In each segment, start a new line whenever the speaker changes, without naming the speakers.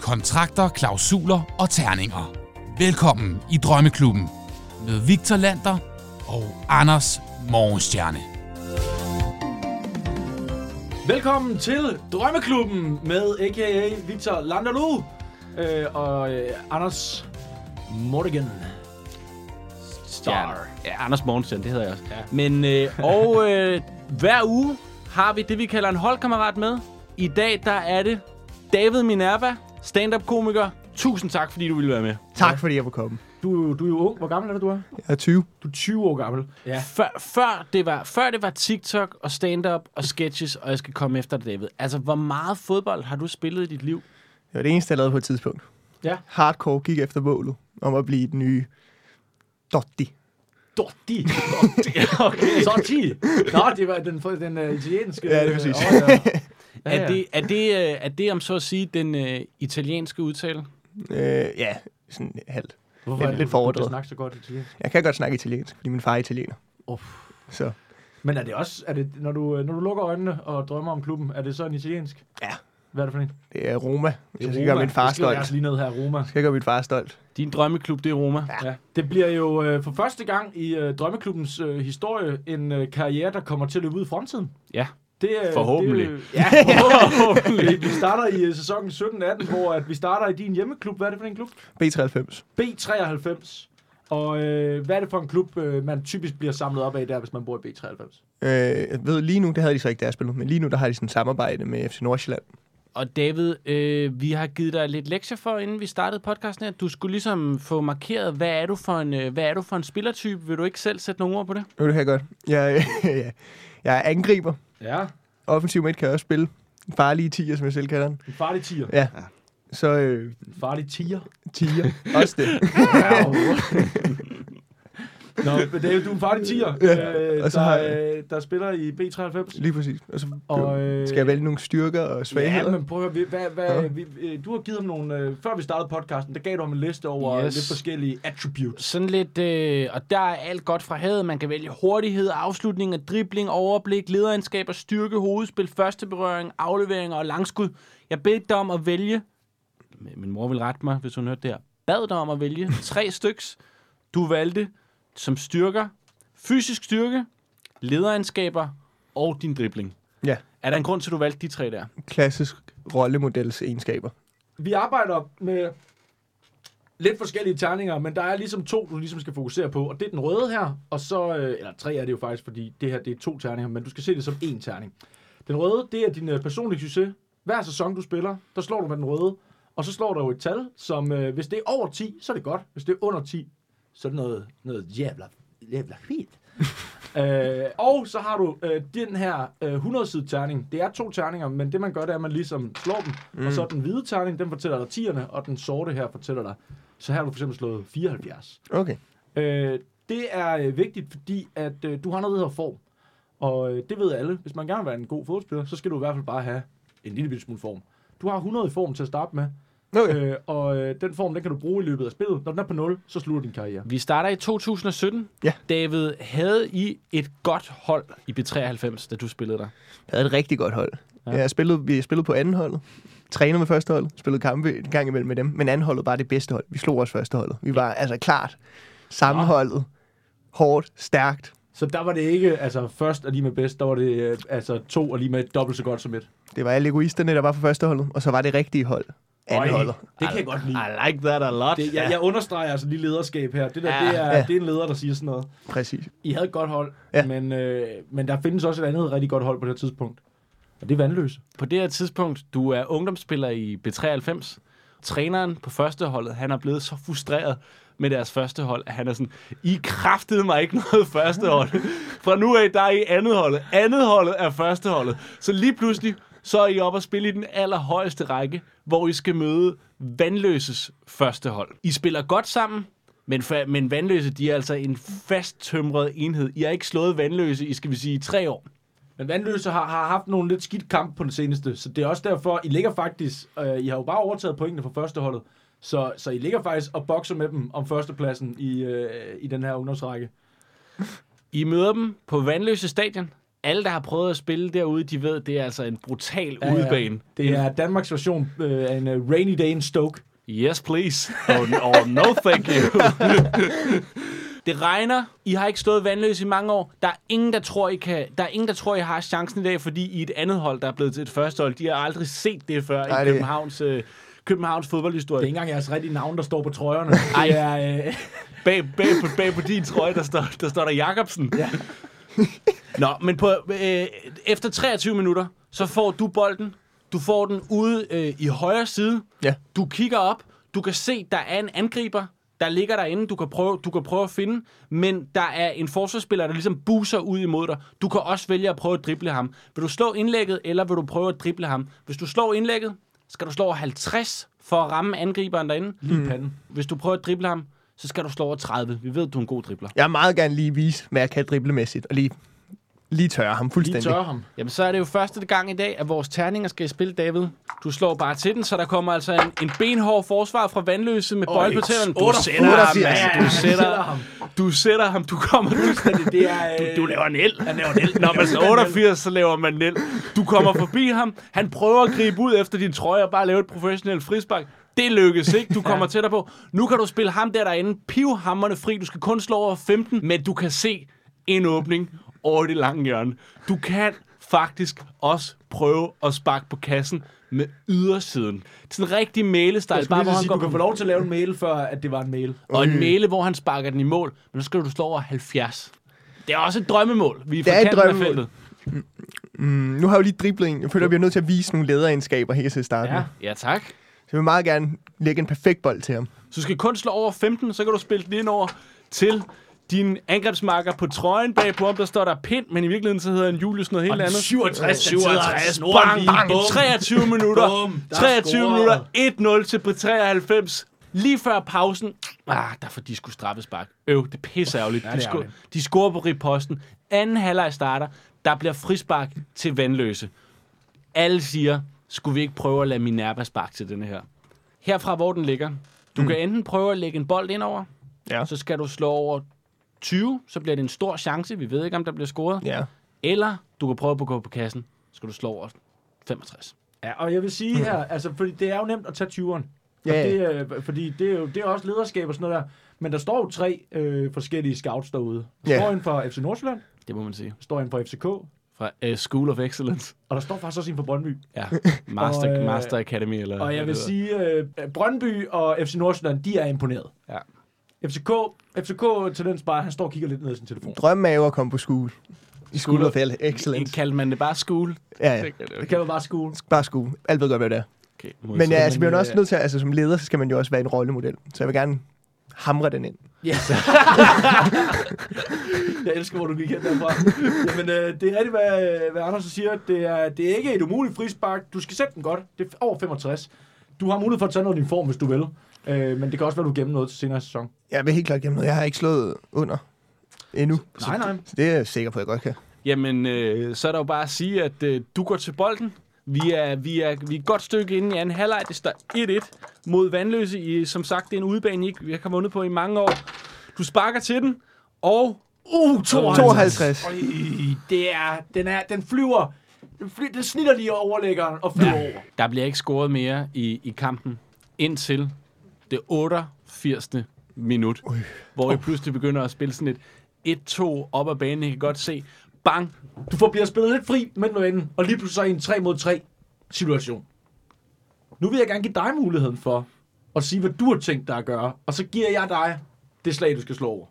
kontrakter, klausuler og terninger. Velkommen i Drømmeklubben med Victor Lander og Anders Morgenstjerne.
Velkommen til Drømmeklubben med a.k.a. Victor Landerlu øh, og øh, Anders Morgan Star.
Ja, ja, Anders Morgensen, det hedder jeg også. Ja. Men, øh, og øh, hver uge har vi det, vi kalder en holdkammerat med. I dag, der er det David Minerva, stand-up-komiker. Tusind tak, fordi du ville være med.
Tak fordi jeg må komme.
Du, du er jo ung. Hvor gammel er du, du er?
Jeg er 20.
Du er 20 år gammel. Ja.
Før, før, det var, før det var TikTok og stand-up og sketches, og jeg skal komme efter dig, David. Altså, hvor meget fodbold har du spillet i dit liv?
Det var det eneste, jeg lavede på et tidspunkt.
Ja.
Hardcore gik efter målet om at blive den nye Dotti.
Dotti. Dotti. Okay. Sotti. Nå, det var den, den uh, italienske.
Ja, det er
øh,
præcis.
årgang. Ja,
Er,
ja.
det, er, det, øh, er det, om så at sige, den øh, italienske udtale?
Øh, ja, sådan halvt.
Hvorfor
lidt-
er det,
lidt
du-
forordret.
Du snakker så godt italiensk.
Jeg kan godt snakke italiensk, fordi min far er italiener.
Uff.
Så
Men er det også, er det, når, du, øh, når du lukker øjnene og drømmer om klubben, er det så en italiensk?
Ja.
Hvad er det for en?
det er Roma. Hvis jeg skal gøre min far
Det skriver jeg
stolt.
også lige ned her, Roma.
Skal jeg gøre min far stolt?
Din drømmeklub, det er Roma.
Ja. Det bliver jo øh, for første gang i øh, Drømmeklubbens øh, historie en øh, karriere, der kommer til at løbe ud i fremtiden.
Ja.
Det, øh,
Forhåbentlig.
Det, øh, ja, forhåbentlig. vi starter i øh, sæsonen 17-18, hvor at vi starter i din hjemmeklub. Hvad er det for en klub?
B93.
B93. Og øh, hvad er det for en klub, øh, man typisk bliver samlet op af der, hvis man bor i B93?
Øh, jeg ved, lige nu, det havde de så ikke, da jeg spillede, men lige nu, der har de sådan et samarbejde med FC Nordsjælland.
Og David, øh, vi har givet dig lidt lektier for, inden vi startede podcasten her. Du skulle ligesom få markeret, hvad er du for en, øh, hvad er du for en spillertype? Vil du ikke selv sætte nogle ord på det?
Jo, det kan jeg godt. Jeg, ja. jeg er angriber.
Ja,
Offensiv midt kan jeg også spille. En farlig tiger, som jeg selv kalder den.
en farlig tiger.
Ja. Så øh,
En farlig tiger.
tiger. også det.
Nå, men David, du er en farlig tiger,
Ja,
øh,
og så
der,
har
øh, der spiller i B93.
Lige præcis. Og så
Og, øh,
skal jeg vælge nogle styrker og
Ja,
svagheder.
men prøv at høre, vi- hvad, hvad,
Ja.
vi, øh, du har givet ham nogle, øh, før vi startede podcasten, der gav du ham en liste over yes.
Yes.
lidt forskellige attributes.
Sådan lidt, øh, og der er alt godt fra havet. Man kan vælge hurtighed, afslutning af dribling, overblik, lederegenskaber, styrke, hovedspil, første berøring, afleveringer og langskud. Jeg bed dig om at vælge, min mor vil rette mig, hvis hun hørte det her, bad dig om at vælge tre styks. Du valgte som styrker, fysisk styrke, lederegenskaber og din dribling.
Ja.
Er der en grund til, at du valgte de tre der?
klassisk rollemodels egenskaber.
Vi arbejder med lidt forskellige terninger, men der er ligesom to, du ligesom skal fokusere på, og det er den røde her, og så, øh, eller tre er det jo faktisk, fordi det her det er to terninger, men du skal se det som én terning. Den røde, det er din øh, personlige succes. Hver sæson, du spiller, der slår du med den røde, og så slår der jo et tal, som øh, hvis det er over 10, så er det godt. Hvis det er under 10, så er det noget, noget jævla, jævla fint. Øh, og så har du øh, den her øh, 100-side terning. Det er to terninger, men det man gør, det er, at man ligesom slår dem. Mm. Og så den hvide terning, den fortæller dig 10'erne, og den sorte her fortæller dig. Så her har du for eksempel slået 74.
Okay.
Øh, det er øh, vigtigt, fordi at øh, du har noget, der hedder form. Og øh, det ved alle. Hvis man gerne vil være en god fodboldspiller, så skal du i hvert fald bare have en lille bitte smule form. Du har 100 i form til at starte med,
okay.
øh, og øh, den form, den kan du bruge i løbet af spillet. Når den er på 0, så slutter din karriere.
Vi starter i 2017.
Ja.
David, havde I et godt hold i B93, da du spillede der?
Jeg havde et rigtig godt hold. Ja. Jeg spillede, vi spillede på anden holdet, trænede med første hold, spillede kampe en gang imellem med dem, men anden holdet var det bedste hold. Vi slog også første holdet. Vi var altså klart sammenholdet, hårdt, stærkt.
Så der var det ikke, altså først og lige med bedst, der var det øh, altså to og lige med dobbelt så godt som et.
Det var alle egoisterne, der var på første holdet, og så var det rigtige hold. Anden holdet.
det kan jeg godt lide.
I like that a lot.
Det, jeg, jeg understreger altså lige lederskab her. Det der,
Ja.
det, er,
Ja.
det er en leder, der siger sådan noget.
Præcis.
I havde et godt hold,
Ja.
men, øh, men der findes også et andet rigtig godt hold på det her tidspunkt. Og det er vandløse.
På det her tidspunkt, du er ungdomsspiller i B93. Træneren på førsteholdet, han er blevet så frustreret med deres første hold, at han er sådan, I kræftede mig ikke noget førstehold. Fra nu af, der er I andet holdet. Andet holdet er førsteholdet. Så lige pludselig, så er I oppe og spille i den allerhøjeste række, hvor I skal møde Vandløses første hold. I spiller godt sammen, men, fa- men Vandløse, de er altså en fasttømret enhed. I har ikke slået Vandløse, I skal vi sige, i tre år.
Men Vandløse har, har haft nogle lidt skidt kamp på den seneste, så det er også derfor, I ligger faktisk, øh, I har jo bare overtaget pointene fra førsteholdet, så, så I ligger faktisk og bokser med dem om førstepladsen i, øh, i den her ungdomsrække.
I møder dem på Vandløse Stadion. alle, der har prøvet at spille derude, de ved, det er altså en brutal
Ja, ja.
udebane.
Det er Danmarks version øh, af en øh, rainy day in Stoke.
Yes, please. Oh, oh no, thank you. det regner. I har ikke stået vandløs i mange år. Der er ingen, der tror, I kan, der er ingen, der tror, I har chancen i dag, fordi I er et andet hold, der er blevet til et første hold. De har aldrig set det før
Ej,
i
det-
Københavns, øh, Københavns
Det er ikke
fodboldhistorie.
engang jeres rigtige navn, der står på trøjerne. Det er, øh,
Bag, bag, på, bag på din trøje, der står der, står der Jacobsen.
Ja.
Nå, men på, øh, efter 23 minutter, så får du bolden. Du får den ude øh, i højre side.
Ja.
Du kigger op, du kan se, der er en angriber, der ligger derinde, du kan prøve, du kan prøve at finde, men der er en forsvarsspiller, der ligesom buser ud imod dig. Du kan også vælge at prøve at drible ham. Vil du slå indlægget, eller vil du prøve at drible ham? Hvis du slår indlægget, skal du slå over 50 for at ramme angriberen derinde.
lige i panden.
Hvis Hmm. du prøver at drible ham, så skal du slå over 30. Vi ved, du er en god dribler.
Jeg vil meget gerne lige vise, hvad jeg kan driblemæssigt, og lige, lige tørre ham
Lige
fuldstændig.
tørre ham.
Jamen, så er det jo første gang i dag, at vores terninger skal i spil, David. Du slår bare til den, så der kommer altså en, en benhård forsvar fra Vandløse med bøjle på tæerne. Du sætter ham,
88.
mand. Du
sætter
sætter,
ham.
du sætter ham. Du kommer fuldstændig
Det er, øh,
Du laver en el. Han laver en el. Når man slår 88, så laver man en el. Du kommer forbi ham. Han prøver at gribe ud efter din trøje og bare lave et professionelt frispark. Det lykkes ikke. Du kommer tættere på. Nu kan du spille ham der derinde. Pivhammerne fri. Du skal kun slå over 15, men du kan se en åbning over det lange hjørne. Du kan faktisk også prøve at sparke på kassen med ydersiden. Sådan en rigtig
bare,
mælestejl. Bare hvor
lige
han
sige, du
går
kan få lov til at lave en mail, før at det var en mail.
og en mæle, hvor han sparker den i mål. Men nu skal du slå over 70. Det er også et drømmemål. Vi er
Det
fra
er et
kanten af
drømmemål.
feltet.
Mm, nu har jeg jo lige driblet en. Jeg føler, at vi er nødt til at vise nogle lederegenskaber her til starten.
Ja.
Ja.
Ja, tak.
Så jeg vil meget gerne lægge en perfekt bold til ham.
Så du skal kun slå over 15, så kan du spille den ind over til din angrebsmarker på trøjen bagpå, om der står der pind, men i virkeligheden så hedder en Julius noget helt andet.
67, altså.
67, bang, bang, 23 minutter,
Bum, der er
23
scoret.
minutter, 1-0 til på 93. Lige før pausen, ah, der får de skulle straffespark. Øv, det er pisseærgerligt.
Ja,
de,
det er
sko-
ærgerligt.
de scorer på riposten. Anden halvleg starter, der bliver frispark til vandløse. Alle siger, skulle vi ikke prøve at lade Minerva sparke til denne her? Herfra, hvor den ligger, du
Mm.
kan enten prøve at lægge en bold ind over,
Ja.
så skal du slå over 20, så bliver det en stor chance, vi ved ikke, om der bliver scoret.
Ja.
Eller du kan prøve at gå på kassen, så skal du slå over 65.
Ja, og jeg vil sige her, altså, fordi det er jo nemt at tage 20'eren. Og
Ja,
det, øh, fordi det er jo det er også lederskab og sådan noget der. Men der står jo tre øh, forskellige scouts derude. Der
Ja.
står en fra FC Nordsjælland,
Det må man sige.
der står en fra FCK,
Fra uh, School of Excellence.
og der står faktisk også en fra Brøndby.
Ja, Master,
Og,
og,
øh,
Master Academy. Eller,
Og jeg vil
eller-
sige, øh, Brøndby og FC Nordsjælland, de er imponeret.
Ja.
FCK, FCK tendens bare, han står og kigger lidt ned i sin telefon.
Drømmen er jo at komme på skole. I School of Hell.
I-
Excellence.
Kaldte man det bare School?
Ja, ja.
Det kan jo bare skue.
Bare skole. Alt ved godt, hvad det er.
Okay,
Men ja,
ja.
altså, man er
øh,
også nødt til, at- altså, som leder, så skal man jo også være en rollemodel. Så jeg vil gerne hamre den ind.
Jeg elsker, hvor du gik hen derfra. Jamen, øh, det er rigtigt, hvad, øh, hvad Anders siger. Det er, det er ikke et umuligt frispark. Du skal sætte den godt. Det er over 65. Du har mulighed for at tage noget af din form, hvis du vil. Øh, men det kan også være, du gemmer noget til senere i sæson.
Jeg vil helt klart gennem noget. Jeg har ikke slået under endnu.
Nej, nej.
Så det er jeg sikker på, at jeg godt kan.
Jamen, øh, så er der jo bare at sige, at øh, du går til bolden. Vi er, vi, er, vi er et godt stykke inde i anden halvleg. Det står 1-1 mod Vandløse. I, som sagt, det er en udebane, I ikke vi har vundet på i mange år. Du sparker til den, og... Uh,
52.
Øj, det er, den, er, den flyver. Den, fly, den snitter lige overlæggeren og flyver ja. over.
Der bliver ikke scoret mere i, i kampen indtil det 88. minut, Ui. hvor I pludselig begynder at spille sådan et 1-2 op ad banen. I kan godt se, bang,
Du får bliver spillet lidt fri med noget inden, og lige pludselig så er I en 3 mod 3 situation. Nu vil jeg gerne give dig muligheden for at sige, hvad du har tænkt dig at gøre, og så giver jeg dig det slag, du skal slå over.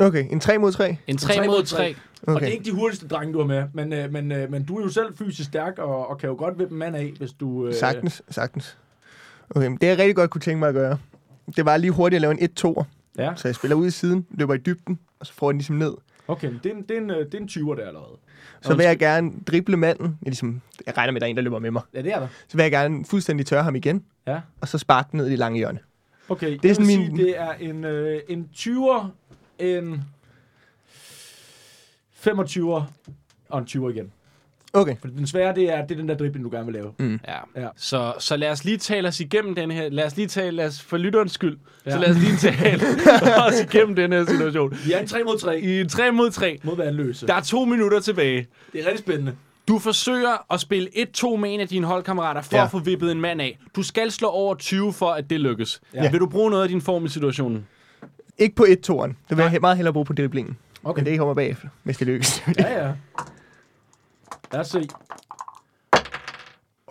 Okay, en 3 mod 3.
en 3 mod 3.
Okay. Og
Okay.
det er ikke de hurtigste drenge, du har med, men, øh, men, øh, men du er jo selv fysisk stærk, og, og kan jo godt vippe en mand af, hvis du... Øh,
Sagtens, sagtens. Okay, men det jeg rigtig godt kunne tænke mig at gøre, det var lige hurtigt at lave en 1-2'er.
Ja,
Så jeg spiller ud i siden, løber i dybden, og så får jeg den ligesom ned.
okay, men det er en, det er en, øh, det er en 20'er der allerede.
Så vil jeg gerne drible manden. Jeg, ligesom, jeg regner med, at der er en, der løber med mig.
Ja, det er der.
Så vil jeg gerne fuldstændig tørre ham igen,
Ja.
og så sparke den ned i det lange hjørne.
Okay, det er
er
jeg vil
sådan
min... sige,
min-
det er en, øh, en 20'er, en 25'er og en 20'er igen.
Okay.
For den svære, det er, det er den der dribling, du gerne vil lave. Mm.
Ja.
Ja.
ja. Så, så lad os lige tale os igennem den her. Lad os lige tale, lad os, for lytterens skyld, ja.
Ja.
så lad os lige tale os igennem den her situation.
Vi er en 3 mod 3
I 3 mod 3,
mod vandløse.
der er to minutter tilbage.
Det er rigtig spændende.
Du forsøger at spille 1-2 med en af dine holdkammerater for
Ja.
ja. at få vippet en mand af. Du skal slå over 20 for, at det lykkes.
Ja.
Ja. Vil du bruge noget af din form i situationen?
Ikke på 1-2'eren. Det vil jeg he- meget hellere bruge på driblingen. Okay.
Okay.
Men det kommer bagefter, hvis det lykkes.
Ja, ja. Lad os se.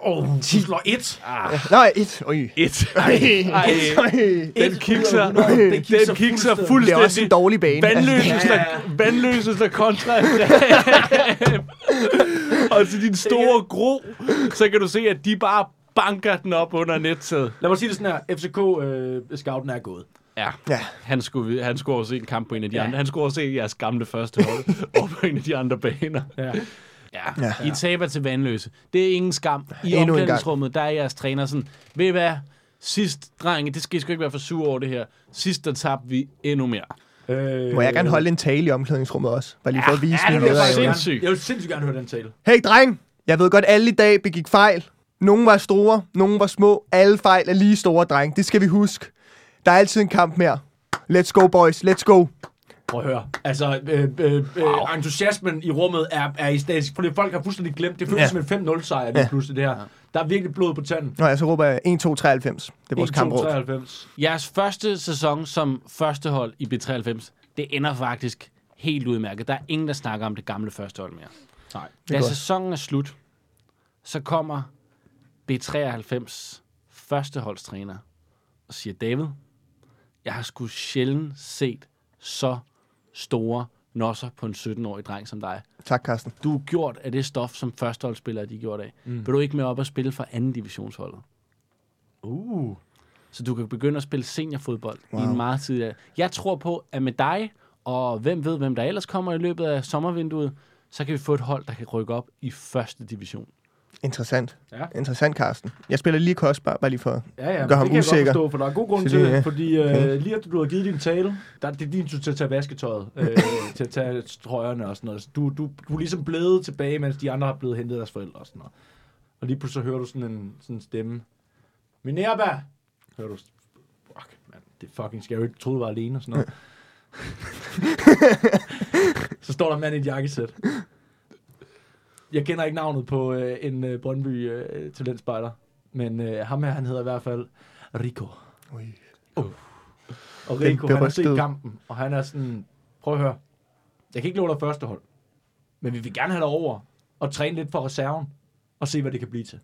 Åh, oh, du slår 1.
Nej, 1. Øj.
Et.
Ej.
Ej.
Ej.
Den kikser,
Den kikser
den kikser
fuldstændig.
Det er også en
fuldstændig.
dårlig bane.
Vandløseste,
Ja, ja.
vandløseste kontra. og til din store gro, så kan du se, at de bare banker den op under nettet.
Lad mig sige det sådan her. FCK-scouten øh, er gået.
Ja,
Ja.
han skulle, vi- han skulle også se en kamp på en af de ja. andre. Han skulle også se jeres gamle første hold over på en af de andre baner.
Ja.
Ja.
Ja.
ja. I taber til vandløse. Det er ingen skam. I
Endnu en gang.
omklædningsrummet, der er jeres træner sådan, ved I hvad, sidst, drenge, det skal I sgu ikke være for sur over det her. Sidst, der tabte vi endnu mere.
Øh,
Må jeg gerne holde en tale i omklædningsrummet også? Bare lige for at vise
Ja, det
min
vil jeg, faktisk
nederlag.
sindssygt.
gerne. jeg vil sindssygt gerne høre den tale.
Hey dreng, jeg ved godt, alle i dag begik fejl. Nogle var store, nogle var små. Alle fejl er lige store, dreng. Det skal vi huske. Der er altid en kamp mere. Let's go, boys. Let's go.
Prøv at høre. Altså, øh, øh, øh, entusiasmen i rummet er, er i statisk. Prøv lige, folk har fuldstændig glemt. Det føles
Ja.
som en 5-0-sejr lige pludselig, det her. Der er virkelig blod på tanden.
Nå ja, så råber jeg 1, 2, 93. Det er vores
1, 2,
kampråb.
93.
Jeres første sæson som førstehold i B93, det ender faktisk helt udmærket. Der er ingen, der snakker om det gamle førstehold mere.
Nej.
Da
godt.
sæsonen er slut, så kommer B93 førsteholdstræner og siger, David, jeg har sgu sjældent set så store nosser på en 17-årig dreng som dig.
Tak, Carsten.
Du er gjort af det stof, som førsteholdsspillere de er gjort af. Mm. Vil du ikke med op og spille for anden divisionsholdet?
Uh.
Så du kan begynde at spille seniorfodbold wow. i en meget tidlig alder. Jeg tror på, at med dig, og hvem ved, hvem der ellers kommer i løbet af sommervinduet, så kan vi få et hold, der kan rykke op i første division.
Interessant.
Ja.
Interessant, Carsten. Jeg spiller lige kostbar, bare lige for...
Ja, ja,
Gør
men det
ham
kan jeg godt
usikker.
forstå, for der er god grund
Så
til
det, ja.
det, fordi øh, lige efter du har givet din tale, der er det din tur til at tage vasketøjet, øh, til at tage trøjerne og sådan noget. Så Du, du, du er ligesom blevet tilbage, mens de andre har blevet hentet af deres forældre og sådan noget. Og lige pludselig så hører du sådan en, sådan en stemme. Minerva! Hører du, fuck, man, det er fucking scary. Jeg troede, du var alene og sådan noget. så står der en mand i et jakkesæt. Jeg kender ikke navnet på øh, en øh, Brøndby øh, talentspejder, men øh, ham her, han hedder i hvert fald Rico.
Ui.
Og
Den
Rico, han har set
berygtede.
kampen, og han er sådan, prøv at høre, jeg kan ikke love dig første hold, men vi vil gerne have dig over og træne lidt for reserven, og se, hvad det kan blive til.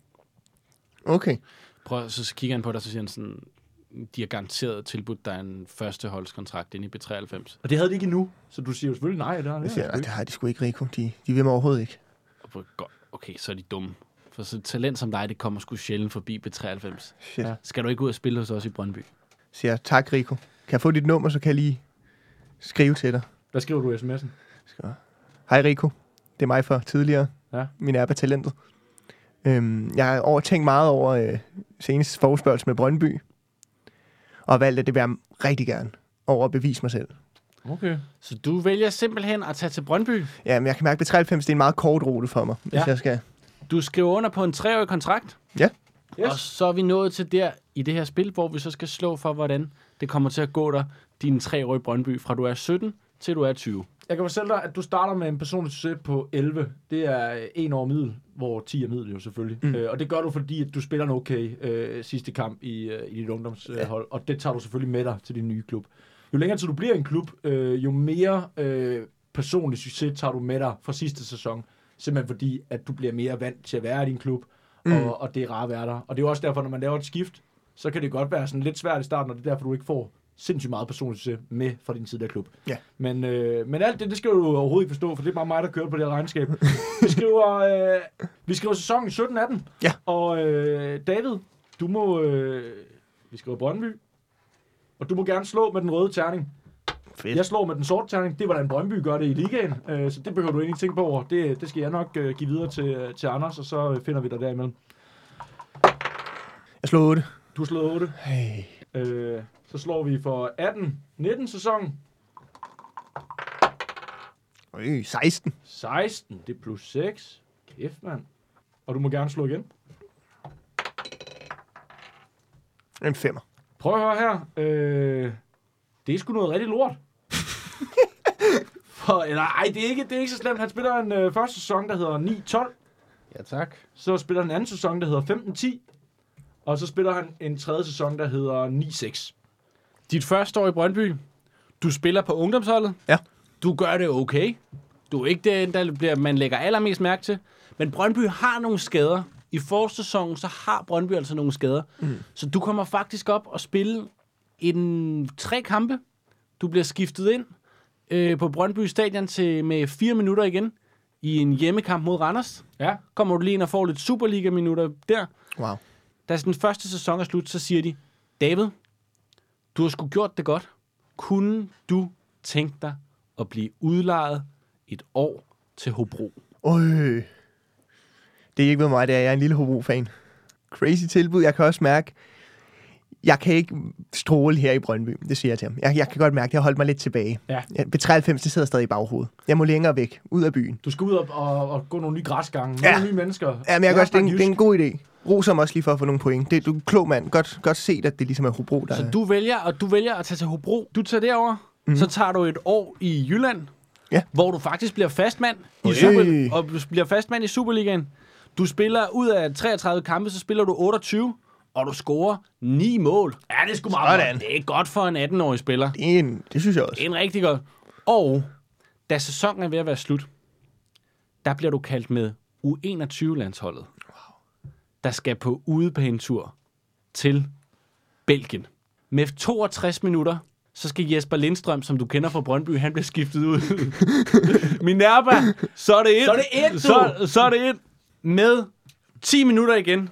Okay.
Prøv, så kigger han på dig, så siger han sådan, de har garanteret tilbudt dig en førsteholdskontrakt inde i B93.
Og det havde de ikke endnu, så du siger jo selvfølgelig nej. Der,
Jeg siger, "Nå, det har de sgu ikke, Rico. De, de vil mig overhovedet ikke.
Og på- godt, Okay, så er de dumme. For så et talent som dig, det kommer sgu sjældent forbi B93.
Shit. Ja.
Skal du ikke ud og spille hos os i Brøndby?
Siger, tak, Rico. Kan jeg få dit nummer, så kan jeg lige skrive til dig.
Hvad skriver du i sms'en?
Hej Rico, det er mig fra tidligere.
Ja.
Min app er talentet. Øhm, jeg har over, tænkt meget over øh, seneste forspørgsel med Brøndby, og valgt, at det vil jeg rigtig gerne over at bevise mig selv.
Okay.
Så du vælger simpelthen at tage til Brøndby.
Ja, men jeg kan mærke, at 93 det er en meget kort rute for mig, hvis
Ja.
jeg skal.
Du skriver under på en treårig kontrakt.
Yes.
Yes. Og så er vi nået til der i det her spil, hvor vi så skal slå for, hvordan det kommer til at gå dig, din tre år i Brøndby, fra du er 17 til du er 20.
Jeg kan fortælle dig, at du starter med en personlig succes på 11. Det er øh, en over middel, hvor 10 er middel jo selvfølgelig. Mm. Øh, og det gør du, fordi at du spiller en okay øh, sidste kamp i, øh, i dit ungdomshold, øh, hold, og det tager du selvfølgelig med dig til din nye klub. Jo længere tid du bliver i en klub, øh, jo mere øh, personlig succes tager du med dig fra sidste sæson. Simpelthen fordi, at du bliver mere vant til at være i din klub, mm. og, og det er rart at være der. Og det er jo også derfor, når man laver et skift, så kan det godt være sådan lidt svært i starten, og det er derfor, du ikke får sindssygt meget personlig succes med fra din tidligere klub. Men, øh, men alt det, det skal du overhovedet ikke forstå, for det er bare mig, der kører på det her regnskab. Vi skriver, øh, vi skriver sæsonen 17-18,
Ja.
og øh, David, du må, øh, vi skriver Brøndby, og du må gerne slå med den røde terning.
Fedt.
Jeg slår med den sorte terning, det er, hvordan Brøndby gør det i ligaen, øh, så det behøver du egentlig ikke tænke på over. Det, det skal jeg nok øh, give videre til, til Anders, og så øh, finder vi dig derimellem.
Jeg slog 8.
Du har slået 8,
Hey.
øh, så slår vi for 18-19 sæsonen.
Øh, 16.
16, det er plus 6. Kæft, mand. Og du må gerne slå igen.
En femmer.
Prøv at høre her. Øh, det er sgu noget rigtig lort. For, eller, ej, det er, ikke, det er ikke så slemt. Han spiller en øh, første sæson, der hedder 9-12.
Ja, tak.
Så spiller han en anden sæson, der hedder 15-10. Og så spiller han en tredje sæson, der hedder 9-6.
Dit første år i Brøndby. Du spiller på ungdomsholdet.
Ja.
Du gør det okay. Du er ikke den, der bliver, man lægger allermest mærke til. Men Brøndby har nogle skader. I forårssæsonen, så har Brøndby altså nogle skader. Mm. Så du kommer faktisk op og spille en tre kampe. Du bliver skiftet ind øh, på Brøndby Stadion til, med fire minutter igen i en hjemmekamp mod Randers.
Ja.
Kommer du lige ind og får lidt Superliga-minutter der.
Wow.
Da den første sæson er slut, så siger de, David, du har sgu gjort det godt. Kunne du tænke dig at blive udlejet et år til Hobro?
Øj. Det er ikke ved mig, det er jeg er en lille Hobro-fan. Crazy tilbud. Jeg kan også mærke, jeg kan ikke stråle her i Brøndby. Det siger jeg til ham. Jeg, jeg kan godt mærke, at jeg har holdt mig lidt tilbage.
Ja.
Jeg, ved 93, det sidder stadig i baghovedet. Jeg må længere væk. Ud af byen.
Du skal ud og, og, og gå nogle nye græsgange.
Ja.
Ja. Nogle nye mennesker.
Ja, men jeg kan også, det, er en,
snakke
det er en
jysk.
god idé. Ros ham også lige for at få nogle point. Det, du er en klog mand. Godt, godt set, at det ligesom er Hobro, der
Så du vælger, og du vælger at tage til Hobro. Du tager derover, mm. så tager du et år i Jylland,
Ja.
hvor du faktisk bliver fastmand i
Øj.
Super, og du bliver fastmand i Superligaen. Du spiller ud af 33 kampe, så spiller du 28, og du scorer 9 mål.
Ja, det er sgu meget
Sådan.
Sådan.
Det er godt for en 18-årig spiller.
Det, er en, det synes jeg også.
Det er en rigtig godt. Og da sæsonen er ved at være slut, der bliver du kaldt med U21-landsholdet, der skal på udebanetur til Belgien. Med 62 minutter, så skal Jesper Lindstrøm, som du kender fra Brøndby, han bliver skiftet ud. Minerva, så er det ind.
Så er det ind, du!
så, så er det ind. Med 10 minutter igen,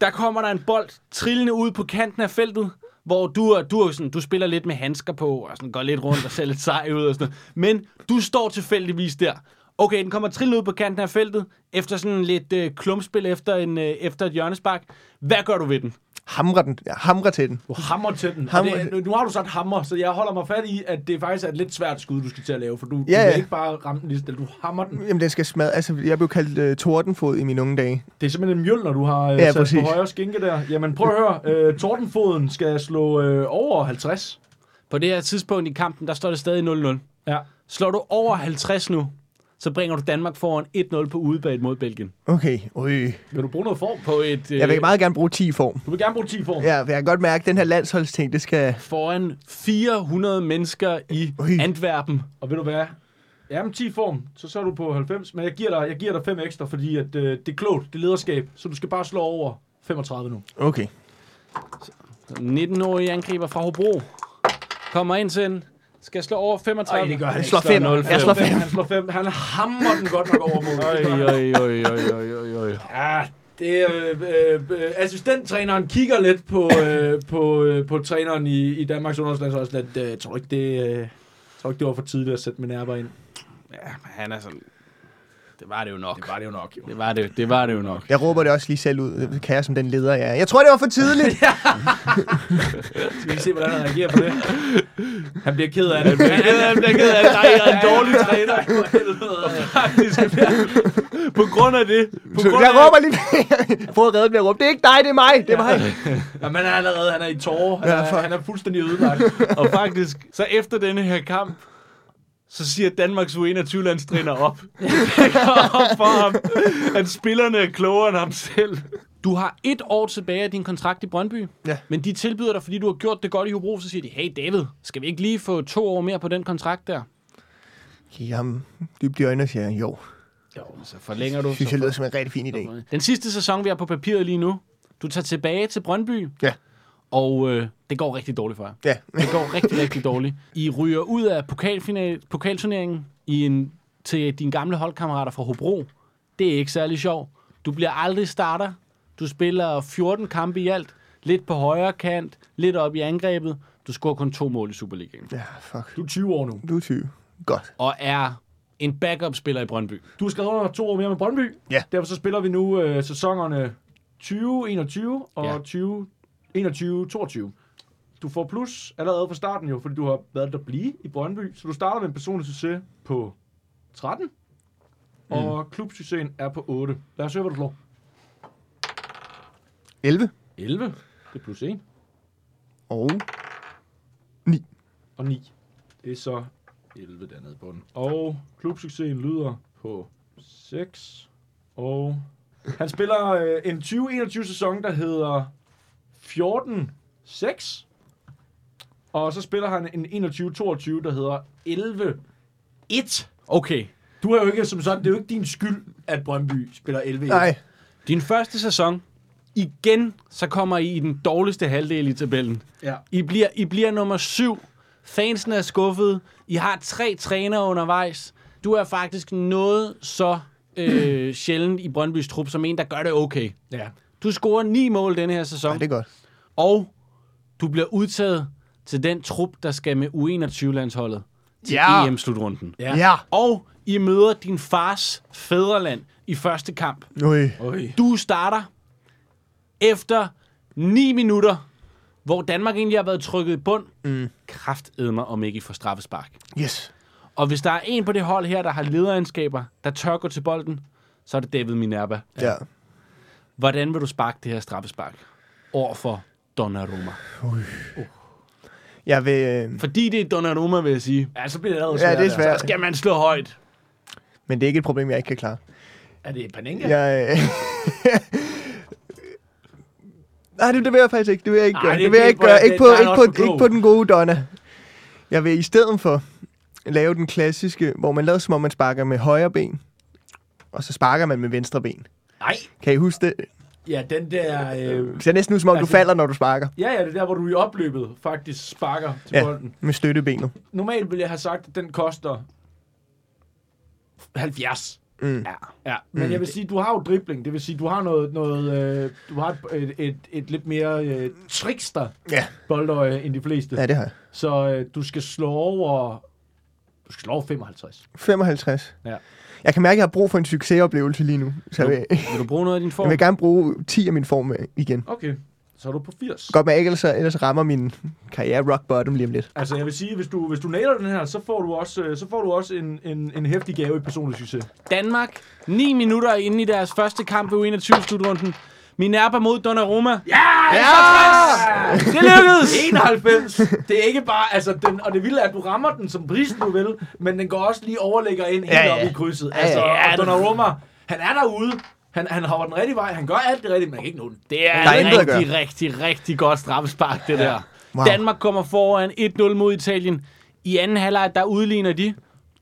der kommer der en bold trillende ud på kanten af feltet, hvor du, er, du, er jo sådan, du spiller lidt med handsker på, og sådan går lidt rundt og ser lidt sej ud og sådan noget. Men du står tilfældigvis der. Okay, den kommer trillende ud på kanten af feltet, efter sådan lidt øh, klumpspil efter, en, øh, efter et hjørnespark. Hvad gør du ved den?
Hamrer, den, ja, hamrer til den.
Du hammer til den.
Hamrer
Hammer.
til-
Det, nu- nu har du sagt hammer, så jeg holder mig fat i, at det faktisk er et lidt svært skud, du skal til at lave, for du,
Ja,
ja, du
ja.
kan ikke bare ramme den lige så stille. Du hammer den.
Jamen, den skal smadre. Altså, jeg blev kaldt øh, tordenfod i mine unge dage.
Det er simpelthen en mjøl, når du har øh,
Ja,
ja, sat
præcis.
på højre skinke der. Jamen prøv at høre, øh, tordenfoden skal slå øh, over 50.
På det her tidspunkt i kampen, der står det stadig 0-0.
Ja.
Slår du over 50 nu, så bringer du Danmark foran 1-0 på udebane mod Belgien.
Okay, øj.
Vil du bruge noget form?
På et, øh,
Jeg vil meget gerne bruge 10 i form.
Du vil gerne bruge 10 form. Ja.
Ja, for jeg kan godt mærke, at den her landsholdsting, det skal...
foran 400 mennesker i
Ui.
Antwerpen.
Og ved du hvad? Jamen 10 form, så så er du på 90, men jeg giver dig, jeg giver dig 5 ekstra, fordi at, øh, det er klogt, det er lederskab, så du skal bare slå over 35 nu.
Okay.
19-årig angriber fra Hobro. Kommer ind til en. Skal slå over 35.
han
slår fem. Jeg slår fem.
Han slår 5. Han hammer den godt nok over målet. Det gør han.
Øj, øj, øj, øj, øj, øj.
Ja, det er, øh, øh, øh, assistenttræneren kigger lidt på, øh, på, øh, på træneren i, i Danmarks underholdningsland, også lidt, øh, tror du ikke, det, øh, tror du ikke, det var for tidligt at sætte min nærmere ind.
Ja, men han er sådan... Det var det jo nok.
Det var det jo nok, jo.
Det var det, det, var det jo nok.
Jeg råber det også lige selv ud, kan jeg som den leder, jeg er. Jeg tror, det var for tidligt.
Skal vi se, hvordan han reagerer på det? Han bliver ked af det.
Han er, han bliver ked af, at der er en dårlig træner.
For helvede.
På grund af det. På
Så
grund
jeg
af
råber lige for at redde bliver råbt. Det er ikke dig, det er mig. Det er mig.
Ja, men han er allerede, han er i tårer. Han
Ja,
er,
fuck.
han er fuldstændig ødelagt.
Og faktisk, så efter denne her kamp, så siger Danmarks U21-landstræner op. Det går op for ham, at spillerne er klogere end ham selv. Du har et år tilbage af din kontrakt i Brøndby,
Ja.
men de tilbyder dig, fordi du har gjort det godt i Hobro, så siger de, hey David, skal vi ikke lige få to år mere på den kontrakt der?
Kigger ham dybt i øjnene og siger, jo,
Så forlænger du.
det synes jeg lyder som en rigtig fin idé.
Den sidste sæson, vi har på papiret lige nu, du tager tilbage til Brøndby,
Ja.
og øh, det går rigtig dårligt for jer.
Ja,
Det går rigtig, rigtig dårligt. I ryger ud af pokalfinal, pokalturneringen i en, til dine gamle holdkammerater fra Hobro. Det er ikke særlig sjovt. Du bliver aldrig starter. Du spiller 14 kampe i alt. Lidt på højre kant, lidt op i angrebet. Du scorer kun to mål i Superligaen.
ja fuck.
Du er 20 år nu.
Du er 20. Godt.
Og er en backup-spiller i Brøndby.
Du har skrevet under to år mere med Brøndby.
Ja.
Derfor så spiller vi nu øh, sæsonerne 20, 21 og
Ja.
ja. 20, 21, 22. Du får plus allerede fra starten jo, fordi du har været der blive i Brøndby. Så du starter med en personlig succes på 13. og klubsuccesen er på 8. Lad os se, hvad du slår.
11
11, det er plus 1,
og
og 9. Det er så 11 dernede på den. Og klubsuccesen lyder på 6, og han spiller øh, en 2021 sæson, der hedder 14-6, og så spiller han en 21-22, der hedder 11-1.
Okay.
Du er jo ikke som sådan, det er jo ikke din skyld, at Brøndby spiller 11
Nej,
Din første sæson, igen, så kommer I i den dårligste halvdel i tabellen.
Ja.
I bliver, I bliver nummer syv. Fansen er skuffet. I har tre trænere undervejs. Du er faktisk noget så øh, sjældent i Brøndbys trup, som en, der gør det okay.
ja.
Du scorer ni mål denne her sæson,
Ej, det er godt.
og du bliver udtaget til den trup, der skal med U21-landsholdet til
Ja.
EM-slutrunden.
Ja.
Ah. Ja.
Og I møder din fars fædreland i første kamp.
Ui.
Oj.
Du starter efter 9 minutter, hvor Danmark egentlig har været trykket i bund. Mm. Kraftedmer, om ikke I får straffespark.
Yes.
Og hvis der er en på det hold her, der har lederegenskaber, der tør gå til bolden, så er det David Minerva.
Ja.
Hvordan vil du sparke det her straffespark over for Donnarumma?
Jeg vil... Øh,
Fordi det er Donnarumma, vil jeg sige.
Ja, så bliver det allerede
ja, det er
der.
svært.
Skal man slå højt?
Men det er ikke et problem, jeg ikke kan klare.
Er det Panenka?
Jeg... øh, Nej, det, det vil jeg faktisk ikke. Det vil jeg ikke
Ej,
gøre.
det-
det, vil jeg
det-
ikke gøre.
det-
Ikke på,
der er
ikke,
nok
på,
for klog.
ikke på den gode Donna. Jeg vil i stedet for lave den klassiske, hvor man lader som om, man sparker med højre ben, og så sparker man med venstre ben.
Nej.
Kan I huske det?
Ja, den der... Øh...
Det ser næsten ud, som om du
Altså-
falder, når du sparker.
Ja, ja, det er der, hvor du i opløbet faktisk sparker til
Ja,
ja. bolden.
med støttebenet.
Normalt ville jeg have sagt, at den koster 70.
Mm.
Ja. ja. Men jeg vil sige, du har jo dribling. Det vil sige, du har noget... noget øh, du har et, et, et, et lidt mere øh, trickster
Ja.
boldøje end de fleste.
ja, det har jeg.
Så øh, du skal slå over... Du skal slå over 55.
55.
Ja.
Jeg kan mærke, at jeg har brug for en succesoplevelse lige nu. Så jeg vil,
Vil du bruge noget af din
jeg
form?
vil gerne bruge 10 af min form øh, igen.
Okay, så er du på 80.
Godt med, ikke, ellers, ellers rammer min karriere rock bottom lige om lidt.
Altså, jeg vil sige, hvis du, hvis du nailer den her, så får du også, øh, så får du også en, en, en hæftig gave i personlig succes.
Danmark, 9 minutter inde i deres første kamp ved U21-slutrunden. Minerva mod Donnarumma. Ja!
Ja!
Det lykkedes!
91! Det er ikke bare, altså, den, og det vilde er, at du rammer den som prisen, du vil, men den går også lige overlægger ind helt
Ja,
ja,
ja.
op i krydset.
ja,
Altså,
ja,
ja,
det-
ja, Donnarumma, han er derude, han, han hopper den rigtige vej, han gør alt det rigtige, men han kan ikke nå den.
Det er,
Der er
et
intet at
rigtig, rigtig, rigtig godt straffespark, det der.
Wow.
Wow. Danmark kommer foran 1-0 mod Italien. I anden halvleg, der udligner de.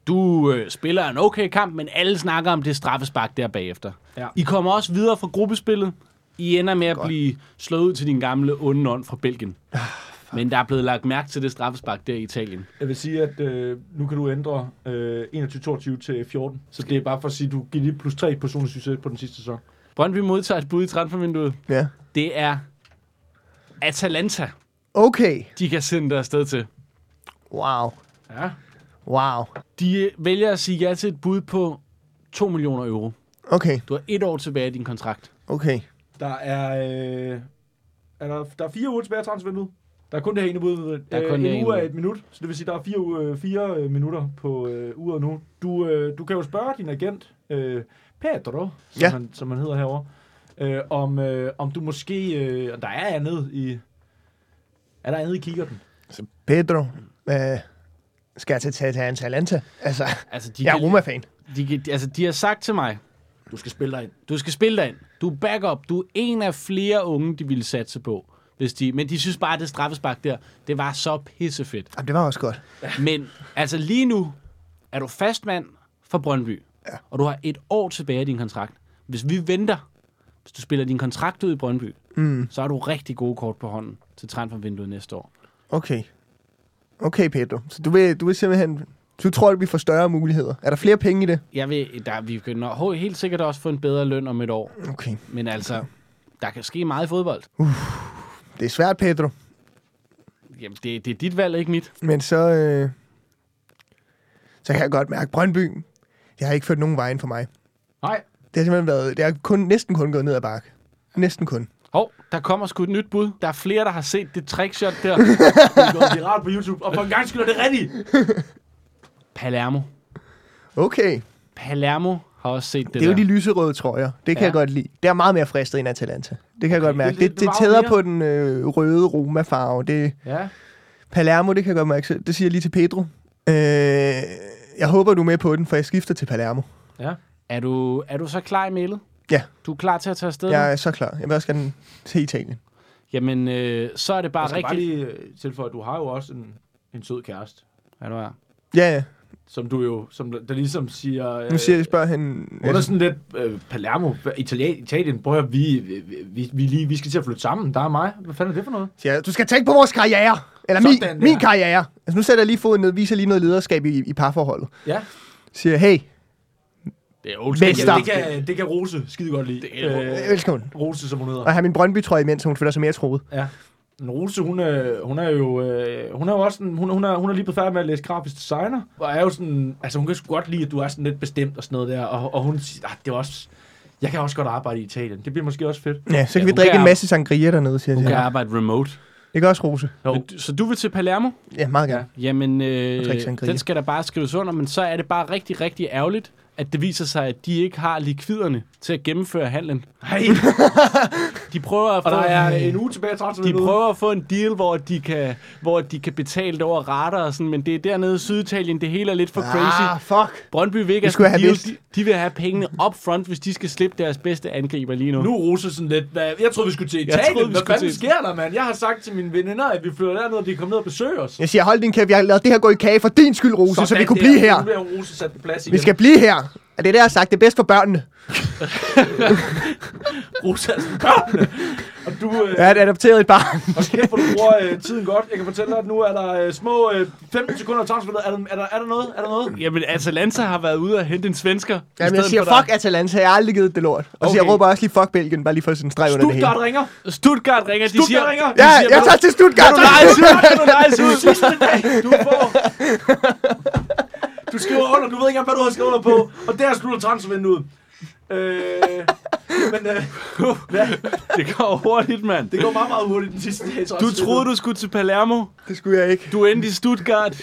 Du øh, spiller en okay kamp, men alle snakker om det straffespark der bagefter.
Ja.
Ja. I kommer også videre fra gruppespillet. I ender med at blive slået ud til din gamle onde ånd fra Belgien.
Ah,
Men der er blevet lagt mærke til det straffespark der i Italien.
Jeg vil sige, at øh, nu kan du ændre øh, 21-22 til 14, så det er bare for at sige, at du giver lige plus 3 personlig succes på den sidste sæson.
Brøndby modtager et bud i transfervinduet.
Ja.
Det er Atalanta,
Okay.
de kan sende dig afsted til.
Wow.
Ja,
Wow.
De vælger at sige ja til et bud på 2 millioner euro.
Okay.
Du har et år tilbage i din kontrakt.
Okay.
Der er... Øh, er der, der er fire uger tilbage af transfervinduet. Der er kun det her ene bud.
Der er
Øh,
kun det
en
ene
uge er
bud.
et minut, så det vil sige, der er fire, u- øh, fire øh, minutter på øh, uret nu. Du, øh, du kan jo spørge din agent, øh, Pedro, som,
Ja.
han, som han hedder herovre, øh, om, øh, om du måske... Øh, om der er andet i... Er der andet i kikkerten?
Pedro. Øh, skal jeg til, til, til Atalanta? Altså,
Altså, de,
jeg er
kan,
Roma-fan.
de, kan, altså, de har sagt til mig,
Du skal spille dig ind.
du skal spille dig ind. Du er backup. Du er en af flere unge, de ville satse på. Hvis de, men de synes bare, at det straffespark der, det var så pissefedt.
Jamen, det var også godt.
Men altså lige nu er du fastmand for Brøndby, ja. og du har et år tilbage i din kontrakt. Hvis vi venter, hvis du spiller din kontrakt ud i Brøndby, mm. så har du rigtig gode kort på hånden til transfervinduet næste år.
Okay. Okay, Pedro. Så du vil, du vil simpelthen... Du tror, at vi får større muligheder. Er der flere penge i det?
Jeg vil, der, vi kan nå, helt sikkert også få en bedre løn om et år,
Okay.
men altså, der kan ske meget i fodbold.
Det er svært, Pedro.
Jamen, det, det er dit valg, ikke mit.
Men så... Øh, så kan jeg godt mærke, Brøndby, det har ikke ført nogen vejen for mig.
Nej.
Det har simpelthen været... Det har kun, næsten kun gået ned ad bakke. Næsten kun.
Hov, der kommer sgu et nyt bud. Der er flere, der har set det trickshot der.
Det er gået viralt på YouTube, og for en gang skyld er det rigtigt.
Palermo.
Okay.
Palermo Har også set det,
Det er jo
der.
de lyserøde trøjer. Det kan
Ja.
ja. jeg godt lide. Det er meget mere fristet end Atalanta. Det kan jeg godt mærke.
det-
Det,
det-
det,
det
det
var jo
tæder
mere-
på den øh, røde Roma-farve. Det,
Ja.
Palermo, det kan jeg godt mærke. selv. Det siger jeg lige til Pedro. Øh, jeg håber, du er med på den, for jeg skifter til Palermo.
Mhm.
Er du, er du så klar i mailet?
Ja.
Du er klar til at tage afsted?
Jeg er så klar. Jeg vil også gerne til Italien.
Jamen, øh, så er det
Jeg
bare
skal bare
rigtigt. Lige...
lige øh, tilføje, at du har jo også en, en sød kæreste,
Er du her?
Ja, ja.
som du jo, som der ligesom siger... Øh,
Nu siger jeg, spørger han...
Hun er sådan lidt, øh, Palermo, Italien, Italien, prøv at høre, vi, vi, vi, vi, lige, vi skal til at flytte sammen, der er mig. Hvad fanden er det for noget?
siger, jeg, du skal tænke på vores karriere. Eller
Sådan
min,
der.
min karriere. Altså, nu sætter jeg lige foden ned, viser lige noget lederskab i, i parforholdet.
Ja,
Siger, hey,
Det er old
school. Vester.
det kan, det kan Rose skide godt lide. Det
øh, velkommen.
Rose, som hun hedder.
Og have min Brøndby-trøje imens, så hun føler sig mere troet.
Ja. Men Rose, hun, øh, hun er jo, øh, hun er jo også sådan, hun, hun, er, hun er lige blevet færdig med at læse grafisk designer, og er jo sådan, altså hun kan sgu godt lide, at du er sådan lidt bestemt og sådan noget der, og, og hun siger, "Ah, det er også, jeg kan også godt arbejde i Italien, det bliver måske også fedt.
Ja, så kan
Ja,
vi
hun
drikke
kan-
en masse sangria dernede, siger
Du
jeg.
kan
Ja.
arbejde remote.
Det kan også rose.
Jo.
Men, så du vil til Palermo?
Ja, meget gerne.
Jamen,
Og
øh,
drikke sangria.
den skal der bare skrives under, men så er det bare rigtig, rigtig ærgerligt, at det viser sig, at de ikke har likviderne til at gennemføre handlen.
Hej,
De prøver at
og
få,
der er en uge tilbage i
de
30
prøver at få en deal, hvor de kan, hvor de kan betale det over rater og sådan, men det er dernede i Syditalien, det hele er lidt for
Ah,
crazy.
fuck.
Brøndby vil ikke
Det skulle
have
jeg have
sådan en deal. de, de vil have pengene up front, hvis de skal slippe deres bedste angriber lige nu.
Nu er Rose sådan lidt, hvad, jeg troede, vi skulle til Italien,
troede, vi
hvad
skulle
fanden
til-
sker der, mand? Jeg har sagt til mine veninder, at vi flytter derned, og de kommer ned og besøger os.
Jeg siger, hold din kæft, jeg har lavet det her gå i kage for din skyld, Rose, så, så vi kunne blive her.
Nu bliver Rose sat på plads igen.
Vi skal blive her. Er det der jeg har sagt, det er bedst for børnene.
Rose er sådan, "Børnene!" Og du, øh,
Jeg har adopteret et barn.
Og kæft, hvor du bruger øh, tiden godt. Jeg kan fortælle dig, at nu er der øh, små øh, 15 sekunder af transfer. Er der, er, der, er der noget? Er der noget?
Jamen, Atalanta har været ude og hente en svensker. i
Jamen, jeg
stedet
siger,
for dig.
fuck Atalanta, jeg har aldrig givet det lort. Og så jeg
Okay.
råber også lige, fuck Belgien, bare lige for sådan en streg under det hele.
Stuttgart ringer.
Stuttgart ringer, de
Stuttgart
siger...
ringer.
Ja,
siger,
jeg
"Hvad-
tager til Stuttgart.
Du er nice ud, du er nice ud.
Sidste dag, du får. Du skriver under, du ved ikke engang, hvad du har skrevet under på. Og der slutter transfervinduet. Øh, men øh, ja,
Det går hurtigt, mand.
det går meget, meget hurtigt den sidste dag. i
Du
transfervinduet.
troede, du skulle til Palermo.
Det skulle jeg ikke.
Du endte i Stuttgart.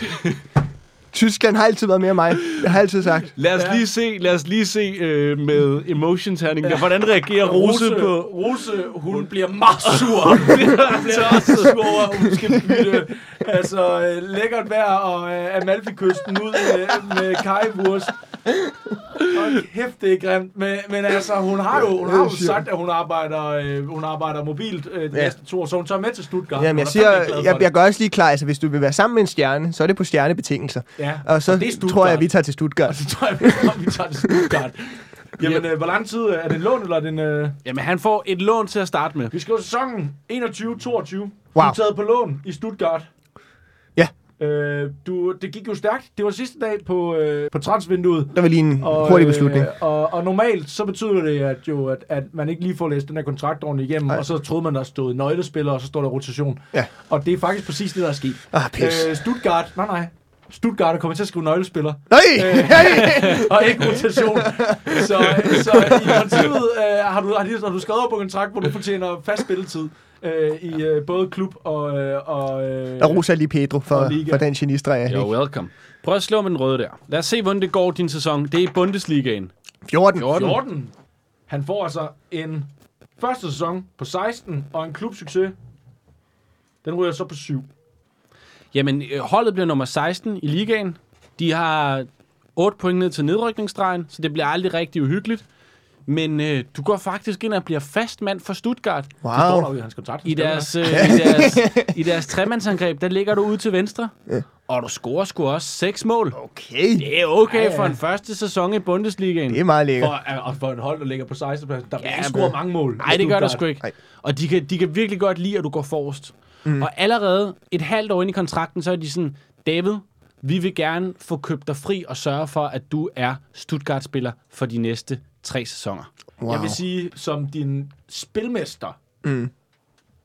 Tyskland har altid været mere mig. Jeg har altid sagt.
Lad os
Ja.
lige se, lad os lige se øh, med emotion ja. Hvordan reagerer Rose,
Rose,
på...
Rose, hun bliver meget sur. hun bliver også sur over, at hun skal bytte altså, øh, lækkert vejr og øh, Amalfi-kysten ud øh, med kajevurs. Og kæft, det er grimt. Men, men altså, hun har jo, hun har jo sagt, at hun arbejder, øh, hun arbejder mobilt øh, de
Ja.
næste to år, så hun tager med til Stuttgart.
Jamen,
Hun
jeg,
er
siger,
fandme glad for
jeg,
det.
jeg gør også lige klar, altså hvis du vil være sammen med en stjerne, så er det på stjernebetingelser.
Ja,
Og så
og det er Stuttgart.
tror jeg, at vi tager til Stuttgart.
Så tror jeg, vi- vi tager til Stuttgart. Jamen, øh, hvor lang tid øh, er det en lån, eller er det en... Øh
Jamen, han får et lån til at starte med.
Vi skriver sæsonen 21-22. Wow. Du
Wow.
er taget på lån i Stuttgart.
Ja.
Øh, du, det gik jo stærkt. Det var sidste dag på, øh, på transvinduet.
Der var lige en hurtig beslutning.
Øh, og, og normalt så betyder det at jo, at, at man ikke lige får læst den her kontrakt ordentligt igennem,
Ej.
og så troede man, der stod nøglespiller, og så står der rotation.
Ja.
Og det er faktisk præcis det, der er sket.
Ah, pis.
Øh, Stuttgart, nej nej, Stuttgart er kommet til at skrive nøglespiller
Nej!
øh,
Hey!
og ikke rotation. Så, så i princippet øh, har, du, har, de, har du skrevet over på en kontrakt, hvor du fortjener fast spilletid øh, i øh, både klub og... Øh, og øh,
Og Rosa lige Pedro for,
Og Liga.
for den genistreg, jeg
You're
er.
welcome. Prøv at slå med den røde der. Lad os se, hvordan det går din sæson. Det er i Bundesligaen.
14.
14.
14. Han får altså en første sæson på 16 og en klubsucces. Den ryger så på 7.
Jamen, øh, holdet bliver nummer 16 i ligaen. De har 8 point ned til nedrykningsstregen, så det bliver aldrig rigtig uhyggeligt. Men øh, du går faktisk ind og bliver fast mand for Stuttgart.
Det står der
Wow.
jo i hans kontrakt.
I deres, øh, i deres, i deres tremandsangreb, der ligger du ude til venstre. Og du scorer sgu også seks mål.
Okay.
Det er okay for en første sæson i Bundesligaen.
Det er meget lækkert.
For, og for en hold, der ligger på 16. pladsen. Der bliver
Ja,
ikke
men-
scoret mange mål. i
Nej, det gør der
Stuttgart.
sgu ikke.
Nej.
Og de kan, de kan virkelig godt lide, at du går forrest. Mm. Og allerede et halvt år ind i kontrakten, så er de sådan, David, vi vil gerne få købt dig fri og sørge for, at du er Stuttgart-spiller for de næste tre sæsoner.
Wow.
Jeg vil sige, som din spilmester, mm.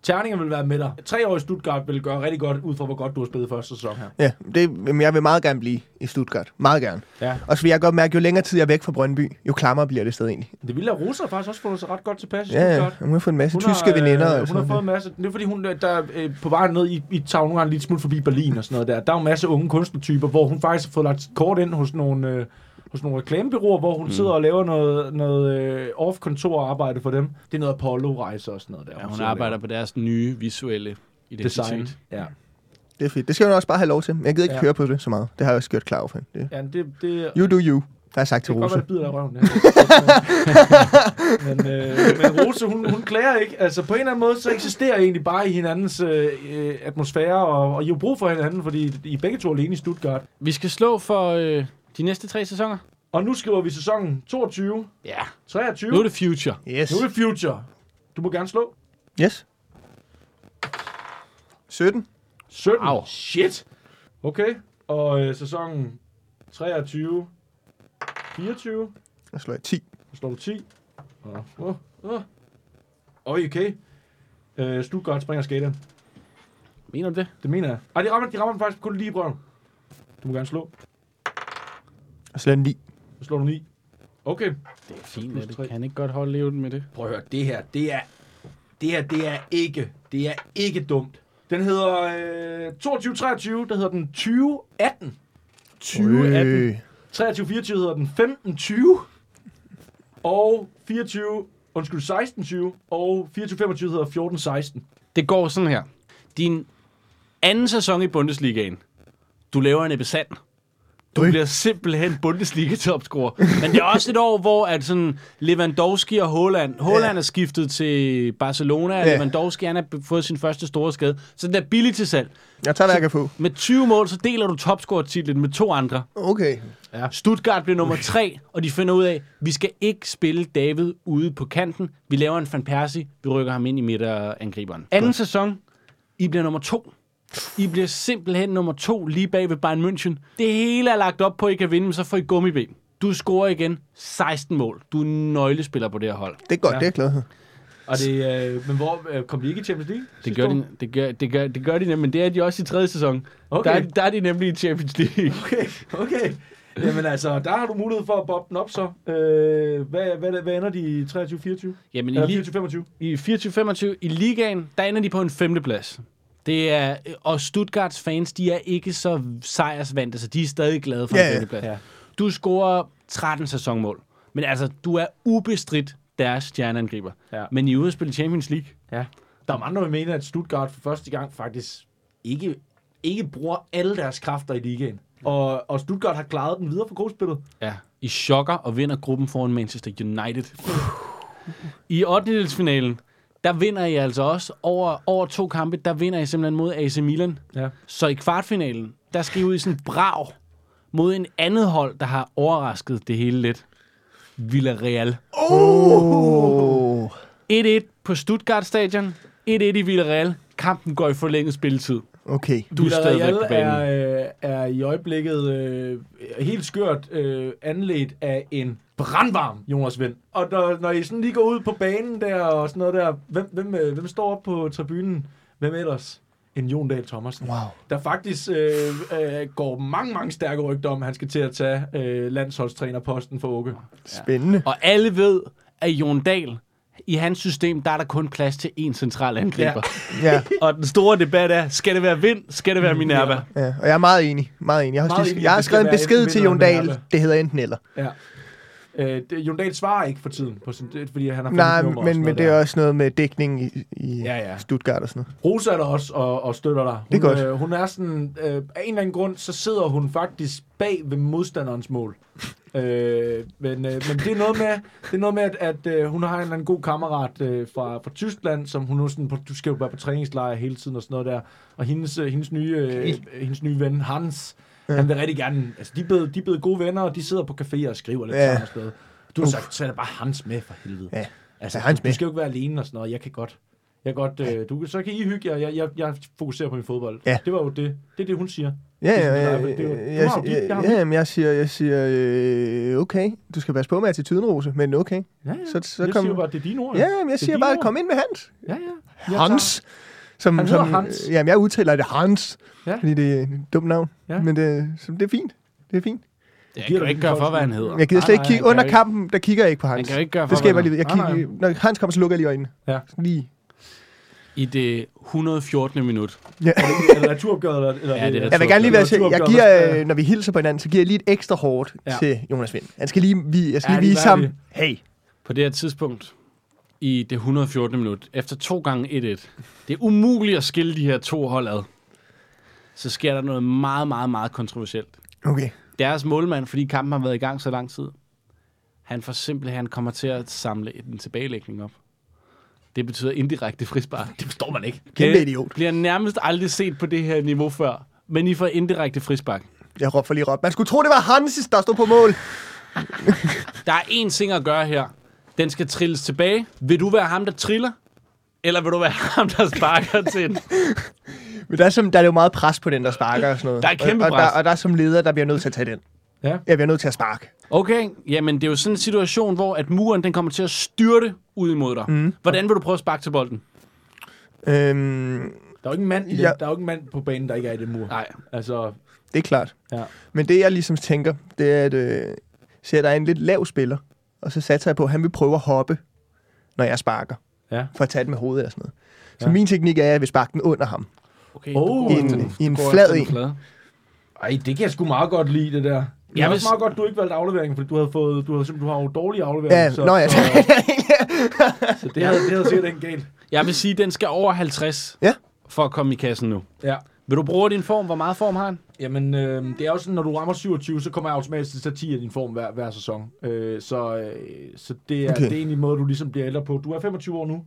Terninger vil være med dig. Tre år i Stuttgart vil gøre rigtig godt, ud fra hvor godt du har spillet første sæson her.
Ja, det, men jeg vil meget gerne blive i Stuttgart. Meget gerne.
Ja.
Og så vil jeg godt mærke, jo længere tid jeg er væk fra Brøndby, jo klammere bliver det sted egentlig.
Det ville have Rosa faktisk også fundet sig ret godt tilpas i
Ja, ja.
Stuttgart.
Hun har fået en masse tyske
øh,
veninder. og
hun har
sådan
fået en masse. Det er fordi, hun øh, der, øh, på vejen ned i, i tager hun nogle gange lidt smut forbi Berlin og sådan noget der. Der er jo en masse unge kunstnertyper, hvor hun faktisk har fået lagt sit kort ind hos nogle, øh, hos nogle reklamebyråer, hvor hun mm. sidder og laver noget, noget øh, off-kontorarbejde for dem. Det er noget Apollo-rejse og sådan noget der.
Ja, hun
sidder og
arbejder på deres nye visuelle
laver design.
identitet.
Ja.
Det er fint. Det skal hun også bare have lov til. Jeg gider ikke
Ja.
ja. høre på det så meget. Det har jeg også gjort klar over for hende. Det.
ja, men det, det,
You do you, har jeg sagt
Det
til
kan godt være,
Rosa.
det bider dig i røven. Ja. men, øh, men Rose, hun, hun klager ikke. Altså, på en eller anden måde, så eksisterer I egentlig bare i hinandens øh, øh, atmosfære, og, og I har jo brug for hinanden, fordi I er begge to alene i Stuttgart.
Vi skal slå for øh, de næste tre sæsoner.
Og nu skriver vi sæsonen 22,
Ja.
23.
Nu er det Future.
Yes.
nu er det Future. Du må gerne slå.
Yes. 17.
17.
Au.
Shit. Okay. Og øh, sæsonen 23, 24.
Jeg slår jeg 10.
Så slår du 10. Og, åh, åh. Øj, okay. Øh, Stuttgart springer skateren.
Mener du det?
Det mener jeg. Ej, de rammer, de rammer den faktisk kun lige i brøven. Du må gerne slå.
Jeg slår en 9.
Så slår du 9. Okay.
Det er fint,
Plus
at det
tre.
kan han ikke godt holde livet med det.
Prøv at høre, det her, det er... Det her, det er ikke... Det er ikke dumt. Den hedder øh, 22-23, der hedder den 2018. 2018. 23-24 hedder den 15-20. Og 24... Undskyld, 16-20. Og 24-25 hedder 14-16.
Det går sådan her. Din anden sæson i Bundesligaen. Du laver en episand. Du
Ui.
bliver simpelthen Bundesliga-topscorer. Men det er også et år, hvor at sådan Lewandowski og Haaland... Haaland
Ja.
er skiftet til Barcelona, og
Ja.
Lewandowski han har be- fået sin første store skade. Så den er billig til salg.
Jeg tager, hvad jeg kan få.
Med 20 mål, så deler du topscorer-titlen med to andre.
Okay.
Stuttgart bliver nummer tre, og de finder ud af, at vi skal ikke spille David ude på kanten. Vi laver en Van Persie, vi rykker ham ind i midterangriberen. Anden sæson, I bliver nummer to. I bliver simpelthen nummer to lige bag ved Bayern München. Det hele er lagt op på, at I kan vinde, men så får I gummiben. Du scorer igen 16 mål. Du er en nøglespiller på det her hold.
Det er godt,
Ja.
ja. det er jeg glad for.
Og det, øh, men hvor øh, kom de ikke i Champions League?
Det
sidste
gør,
år?
de, det, gør, det, gør, det gør de nemlig, men det er de også i tredje sæson.
Okay.
Der, er, der er de nemlig i Champions League.
Okay, okay. Jamen altså, der har du mulighed for at bobbe den op så. Øh, hvad, hvad, hvad ender de i 23-24?
Jamen, i,
Eller
lige,
24-25?
I 24-25 i ligaen, der ender de på en femteplads. Det er, øh, og Stuttgarts fans, de er ikke så sejrsvante, så de er stadig glade for
Ja,
en
ja.
femteplads.
Ja.
Du scorer 13 sæsonmål, men altså, du er ubestridt deres stjerneangriber.
Ja.
Men I er ude at spille Champions League.
Ja. Der er mange, der vil mene, at Stuttgart for første gang faktisk ikke, ikke bruger alle deres kræfter i ligaen. Og, og Stuttgart har klaret den videre for gruppespillet.
Ja. I chokker og vinder gruppen foran Manchester United. I 8. der vinder I altså også over, over to kampe, der vinder I simpelthen mod AC Milan.
Ja.
Så i kvartfinalen, der skal I ud i sådan en brav mod en andet hold, der har overrasket det hele lidt. Villarreal.
Oh.
1-1 på Stuttgart stadion. 1-1 i Villarreal. Kampen går i forlænget spilletid.
Okay.
Du er stadigvæk på
Villarreal
banen.
er, øh, er i øjeblikket øh, helt skørt øh, anledt af en brandvarm Jonas Vind. Og når, når I sådan lige går ud på banen der og sådan noget der, hvem, hvem, øh, hvem står op på tribunen? Hvem ellers? En Jon Dahl Thomasen.
Wow.
Der faktisk øh, øh, går mange, mange stærke rygter om, at han skal til at tage øh, landsholdstrænerposten for Åke.
Spændende.
Og alle ved, at Jon Dahl, i hans system, der er der kun plads til én central angriber.
Ja.
Og den store debat er, skal det være Vind, skal det være Minerva?
ja. Og jeg er meget enig. Meget enig. Jeg har, også
Meget
lige,
enig.
jeg har
Det skal
skrevet en
være
besked
enten
til
vinder
Jon
eller
Dahl.
Minerva.
Det hedder enten eller.
Ja. Øh, det, Jon Dahl svarer ikke for tiden, på sin, det, fordi han har fået
Nej,
et nummer og sådan
men, men
noget
det
der.
er også noget med dækning i, i
Ja, ja.
Stuttgart og sådan noget.
Rosa er der også og, og støtter dig. Hun,
Det er godt.
Øh, hun er sådan, øh, af en eller anden grund, så sidder hun faktisk bag ved modstanderens mål. øh, men, øh, men det er noget med, det er noget med at, at øh, hun har en eller anden god kammerat øh, fra, fra Tyskland, som hun nu sådan, på- du skal jo være på træningslejr hele tiden og sådan noget der. Og hendes, øh, hendes, nye, øh, hendes nye ven, Hans, han vil rigtig gerne, altså de er, blevet, de er blevet gode venner, og de sidder på caféer og skriver lidt
Ja.
sammen og sådan noget. Du har sagt, så er det bare Hans med for helvede.
Ja.
Altså,
Ja, Hans
du, du
med.
skal jo ikke være alene og sådan noget. Jeg kan godt. Jeg kan godt øh, du, så kan I hygge jer. Jeg, jeg, jeg fokuserer på min fodbold.
Ja.
Det var jo det. Det er det, hun siger.
Ja, ja,
sådan,
ja.
der er- det er jo-
ja,
du
ja,
har jo dit,
ja,
jeg har
ja, jamen, jeg siger, jeg siger øh, okay, du skal passe på med attituden, Rose, men okay.
Ja, ja.
Så, så
jeg
kom,
siger jo bare, det er dine ord.
ja, jamen, jeg
Det er
siger
dine
bare,
ord.
kom ind med Hans.
Ja, ja. Jeg
Hans. Som,
Han hedder
som,
Hans.
Jamen, jeg udtaler det Hans,
Ja.
ja. fordi det er et dumt navn.
Ja.
Ja. Men det, så det er fint. Det er fint.
Jeg
giver
kan jo
dig
ikke
den
gøre for,
kolde
hvad han hedder.
Jeg gider
Nej,
slet ikke
nej,
han
kigge
kan
under
jo ikke-
kampen, der
i det 114. minut.
Ja.
Er det naturopgøret? Eller, eller
Ja, det er
Jeg vil gerne lige være sikker. Jeg giver,
Ja.
øh, når vi hilser på hinanden, så giver jeg lige et ekstra hårdt ja.
Ja.
til Jonas Vind. Han skal lige, vi, jeg skal
Ja,
lige
det
vise
er
ham.
vi.
Hey.
På det her tidspunkt, i det 114. minut, efter to gange 1-1, det er umuligt at skille de her to hold ad, så sker der noget meget, meget, meget kontroversielt.
Okay.
Deres målmand, fordi kampen har været i gang så lang tid, han får simpelthen, han kommer til at samle en tilbagelægning op. Det betyder indirekte frispark.
Det forstår man ikke.
Kæmpe
Øh,
idiot.
Bliver nærmest aldrig set på det her niveau før. Men I får indirekte frispark.
Jeg råber for lige råb. Man skulle tro, det var Hansis, der stod på mål.
Der er én ting at gøre her. Den skal trilles tilbage. Vil du være ham, der triller? Eller vil du være ham, der sparker til den?
Men der er, som, der er jo meget pres på den, der sparker og sådan noget.
Der er kæmpe
og, og,
pres.
Der, og der er som leder, der bliver nødt til at tage den.
Ja.
Jeg bliver nødt til at sparke.
Okay, jamen det er jo sådan en situation, hvor at muren den kommer til at styrte ud imod dig. Mm. Hvordan vil du prøve at sparke til bolden?
Øhm,
Der er jo ikke en mand, i
Ja.
den, der er jo ikke en mand på banen, der ikke er i det mur.
Nej.
Altså,
det er klart.
ja.
Men det, jeg ligesom tænker, det er, at øh, ser, der er en lidt lav spiller, og så satser jeg på, at han vil prøve at hoppe, når jeg sparker,
Ja.
for at tage den med hovedet eller sådan noget. Så
Ja.
min teknik er, at jeg vil sparke den under ham.
Okay,
Oh,
du går
i
efter
en-
den.
i en
Du går
flad
efter den
en.
flade.
Ej, det kan jeg sgu meget godt lide, det der. Det er
Jeg vil
også
s-
meget godt, du ikke valgte afleveringen, fordi du havde fået, du havde simpelthen, du har jo dårlige afleveringer.
Ja,
så,
nå ja.
så, så, det, havde, det havde sikkert ikke galt.
Jeg vil sige, at den skal over 50
Ja.
for at komme i kassen nu.
Ja.
Vil du bruge din form? Hvor meget form har han?
Jamen, øh, det er jo sådan, når du rammer 27, så kommer jeg automatisk til at tage 10 af din form hver, hver sæson. Øh, så øh, så det, er,
Okay.
okay. det er egentlig en måde, du ligesom bliver ældre på. Du er 25 år nu.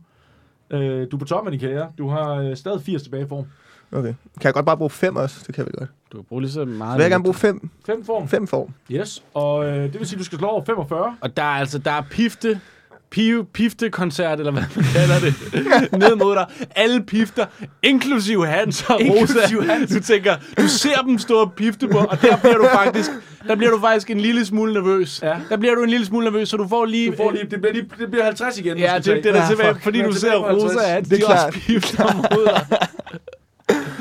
Øh, du er på toppen af din karriere. Du har øh, stadig 80 tilbage i form.
Okay. Kan jeg godt bare bruge fem også? Det kan jeg vel godt.
Du kan bruge lige så
Så
meget.
vil jeg gerne bruge fem,
5 form.
fem form.
Yes. Og øh, det vil sige, at du skal slå over 45.
Og der er altså, der er pifte, pive, piftekoncert, eller hvad man kalder det, ned mod dig. Alle pifter, inklusive Hans og
Inklusive
Rosa. Hans. Du tænker, du ser dem stå og pifte på, og der bliver du faktisk, der bliver du faktisk en lille smule nervøs.
Ja.
Der bliver du en lille smule nervøs, så du får lige...
Du får lige, det, bliver lige, det bliver 50 igen.
Ja, det, det er der
Ja,
tilbage,
fuck.
fordi
Ja,
du
det
ser
bliver
Rosa,
50.
at
Det er
de også
klart.
pifter mod dig.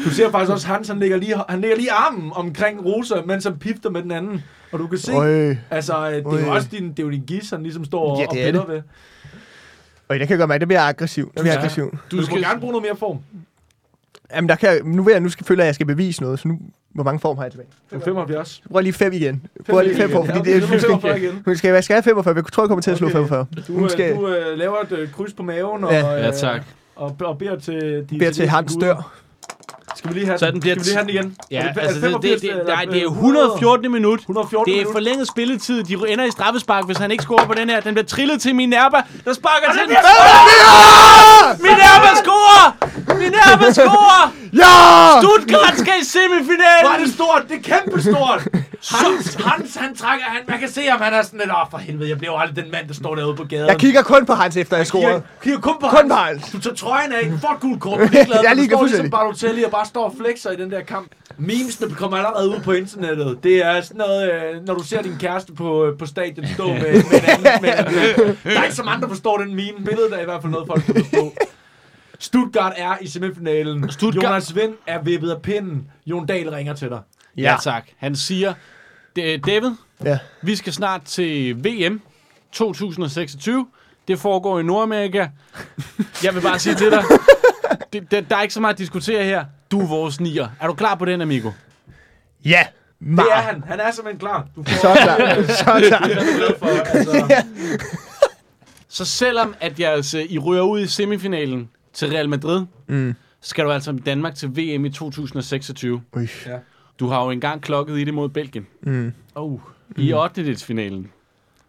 Du ser faktisk også Hans, han lægger lige, han lægger lige armen omkring Rosa, mens han pifter med den anden. Og du kan se, Øj.
Øj.
altså, øh, det er jo
Øj.
også din, det er jo din gis, han ligesom står og,
Ja,
og
det er
piller
det.
ved.
Øj, der kan jeg godt mærke, der bliver jeg aggressiv. Der bliver jeg
Ja.
aggressiv.
Du, skal... må gerne bruge noget mere form.
Jamen, der kan jeg, nu, vil jeg, nu skal, føler jeg, at jeg skal bevise noget, så nu, hvor mange form har jeg tilbage?
Du er 75.
Prøv lige fem igen. Prøv lige fem
igen.
form, fordi
Ja,
det
du
er...
må
Nu skal,
45 igen.
nu skal jeg, jeg skal have 45, jeg tror, jeg kommer til at slå
Okay.
45.
Du,
Nu
øh,
skal
du øh, laver et øh, kryds på maven og,
Ja.
øh,
Ja, tak.
og, og beder til de
jeg bære til
italienske
hans
guder.
dør.
Skal vi lige have
Så
den,
den
den
bliver
skal vi lige have den igen? Er
Ja,
er
altså, det, det,
85,
det,
eller,
nej, det er
øh,
114 minut.
114
Det er
minut.
forlænget spilletid. De ender i straffespark, hvis han ikke scorer på den her. Den bliver trillet til Minerva, der sparker til den.
Ah!
Minerva scorer! Minerva scorer!
Ja!
Stuttgart skal i
Hvor er det
semifinalen!
stort! Det er kæmpe stort! Hans, Hans, han trækker, han, man kan se, om han er sådan lidt, åh, for helvede, jeg bliver jo aldrig den mand, der står derude på gaden.
Jeg kigger kun på hans, efter jeg scorede.
Kigger, kigger kun på
Kun
Hans.
på Hans.
Du tager trøjen af, får et gult kort, du er ligeglad,
Jeg er
men
ligeglad
du står ligesom
fuldstændig.
Barotelli og bare står og flexer i den der kamp. Memesene kommer allerede ud på internettet. Det er sådan noget, øh, når du ser din kæreste på, øh, på stadion stå med, med en anden. Med en anden. Der er ikke så mange, der forstår den meme. Billedet er i hvert fald noget, folk kan forstå. Stuttgart er i semifinalen.
Stuttgart-
Stuttgart. Jonas Vind er vippet af pinden. Jon Dahl ringer til dig.
Ja tak. Han siger, "D- øh, David,
Ja.
vi skal snart til VM 2026. Det foregår i Nordamerika. Jeg vil bare sige til dig, det, det, der er ikke så meget at diskutere her. Du er vores nier. Er du klar på den, Amigo?
Ja.
Det er
Meget.
han. Han er simpelthen klar. Du får
Så klar. Så klar.
det er jeg glad for. Altså,
Så selvom at jeg, altså, I ryger ud i semifinalen til Real Madrid,
Mm.
skal du altså i Danmark til VM i 2026.
Ui.
Du har jo engang klokket i det mod Belgien.
Mm.
oh.
I 8. finalen,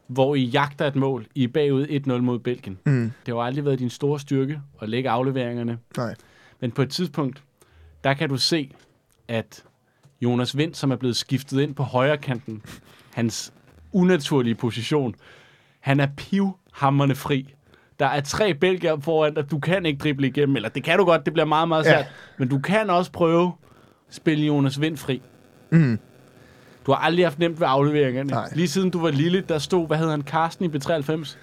hvor I jagter et mål. I er bagud 1-0 mod Belgien.
Mm.
Det har jo aldrig været din store styrke at lægge afleveringerne.
Nej.
Men på et tidspunkt, der kan du se, at Jonas Vind, som er blevet skiftet ind på højre kanten, hans unaturlige position, han er pivhammerne fri. Der er tre belgier foran dig. Du kan ikke drible igennem, eller det kan du godt, det bliver meget, meget
Ja.
svært. Ja. Men du kan også prøve at spille Jonas Vind fri.
Mm.
Du har aldrig haft nemt ved afleveringerne.
Nej.
Lige siden du var lille, der stod, hvad hed han, Carsten i B93,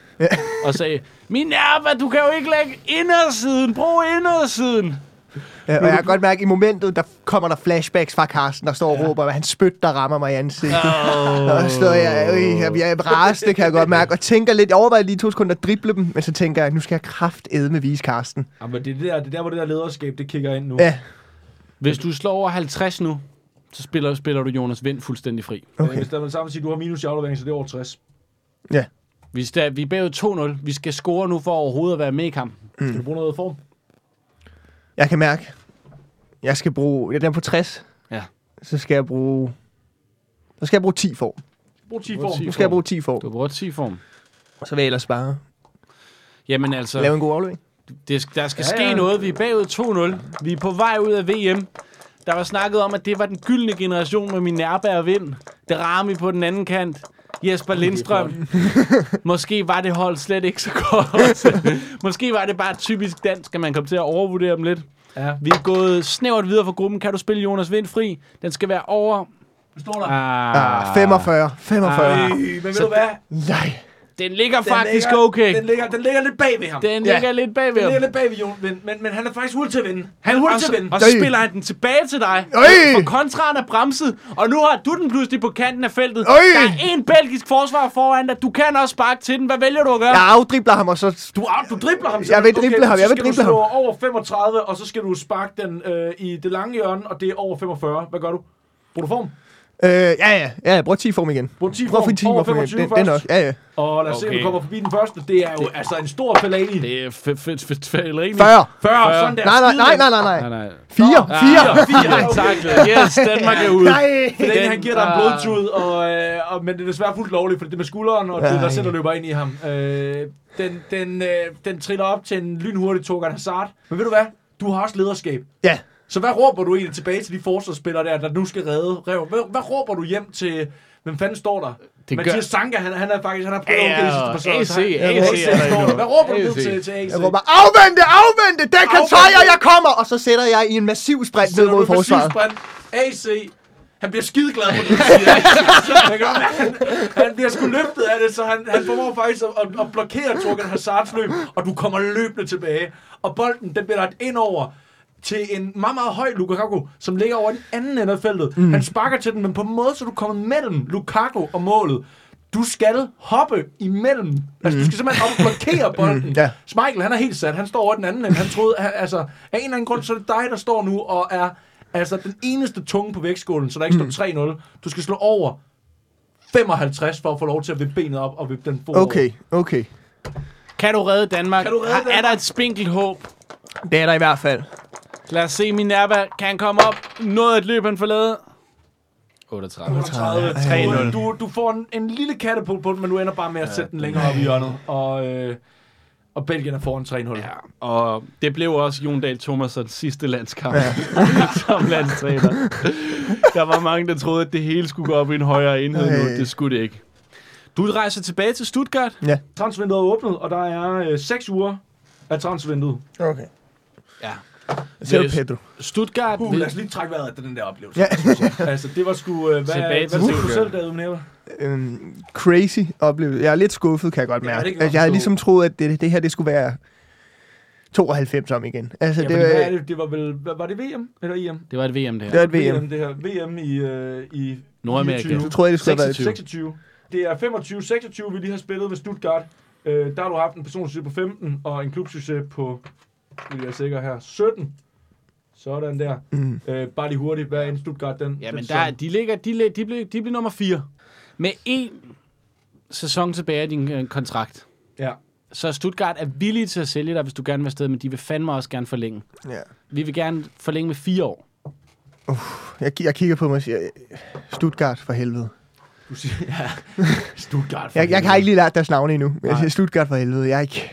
og sagde, Minerva, du kan jo ikke lægge indersiden, brug indersiden.
Ja, og jeg kan godt mærke, at i momentet, der kommer der flashbacks fra Carsten, der står og råber, at han spyt, der rammer mig i ansigtet. Oh. Og så står jeg, øh, jeg bliver rasende, kan jeg godt mærke, og tænker lidt, jeg overvejer lige to sekunder at drible dem, men så tænker jeg, nu skal jeg kraftedme vise Carsten.
Jamen, det er, det, der, det er der, hvor det der lederskab, det kigger ind nu.
Ja,
Hvis du slår over 50 nu, så spiller, spiller du Jonas Vind fuldstændig fri.
Okay.
okay.
Hvis der er sammen siger, at du har minus i aflevering, så det er over 60.
Ja.
Vi, sta- vi er bagud 2-0. Vi skal score nu for overhovedet at være med i kampen.
Skal du bruge noget form?
Jeg kan mærke, jeg skal bruge, ja, den er på 60.
Ja.
Så skal jeg bruge, så skal jeg bruge 10 for.
Brug 10
Brug
form.
10.
Nu skal jeg bruge 10
Du
for.
bruger 10 form.
Så vil jeg ellers bare
Jamen altså,
lave en god aflevering.
det, der skal
Ja,
ske
ja.
noget. Vi er bagud 2-0. Vi er på vej ud af VM. Der var snakket om, at det var den gyldne generation med min nærbær vind. Derami på den anden kant. Jesper Lindstrøm. Måske var det hold slet ikke så godt. Måske var det bare typisk dansk, at man kom til at overvurdere dem lidt.
Ja.
Vi er gået snævert videre fra gruppen. Kan du spille Jonas Vind fri? Den skal være over...
Du står der.
Ah,
Ah, 45. 45.
Ah.
Ah.
Øh, men ved du hvad?
Nej.
Den ligger
Den
faktisk
ligger,
okay.
Den ligger, den ligger lidt bag ved ham. Den,
Den
Ja.
ligger lidt bagved
ligger
ham.
lidt bag ved Jon, men, men, men han er faktisk hurtig til at vinde. Han er hurtig
Og
Altså,
til
så,
at vinde.
og så
Øj.
spiller han den tilbage til dig.
Øj.
For kontraen er bremset, og nu har du den pludselig på kanten af feltet.
Øj.
Der er en belgisk forsvar foran dig. Du kan også sparke til den. Hvad vælger du at gøre?
Jeg afdribler ham, og så...
Du, au, du dribler ham.
Jeg vil drible ham, jeg vil
så
drible
skal du slå over 35, og så skal du sparke den øh, i det lange hjørne, og det er over 45. Hvad gør du? Bruger du form?
Øh, ja, ja, ja, jeg bruger 10 for mig igen.
Brug 10
Prøv at
form.
få 10
Over
for mig igen.
25
Den, den
først.
også. Ja, ja.
Og lad os se, om
Okay.
du kommer forbi den første. Det er jo altså en stor falani.
Det er f- f- f- falleri.
40.
40, sådan der.
Nej, nej,
Skide
nej,
den.
nej, nej,
Nej,
nej.
nej.
4, 4.
Nej, tak. Yes, Danmark er ude.
Nej.
Fordi
Den-
den, han giver dig en
ah.
blodtud, og, øh, og, men det er desværre fuldt lovligt, for det er med skulderen, og det er
Ej.
der selv, der løber ind i ham. Øh, den, den, øh, den triller op til en lynhurtig Torgan Hazard. Men ved du hvad? Du har også lederskab.
Ja.
Så hvad råber du egentlig tilbage til de forsvarsspillere der, der nu skal redde Rev? Hvad, hvad råber du hjem til... Hvem fanden står der?
Det
Det
gør-
Mathias Sanka, han, han er faktisk... Han har prøvet
Ja,
okay de sidste par sæsoner, så
AC,
han-
AC,
AC står der. Hvad råber du ned
AC.
til, til AC?
Jeg råber, afvente, afvente, den kan
Afvente.
tøjer, jeg kommer! Og så sætter jeg i en massiv sprint ned
Sætter
mod
du præcis
forsvaret.
brand. AC, han bliver skideglad på det, han siger. Man kan godt mærke, han, han bliver sgu løftet af det, så han, han formår faktisk at, at, at blokere Torgan Hazards løb, og du kommer løbende tilbage. Og bolden, den bliver lagt ind over til en meget, meget høj Lukaku, som ligger over i den anden ende af feltet. Mm. Han sparker til den, men på en måde, så er du kommer mellem Lukaku og målet. Du skal hoppe imellem. Altså, du skal simpelthen op og blokere bolden.
ja.
Michael, han er helt sat. Han står over den anden ende. Han troede, han, altså, af en eller anden grund, så er det dig, der står nu og er altså, den eneste tunge på vægtskålen, så der
Mm.
ikke står 3-0. Du skal slå over 55 for at få lov til at vippe benet op og vippe den fod
Okay, okay.
Kan du redde Danmark?
Kan du redde
Har- Er
Danmark?
der et spinkelt håb?
Det er der i hvert fald.
Lad os se, min nærvær. Kan han komme op? Noget et løb, han forlade? 38.
38, 3-0. Du, du får en, en lille kattepul på den, men du ender bare med at sætte den længere op i hjørnet. Og, øh, og Belgien er foran 3-0. Ja.
Og det blev også Jon Dahl Thomasons sidste landskamp ja. som landstræner. Der var mange, der troede, at det hele skulle gå op i en højere enhed nu.
Ej.
Det skulle det ikke. Du rejser tilbage til Stuttgart.
Transvinduet er åbnet, og der er øh, 6 uger af transvinduet.
Okay.
Ja.
Så er det
Yes.
Pedro.
Stuttgart
Uh,
vil-
lad os lige trække vejret af den der oplevelse.
Ja.
altså, det var sgu... Øh, hvad,
Tilbage
hvad
til
tænkte du
Stuttgart.
selv, David Minerva?
Øhm, crazy oplevelse. Jeg er lidt skuffet, kan jeg godt
Ja, det
mærke.
kan jeg
Ja, jeg havde
forstå.
ligesom troet, at det, det her det skulle være 92 om igen. Altså,
Ja,
det,
det, hvad er
var,
det, det var vel... Hvad, var det VM eller IM?
Det var et VM, det
det
her.
var et VM.
det her. VM i, øh, i
Nordamerika.
24.
Så troede jeg, det skulle have været...
26.
26. Det er 25-26, vi lige har spillet ved Stuttgart. Øh, der har du haft en personsucces på 15, og en klubsucces på, vil jeg sikker her, 17. Sådan der.
Mm.
Øh, bare lige hurtigt, hvad er en Stuttgart den?
Ja, men
den
der, er- de, ligger, de, lig- de, blev, de blev nummer 4. Med én sæson tilbage af din øh, kontrakt.
Ja.
Så Stuttgart er villige til at sælge dig, hvis du gerne vil afsted, men de vil fandme også gerne forlænge.
Ja.
Vi vil gerne forlænge med fire år.
Jeg, ki- jeg kigger på mig og siger, Stuttgart for helvede.
Du siger, ja. Stuttgart. for
Jeg, jeg har
helvede.
ikke lige lært deres navne endnu. men Jeg
Nej.
siger, Stuttgart for helvede. Jeg, er ikke,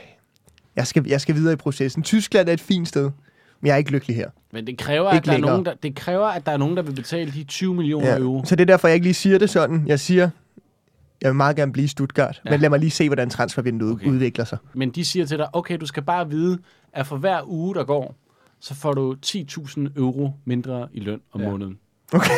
jeg, skal, jeg skal videre i processen. Tyskland er et fint sted, men jeg er ikke lykkelig her.
Men det kræver,
Ikke
at der er
længere.
nogen, der, det kræver, at der er nogen, der vil betale de 20 millioner ja. euro.
Ja. Så det er derfor, jeg ikke lige siger det sådan. Jeg siger, jeg vil meget gerne blive i Stuttgart, ja. men lad mig lige se, hvordan transfervinduet
Okay.
okay. udvikler sig.
Men de siger til dig, okay, du skal bare vide, at for hver uge, der går, så får du 10.000 euro mindre i løn om ja.
Ja.
måneden. Okay.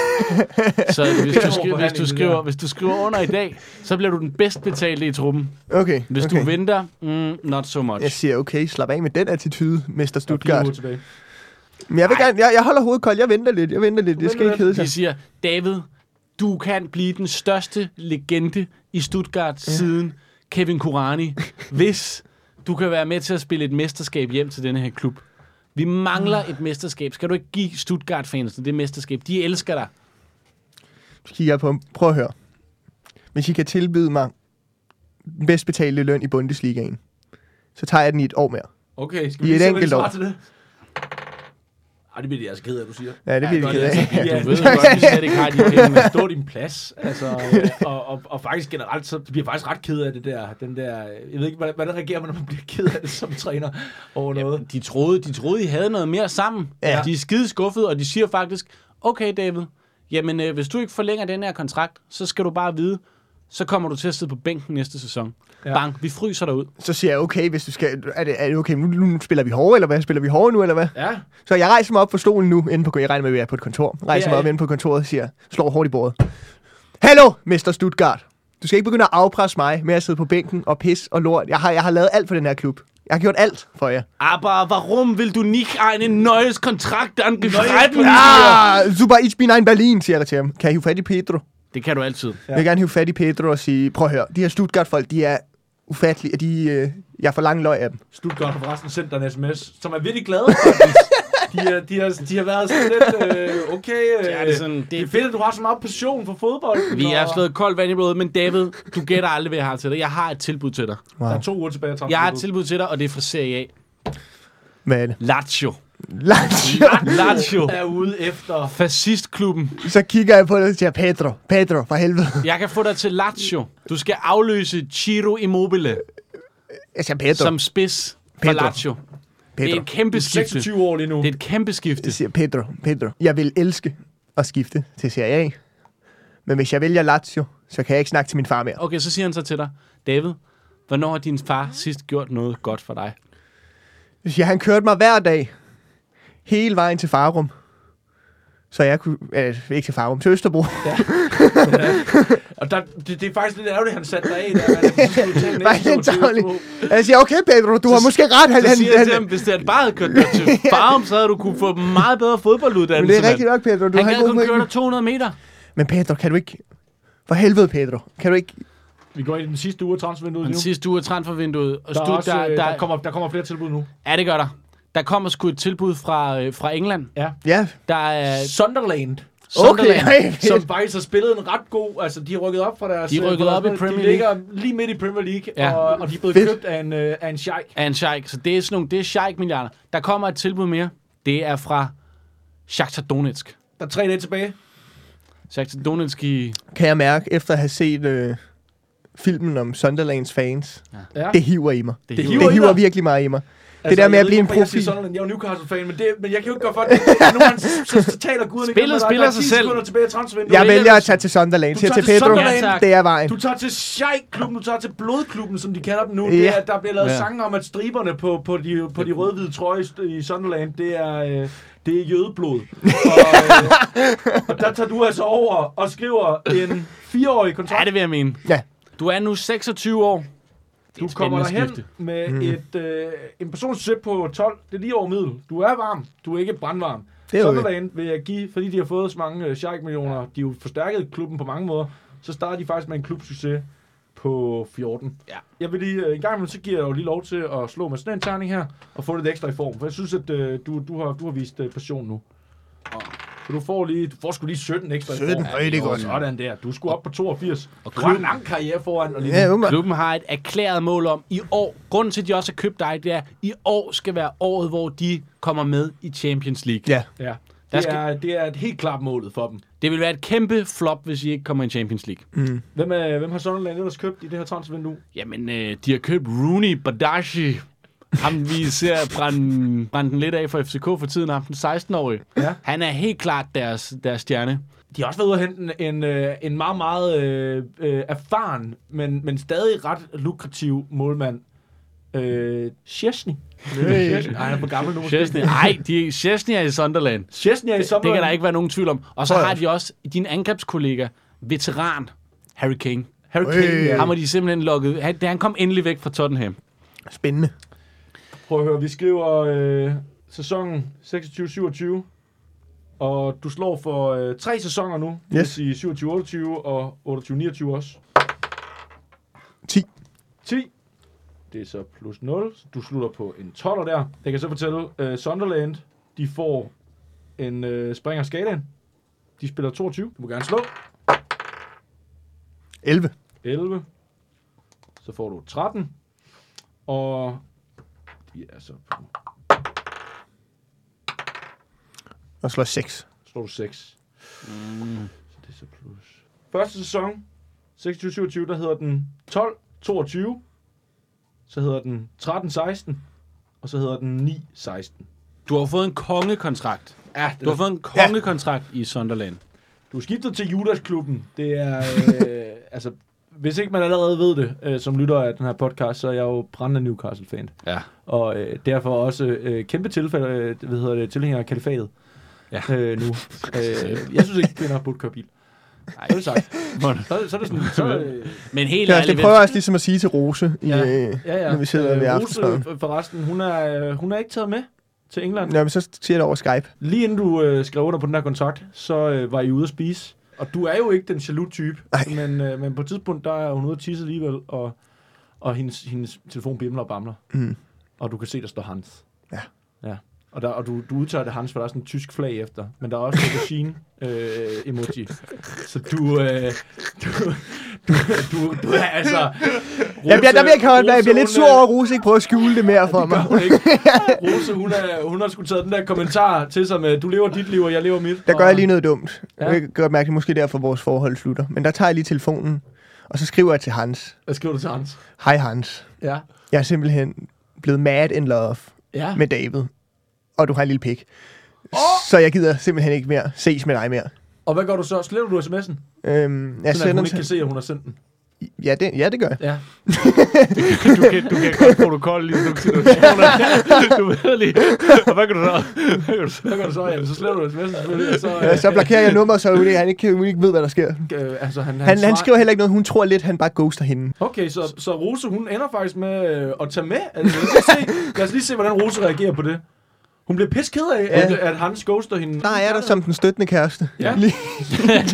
så hvis
Det er
du,
en hård
skriver, hvis,
forhandling,
du
det
skriver,
der.
hvis du skriver under i dag, så bliver du den bedst betalte i truppen.
Okay,
Hvis
okay.
okay. du venter, mm, not so much.
Jeg
Yes.
siger, okay, slap af med den attitude, Mester
Der er fire
Stuttgart.
uger tilbage.
Men jeg, vil gerne, jeg, jeg holder hovedet koldt. Jeg venter lidt. Jeg venter lidt. Det skal
venter
ikke kede sig.
De siger, David, du kan blive den største legende i Stuttgart ja. siden Kevin Kurani, hvis du kan være med til at spille et mesterskab hjem til denne her klub. Vi mangler et mesterskab. Skal du ikke give Stuttgart-fansene det mesterskab? De elsker dig.
Så kigger jeg på ham. Prøv at høre. Hvis I kan tilbyde mig den bedst betalte løn i Bundesligaen, så tager jeg den i et år mere.
Okay, skal
I
vi lige se,
et
hvad de
enkelt år.
svarer til det? Ej, det bliver de altså ked af, du siger.
Ja, det bliver
godt,
de ked
jeg
af.
tænker,
Ja,
Ja,
du ved jo godt, vi slet ikke har de penge. men-
stå din plads. Altså, øh, og, og, og, faktisk generelt, så bliver jeg faktisk ret ked af det der. Den der jeg ved ikke, hvordan, hvordan reagerer man, når man bliver ked af det som træner over noget?
De troede, de troede, I havde noget mere sammen. Ja.
Ja.
De er skide skuffede, og de siger faktisk, okay David, jamen øh, hvis du ikke forlænger den her kontrakt, så skal du bare vide, så kommer du til at sidde på bænken næste sæson. Ja.
Ja.
Bang, vi fryser dig ud.
Så siger jeg, okay, hvis du skal, er det, er det okay, nu, nu spiller vi hårdere, eller hvad? Spiller vi hårdere nu, eller hvad?
Ja,
Så jeg rejser mig op på stolen nu, inde på, jeg regner med, at vi er på et kontor. Rejser
Ja,
mig
ja.
op inde på kontoret og siger, slår hårdt i bordet. Hallo, Mester Stuttgart. Du skal ikke begynde at afpresse mig med at sidde på bænken og pis og lort. Jeg har, jeg har lavet alt for den her klub. Jeg har gjort alt for jer.
Aber warum vil du nicht einen neues Kontrakt angegriffen?
Ah, super, ich bin ein Berlin, siger jeg til ham. Kan jeg hive fat i Pedro?
Det kan du altid.
Ja. Jeg vil gerne hive fat i Pedro og sige, prøv at høre, de her Stuttgart-folk, de er ufattelige, og de, øh, jeg får lang løg af dem.
Stuttgart har forresten sendt dig en sms, som er virkelig glade faktisk. De, er, de, har, de har været sådan lidt, øh, okay, øh,
Ja, det er sådan, det-
det er fedt, at du har så meget passion for fodbold.
Vi har
og
slået koldt vand i blodet, men David, du gætter aldrig, hvad jeg har til dig. Jeg har et tilbud til dig.
Wow.
Der er to uger tilbage af
Jeg har et
transfervinduet.
tilbud til dig, og det er fra Serie A.
Men
Lazio.
Lazio,
Lazio.
er ude efter.
Fascistklubben.
så kigger jeg på det og siger, Pedro, Pedro, for helvede.
Jeg kan få dig til Lazio. Du skal afløse Ciro Immobile
Jeg siger, Pedro,
som spids for
Pedro.
Lazio. Det er
Pedro.
et kæmpe skifte.
26 år lige nu.
Det er et kæmpe skifte.
Jeg siger, Pedro, Pedro, jeg vil elske at skifte til Serie A. Men hvis jeg vælger Lazio, så kan jeg ikke snakke til min far mere.
Okay, så siger han så til dig, David, hvornår har din far sidst gjort noget godt for dig?
Så siger, jeg, han kørte mig hver dag, hele vejen til Farum. Så jeg kunne, øh, ikke til Farum, til Østerbro.
Og der, det, det er faktisk lidt ærgerligt, at han satte dig af. Der, men jeg synes, du tager en
Var
ekstra tur
det
til Østerbro.
dårligt? Jeg siger, okay Pedro, du har måske ret. Han,
Så siger han til ham,
han,
hvis det bare havde kørt dig til Farum, så havde du kunne få en meget bedre
men
fodbolduddannelse.
det er
mand.
rigtigt nok, Pedro. Du
Han
har
gad
en god
kun køre
pointe.
dig 200 meter.
Men Pedro, kan du ikke... For helvede, Pedro. Kan du ikke...
Vi går ind i den sidste uge af transfervinduet
Den
nu.
sidste uge af transfervinduet. Og
Der, er
Stud,
også,
der,
øh, der,
der,
kommer, der kommer flere tilbud nu.
Ja, det gør der. Der kommer sgu et tilbud fra, øh, fra England.
Ja,
Der er
Sunderland,
okay.
Sunderland.
Ej,
som
fedt.
faktisk har spillet en ret god... Altså, de har rykket op fra deres...
De er rykket
øh,
op i
de
Premier
ligger lige midt i Premier League,
Ja.
ja. og, og de er blevet
Fedt.
købt af en, øh, af en sheik.
af en sheik. Så det er sådan nogle, det er sheik-milliarder. Der kommer et tilbud mere. Det er fra Shakhtar Donetsk.
Der er tre dage tilbage.
Shakhtar Donetsk i...
Kan jeg mærke, efter at have set øh, filmen om Sunderlands fans,
Ja.
det hiver i mig.
Det,
hiver
Det
i
hiver
dig?
virkelig meget i mig.
Altså,
der med
jeg
at
ved
blive
ikke,
en
hvorfor Jeg,
profil.
siger Sunderland. jeg er jo Newcastle-fan, men, det, men jeg kan jo ikke gøre for det. Nu man, så, så, så taler guderne
Spillet
igennem, og der-
spiller
der er
sig
10
selv.
sekunder tilbage i transfervinduet.
Jeg
vælger
vælger
du-
at tage til Sunderland.
Du
Siger
tager
til
til
Pedro,
Sunderland.
Ja, tak.
det er vejen.
Du tager til Sheik-klubben, du tager til Blodklubben, som de kalder dem nu.
Ja.
Yeah. Det er, der bliver lavet
Ja.
yeah. sange om, at striberne på, på de, på de rød-hvide trøjer i- i Sunderland, det er, øh, det er jødeblod. Og, øh, og der tager du altså over og skriver en fireårig
Ja,
kontrakt.
det vil jeg mene.
Ja.
Du er nu 26 år.
Du kommer
spændende
derhen
skifte.
med
Mhm.
mm. et, øh, en persons på 12. Det er lige over middel. Du er varm. Du er ikke brandvarm.
Det er okay.
Sunderland vil jeg give, fordi de har fået så mange øh, Sheik-millioner. De har jo forstærket klubben på mange måder. Så starter de faktisk med en klubsucces på 14.
Ja.
Jeg vil lige, øh, en gang imellem, så giver jeg jo lige lov til at slå med sådan en terning her, og få lidt ekstra i form, for jeg synes, at øh, du, du, har, du har vist øh, passion nu.
Ah.
Så du får, lige, du får sgu lige 17 ekstra
17?
i form.
Øj, det er godt.
Sådan der. Du skulle op på 82. Og du har en lang karriere foran. Og lige
Ja, umiddelbart.
Klubben har et erklæret mål om i år. Grunden til, at de også har købt dig, det er, at i år skal være året, hvor de kommer med i Champions League.
ja.
ja.
Der
Det,
skal-
er, det er et helt klart målet for dem.
Det vil være et kæmpe flop, hvis I ikke kommer i Champions League.
Hvem, er, hvem har Sunderland ellers købt i det her transfervindue?
Jamen, øh, de har købt Rooney Badashi. Ham vi ser brænde, brænde den lidt af for FCK for tiden, ham den 16-årige.
Ja.
Han er helt klart deres, deres stjerne.
De har også været ude at hente en, en, øh, en meget, meget øh, øh, erfaren, men, men stadig ret lukrativ målmand. Øh, Chesney. Nej, han er for gammel nu. måske.
Chesney, nej, de, Chesney er i Sunderland.
Chesney er i sommer.
Det kan der ikke være nogen tvivl om. Og så
Prøv at-
har de også din angrebskollega, veteran Harry Kane.
Harry Kane,
Øh.
ja.
Ham har de simpelthen lukket. Han, han kom endelig væk fra Tottenham.
Spændende.
Prøv at høre, vi skriver øh, sæsonen 26-27, og du slår for øh, tre sæsoner nu. Det
Yes.
vil sige 27-28 og 28-29 også.
10.
10. Det er så plus 0. Så du slutter på en 12'er der. Jeg kan så fortælle, øh, Sunderland, de får en øh, springer skalaen. De spiller 22. Du må gerne slå.
11.
11. Så får du 13. Og de er så på
Og slår 6.
slår du 6. Mm. Så det er så plus. Første sæson, 26-27, der hedder den 12-22. Så hedder den 13-16. Og så hedder den 9-16.
Du har fået en kongekontrakt.
Ja,
Du har fået en kongekontrakt i Sunderland.
du er skiftet til Judas-klubben. Det er, øh, altså, hvis ikke man allerede ved det, øh, som lytter af den her podcast, så er jeg jo brændende Newcastle-fan.
Ja.
og øh, derfor også øh, kæmpe tilfælde, øh, hvad hedder det, tilhænger af kalifatet
Ja.
øh, nu. øh, jeg synes ikke, kvinder burde køre bil. Nej, det er sagt. Så, så er det sådan, så, øh,
Men helt
Ja,
ærligt,
det
hvem-
prøver jeg også ligesom at sige til Rose, i,
Ja.
øh,
ja, ja.
når vi sidder ved aftensmaden.
Rose, forresten, hun er, øh, hun er ikke taget med til England.
Nå, men så siger jeg det over Skype.
Lige inden du øh, skrev under på den her kontrakt, så øh, var I ude at spise. Og du er jo ikke den jaloux type,
Nej.
men, øh, men på et tidspunkt, der er hun ude at tisse alligevel, og, og hendes, hendes telefon bimler og bamler.
Mm.
Og du kan se, der står Hans.
Ja.
ja. Og, der, og du, du udtager det Hans, for der er sådan en tysk flag efter. Men der er også en machine øh, emoji. Så du, øh, du, du, du, du, er altså... Rose,
Jeg bliver, der bliver, jeg, jeg
Rose,
bliver lidt
hun
sur
er-
over, at Rose ikke prøver at skjule det mere for mig.
Gør hun ikke. Rose, hun, er, Øh, hun har sgu taget den der kommentar til sig med, du lever dit liv, og jeg lever mit.
Der gør
Og-
jeg lige noget dumt.
Ja.
Jeg kan godt mærke, det er måske derfor, vores forhold slutter. Men der tager jeg lige telefonen, og så skriver jeg til Hans.
Hvad skriver du til Hans?
Hej Hans,
Ja.
jeg er simpelthen blevet mad in love
Ja.
med David. Og du har en lille pik. Så jeg gider simpelthen ikke mere ses med dig mere.
Og hvad gør du så? Sletter du sms'en?
Øhm, jeg
Sådan, at
sender
hun
den
ikke kan
til...
se, at hun har sendt den.
Ja det, ja, det gør jeg.
Ja.
du kan, du kan godt protokol i sådan nogle situationer. Du ved lige. Og hvad kan du så? Hvad kan du så?
Hvad gør du så? Jamen, så sletter du sms'en selvfølgelig, og så...
Ja, så blokerer jeg nummeret, så hun ikke- han ikke, kan- hun ikke ved, hvad der sker.
Øh, øh, altså, han, han,
Han, han
svarer-
skriver heller ikke noget. Hun tror lidt, han bare ghoster hende.
Okay, så, så Rose, hun ender faktisk med øh, at tage med. Altså, lad, os lige se, lad os lige se, hvordan Rose reagerer på det. Hun bliver pisse ked af, ja.
Ja.
at, at Hans ghoster hende.
Der er der som den støttende kæreste.
Ja.
Lige-
ja,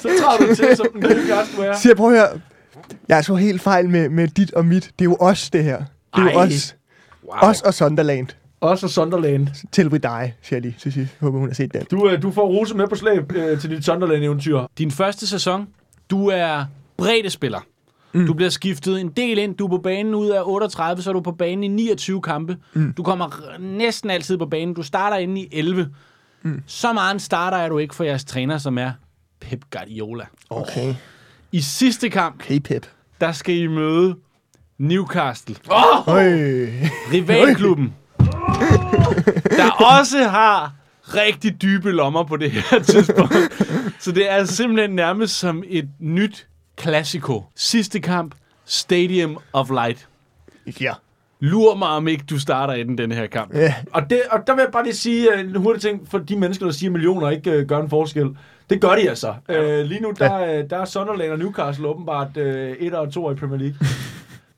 så træder du til, som den gode kæreste, du er.
siger, prøv at høre. Jeg så helt fejl med, med dit og mit. Det er jo os, det her. Det er jo
Ej.
os. Wow. Os og Sunderland.
Også Sunderland.
Tilbud dig, siger jeg lige til sidst. Håber, hun har set den.
Du, øh, du får Rose med på slæb øh, til dit Sunderland-eventyr.
Din første sæson, du er breddespiller. Mm. Du bliver skiftet en del ind. Du er på banen ud af 38, så er du på banen i 29 kampe. Mm. Du kommer r- næsten altid på banen. Du starter inde i 11. Mm. Så meget en starter er du ikke for jeres træner, som er Pep Guardiola.
Okay.
I sidste kamp,
Okay, Pep.
der skal I møde Newcastle.
Øj.
rivalklubben, der også har rigtig dybe lommer på det her tidspunkt. Så det er simpelthen nærmest som et nyt klassiko. Sidste kamp, Stadium of Light.
Ja.
Lur mig, om ikke du starter inden den her kamp.
Ja.
Og, det, og der vil jeg bare lige sige øh, en hurtig ting for de mennesker, der siger, at millioner ikke øh, gør en forskel. Det gør de altså. Øh, lige nu, der, øh, der er Sunderland og Newcastle åbenbart øh, et og to i Premier League.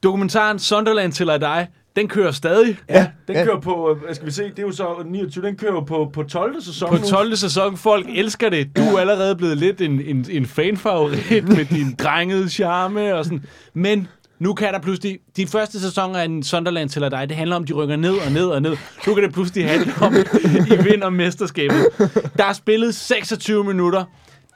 Dokumentaren Sunderland til dig, den kører stadig
Ja, den
ja.
kører på, øh, skal vi se, det er jo så 29, den kører jo på, på 12. sæson
på
nu.
12. sæson. Folk elsker det. Du er allerede blevet lidt en, en, en fanfavorit med din drengede charme og sådan. Men nu kan der pludselig... Din første sæson af en Sunderland til dig, det handler om, at de rykker ned og ned og ned. Nu kan det pludselig handle om, at I vinder mesterskabet. Der er spillet 26 minutter.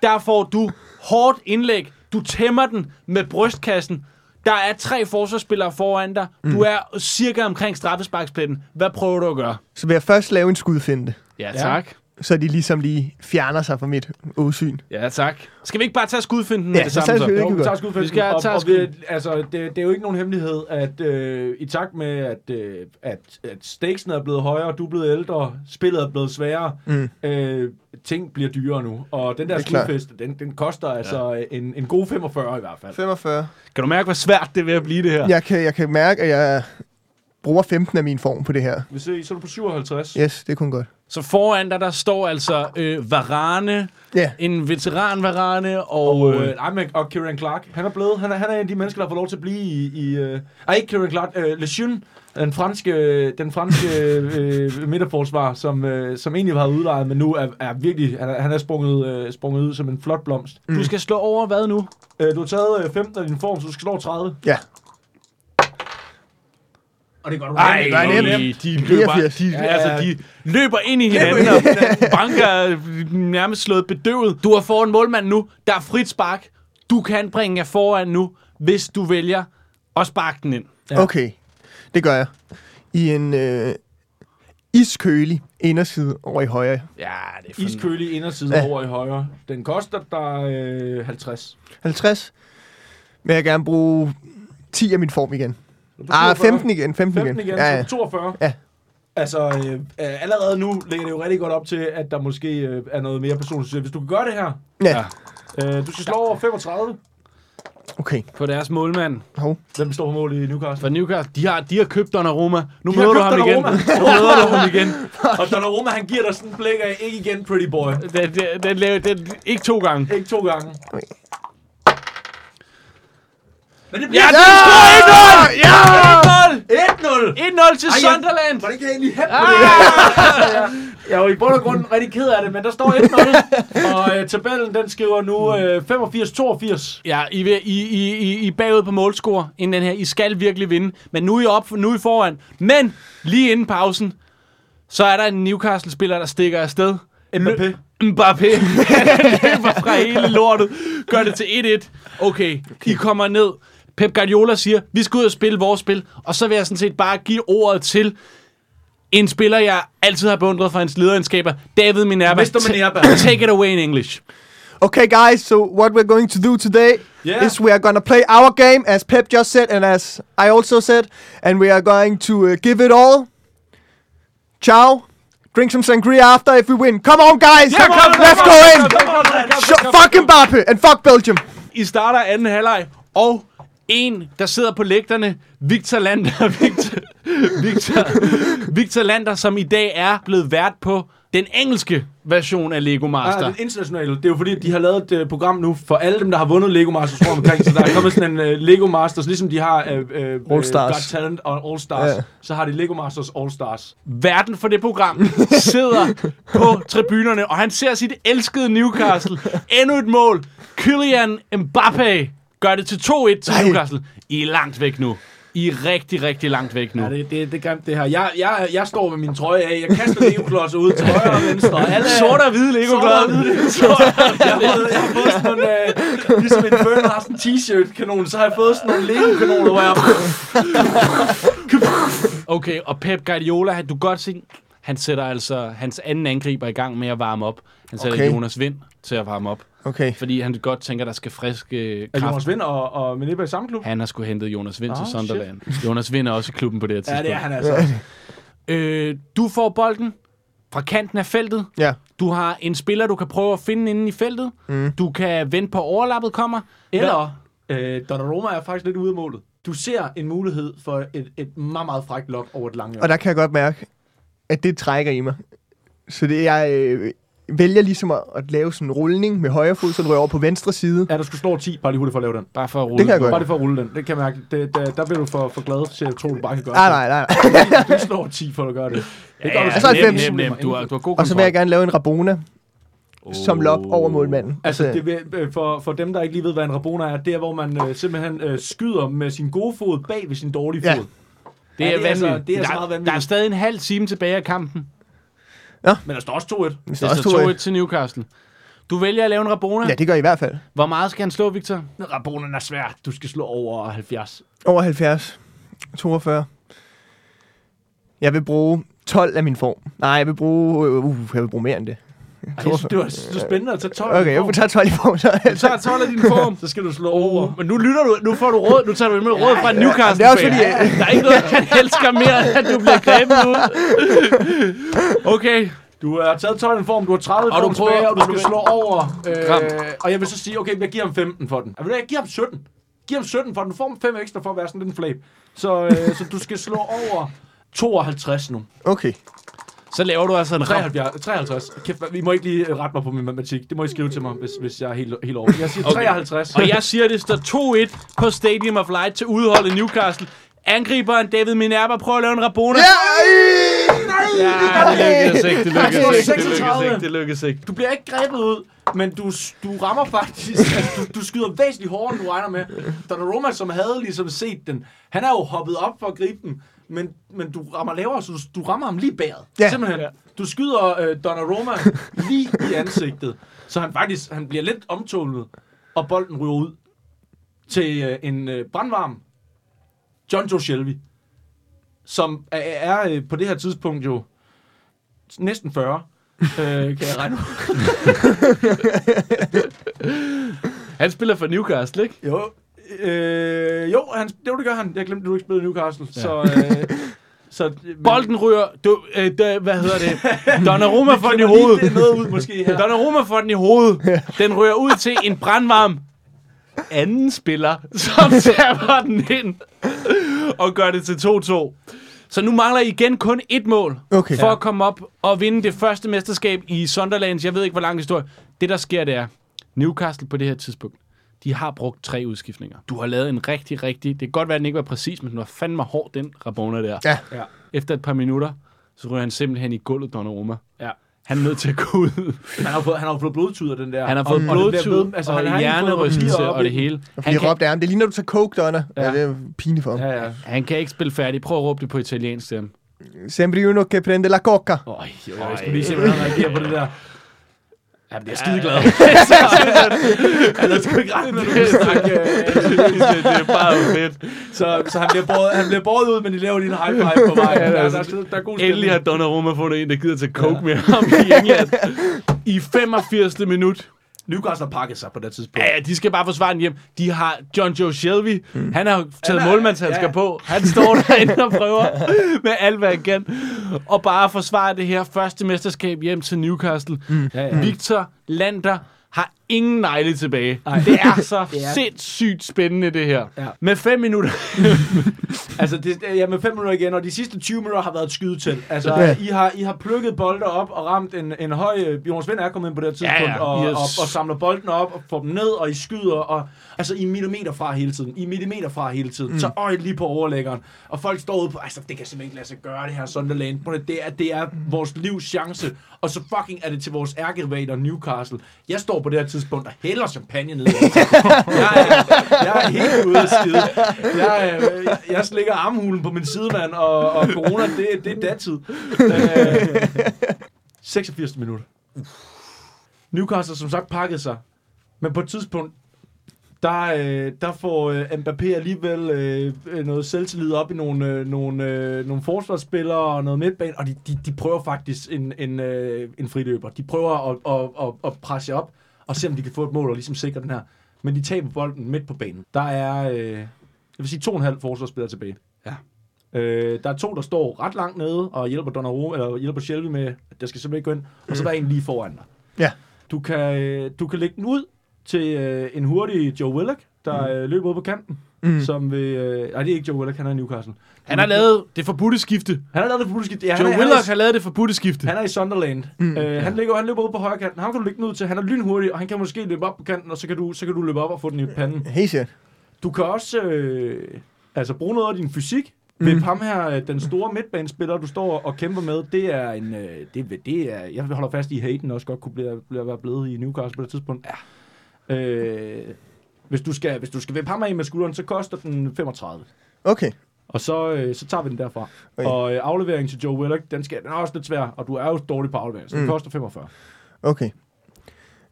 Der får du hårdt indlæg. Du tæmmer den med brystkassen. Der er tre forsvarsspillere foran dig. Du er cirka omkring straffesparkspletten. Hvad prøver du at gøre?
Så vil jeg først lave en skudfinte.
Ja,
tak.
Så de ligesom lige fjerner sig fra mit åsyn.
Ja, tak. Skal vi ikke bare tage skudfinden med
Ja,
det
så
samme
tager
så?
vi det
Jo,
kan
vi
vi
tager
godt.
skudfælden.
Vi skal
og,
tage
og
skudfælden.
vi, altså, det, det er jo ikke nogen hemmelighed, at øh, i takt med, at, øh, at, at stakesen er blevet højere, du er blevet ældre, spillet er blevet sværere, mm. øh, ting bliver dyrere nu. Og den der
Det er klart.
skudfest, den, den koster altså en, en god 45 i hvert fald.
45.
Kan du mærke, hvor svært det er ved at blive det her?
Jeg kan, jeg kan mærke, at jeg bruger 15 af min form på det her.
Vi ser, så er du på 57.
Yes, det kunne godt.
Så foran dig, der står altså øh, Varane,
Ja.
en veteran Varane, og...
Og,
øh,
øh, nej, men, og Kieran Clark, han er blevet, han er, han er en af de mennesker, der får lov til at blive i... i øh, ej, ikke Kieran Clark, øh, Lejeune. Den franske, den franske øh, midterforsvar, som, øh, som egentlig var udlejet, men nu er, er virkelig, han er, han er sprunget, øh, sprunget ud som en flot blomst.
øh, Du skal slå over hvad nu?
Øh, du har taget øh, 15 af din form, så du skal slå 30.
Ja.
Og det gør du
Nej,
rigtig
det er
godt.
nemt.
de løber,
89.
de,
Ja,
ja.
altså, de løber ind i hinanden og banker øh, nærmest slået bedøvet. Du er foran målmanden nu. Der er frit spark. Du kan bringe jer foran nu, hvis du vælger at sparke den ind.
Ja.
Okay, det gør jeg. I en øh, iskølig inderside over i højre.
Ja, det er fandme-
Iskølig inderside
Ja.
ja. over i højre. Den koster dig øh, 50.
50. Vil jeg gerne bruge 10 af min form igen. Ah, 15 igen. 15,
15 igen,
Ja, ja.
så 42.
Ja.
Altså, øh, øh, allerede nu ligger det jo rigtig godt op til, at der måske øh, er noget mere personligt. succes. Hvis du kan gøre det her,
ja.
øh, du skal slå over 35.
Okay.
på deres målmand.
Hov.
Hvem står på mål i Newcastle?
For Newcastle, de har, de har købt Donnarumma. Nu
har
møder du
købt
ham igen.
Donnarumma.
Nu møder du ham igen.
Og Donnarumma, han giver dig sådan en blik af, ikke igen, pretty boy.
Den, den, den, laver- den, ikke to gange.
Ikke to gange.
Okay.
Men det
Ja,
bliver
det er sgu
Ja!
1-0!
1-0!
1-0 til
Ej, ja.
Sunderland!
Hvordan kan jeg egentlig hæppe ah! det? Jeg er jo i bund og grund rigtig ked af det, men der står 1-0. Og øh, tabellen, den skriver nu øh, 85-82.
Ja, I, vil, I, I, I, I er bagud på målscore inden den her. I skal virkelig vinde. Men nu er I op, nu er I foran. Men lige inden pausen, så er der en Newcastle-spiller, der stikker afsted.
Mbappé.
Mbappé. Han løber fra hele lortet. Gør det til 1-1. Okay, I kommer ned. Pep Guardiola siger, vi skal ud og spille vores spil. Og så vil jeg sådan set bare give ordet til en spiller, jeg altid har beundret for hans lederskaber, David Minerva.
Mr. Minerva.
Ta- Take it away in English.
Okay, guys, so what we're going to do today
Yeah.
is we are going to play our game, as Pep just said, and as I also said, and we are going to uh, give it all. Ciao. Drink some sangria after if we win. Come on, guys!
come on,
Let's
come
go in!
Shut
Sh- fuck Mbappe and fuck Belgium!
I starter anden halvleg, og en, der sidder på lægterne, Victor Lander, Victor, Victor, Victor Lander, som i dag er blevet vært på den engelske version af Lego Master.
Ah, den internationale. Det er jo fordi, de har lavet et uh, program nu for alle dem, der har vundet Lego Masters rundt omkring. så der er kommet sådan en uh, Lego Masters, ligesom de har uh, uh,
All Stars.
Got Talent og All Stars.
Ja.
Yeah. Så har de Lego Masters All Stars.
Verden for det program sidder på tribunerne, og han ser sit elskede Newcastle. Endnu et mål. Kylian Mbappé gør det til 2-1 til
Nej.
Newcastle. I er langt væk nu. I er rigtig, rigtig langt væk nu.
Ja, det, det, det er grimt, det her. Jeg, jeg, jeg står med min trøje af. Jeg kaster Lego-klodser ud til højre og venstre. og Alle,
Sort og hvide lego
Sort og hvide jeg, har fået, jeg har fået sådan nogle, øh, ligesom en Fernand har sådan en t-shirt-kanon, så har jeg fået sådan nogle Lego-kanoner, hvor jeg...
Okay, og Pep Guardiola, han- du kan godt se, han sætter altså hans anden angriber i gang med at varme op. Han sætter
Okay.
okay. Jonas Vind til at varme op,
Okay.
fordi han godt tænker, der skal friske
Er
kraft.
Jonas Vind og, og Meneba i samme klub?
Han har sgu hentet Jonas Vind oh, til
Ah,
Sunderland. Shit. Jonas Vind er også i klubben på det her
Ja,
tidspunkt.
det er han altså.
Øh, du får bolden fra kanten af feltet.
Ja.
Du har en spiller, du kan prøve at finde inde i feltet. Mm. Du kan vente på, at overlappet kommer. Eller...
Øh, Donnarumma er faktisk lidt ude af målet. Du ser en mulighed for et, et meget, meget frækt lok over et langt
Og
hjørne.
der kan jeg godt mærke, at det trækker i mig. Så det jeg øh, vælger ligesom at, at lave sådan en rulning med højre fod, så den rører over på venstre side.
Ja, du skulle slå 10, bare lige hurtigt for at lave den.
Bare for at rulle.
Det kan jeg
den.
godt.
Bare lige for at rulle den. Det kan jeg mærke. Det, der, der bliver du for, for glad til at tro, du bare kan gøre
Ah, nej, nej, nej.
det. Du slår 10 for at gøre det. Det
Ja,
du
Altså,
ja,
sgu.
nem,
90.
nem, nem. Du har, du har god
Og så vil jeg gerne lave en Rabona, som lop over målmanden.
Altså, det, vil- øh, for, for dem, der ikke lige ved, hvad en rabona er, det er, hvor man øh, simpelthen øh, skyder med sin gode fod bag ved sin dårlige
Ja.
fod.
Det er, ja, det er,
altså-
vanvittigt.
det er altså
der,
meget vanvittigt.
Der er stadig en halv time tilbage af kampen.
Men der står også 2-1.
Hvis der
Det
også
står
to
2-1 til Newcastle. Du vælger at lave en Rabona.
Ja,
Ja.
det gør I, i hvert fald.
Hvor meget skal han slå, Victor?
Rabonen er svær. Du skal slå over 70.
Over 70. 42. Jeg vil bruge 12 af min form. Nej, jeg vil bruge... øh, Uh, jeg vil bruge mere end det.
Ej, jeg synes, det var så spændende at tage 12.
Okay, jeg vil tage 12 i form. Så.
Så er 12 af din form.
Så skal du slå over.
Men nu lytter du, nu får du råd, nu tager du med råd fra Newcastle.
det er også fordi,
fan. Der er ikke noget, han elsker mere, end at du bliver grebet ud. Okay.
Du har taget 12 i en form, du har 30
Og
og
du
du
prøver-
tilbage, og du
og
skal
du-
slå over.
Gram.
Øh, og jeg vil så sige, okay, jeg giver ham 15 for den. Jeg, jeg giver ham 17. Giv ham 17 for den. Du får ham 5 ekstra for at være sådan en flab. Så, øh, så du skal slå over 52 nu.
Okay.
Så laver du altså en rap.
73. 53. Kæft, hvad- vi må ikke lige øh, rette mig på min matematik. Det må I skrive til mig, hvis, hvis jeg er helt, helt over. Jeg siger
Okay.
53.
Og jeg siger, det står 2-1 på Stadium of Light til udholdet Newcastle. Angriberen David Minerva prøver at lave en Rabona.
Ja, ej!
Ja, det lykkedes ikke, det
Nej!
lykkedes ikke, det lykkedes
36.
ikke, det lykkedes ikke.
Du bliver ikke grebet ud, men du, du rammer faktisk, altså, du, du skyder væsentligt hårdere, end du regner med. Donnarumma, som havde ligesom set den, han er jo hoppet op for at gribe den, men, men du rammer lavere, så du, du rammer ham lige bæret.
Ja.
Simpelthen.
Ja.
Du skyder øh, Donnarumma lige i ansigtet, så han faktisk han bliver lidt omtumlet, og bolden ryger ud til øh, en øh, brandvarm John Joe Shelby, som er, er øh, på det her tidspunkt jo næsten 40, øh, kan jeg regne ud.
Han spiller for Newcastle, ikke?
Jo, øh, jo han, det, var det gør han. Jeg glemte, at du ikke spillede Newcastle. Ja. Så, øh, så, men,
Bolden ryger, du, øh, da, hvad hedder det? Donnarumma får den i
Lige, det
hovedet.
er noget ud måske her.
Donnarumma får den i hovedet. Den ryger ud til en brandvarm anden spiller, som taber den ind og gør det til 2-2. Så nu mangler I igen kun et mål
Okay.
for at komme op og vinde det første mesterskab i Sunderlands. Jeg ved ikke, hvor lang historie. Det, der sker, det er, Newcastle på det her tidspunkt, de har brugt tre udskiftninger. Du har lavet en rigtig, rigtig... Det kan godt være, at den ikke var præcis, men den var fandme hård, den Rabona der.
Ja.
Ja.
Efter et par minutter, så ryger han simpelthen i gulvet, Donnarumma.
Ja.
Han er nødt til at gå ud.
Han har fået, han har fået blodtud af den der.
Han har fået
og- og den der
blodtud
blod-
altså, og
han har ikke fået
hjernerystelse
papirer op
og det
i-
hele.
Han
Han
lige
kan,
råbte af ham. Det ligner, du tager coke, Donner. Ja.
Ja.
ja, det er pinligt for ham.
Ja,
Ja.
ja.
han kan ikke spille færdig. Prøv at råbe det på italiensk til ham.
Sempre uno che prende la coca.
Øj, jo, jeg skulle lige se, hvordan han reagerer på det der. Ja, det er skideglad. Han er sgu ikke ret, når du kan snakke. øh,
det, det er bare fedt.
Så, så han, bliver båret, han bliver båret ud, men de laver lige en high five på vejen. Der, der, der, Altså, der er god
Endelig har
stemning.
Donnarumma fundet en, der gider til coke med ham i England. I 85. minut.
Newcastle har pakket sig på det tidspunkt.
Ja, ja, de skal bare forsvare den hjem. De har John Joe Shelby. Mm. Han har jo taget
Han er-
målmandshandsker
ja, ja.
på. Han står derinde og prøver med alt, hvad han kan. Og bare forsvare det her første mesterskab hjem til Newcastle. Mm.
Ja, ja.
Victor Lander har ingen negle tilbage.
Ej.
Det er så
Det er-
sindssygt spændende, det her.
Ja.
Med fem minutter.
Altså, det, ja, med 5 minutter igen, og de sidste 20 minutter har været et skydetel. Altså,
Ja.
I, har, I har plukket bolde op og ramt en, en høj... øh, Jonas Vind er kommet ind på det her tidspunkt,
Ja, ja.
Og,
I er
og,
s-
og, samler bolden op og får dem ned, og I skyder, og altså, I er millimeter fra hele tiden. I er millimeter fra hele tiden. Mm. Så øj, lige på overlæggeren. Og folk står ude på, altså, det kan simpelthen ikke lade sig gøre, det her Sunderland. Prøv at- Det er, det er vores livs chance, og så fucking er det til vores ærkerivaler Newcastle. Jeg står på det her tidspunkt og hælder champagne ned. i- jeg, er, jeg er helt ude af skide. Jeg, øh, jeg, jeg slikker armhulen på min sidemand, og, og corona, det, det er datid. Øh, 86 minutter. Newcastle som sagt pakkede sig, men på et tidspunkt, der, øh, der får øh, Mbappé alligevel øh, øh, noget selvtillid op i nogle, øh, nogle, øh, nogle forsvarsspillere og noget midtbane, og de, de, de prøver faktisk en, en, øh, en friløber. De prøver at, at, at, at presse op og se, om de kan få et mål og ligesom sikre den her. Men de taber bolden midt på banen. Der er, øh, jeg vil sige, to og en halv forsvarsspillere tilbage. Ja. Øh, der er to, der står ret langt nede og hjælper Donnarumma, eller hjælper Shelby med, at der skal simpelthen ikke gå ind, og så er der en lige foran dig.
Ja.
Du kan, øh, du kan lægge den ud til øh, en hurtig Joe Willock, der øh, løber ud på kanten. Mm. Som vil, øh, nej, det er ikke Joe Willock, han er i Newcastle.
Han har lavet det forbudte skifte.
Han har lavet det fuldstændig. Mm. Ja,
Joe
han, er-
Willock
han,
har lavet det forbudte skifte.
er, han er i Sunderland. Mm. Øh, han, ligger, han løber ud på højre kanten. Ham kan du lægge den ud til. Han er lynhurtig, og han kan måske løbe op på kanten, og så kan du, så kan du løbe op og få den i panden.
Helt sikkert.
Du kan også øh, altså, bruge noget af din fysik. Mm. Vip ham her, øh, den store midtbanespiller, du står og kæmper med, det er en... Øh, det, er- det er, jeg holder fast i, at Hayden også godt kunne blive, blive, være blevet i Newcastle på det tidspunkt. Ja. Øh, hvis du skal, hvis du skal vippe ham af med skulderen, så koster den 35.
Okay.
Og så, øh, så tager vi den derfra. Okay.
Okay.
Og øh, afleveringen til Joe Willock, den, skal, den er også lidt svær, og du er jo dårlig på aflevering, så den mm.
Mm.
koster 45.
Okay.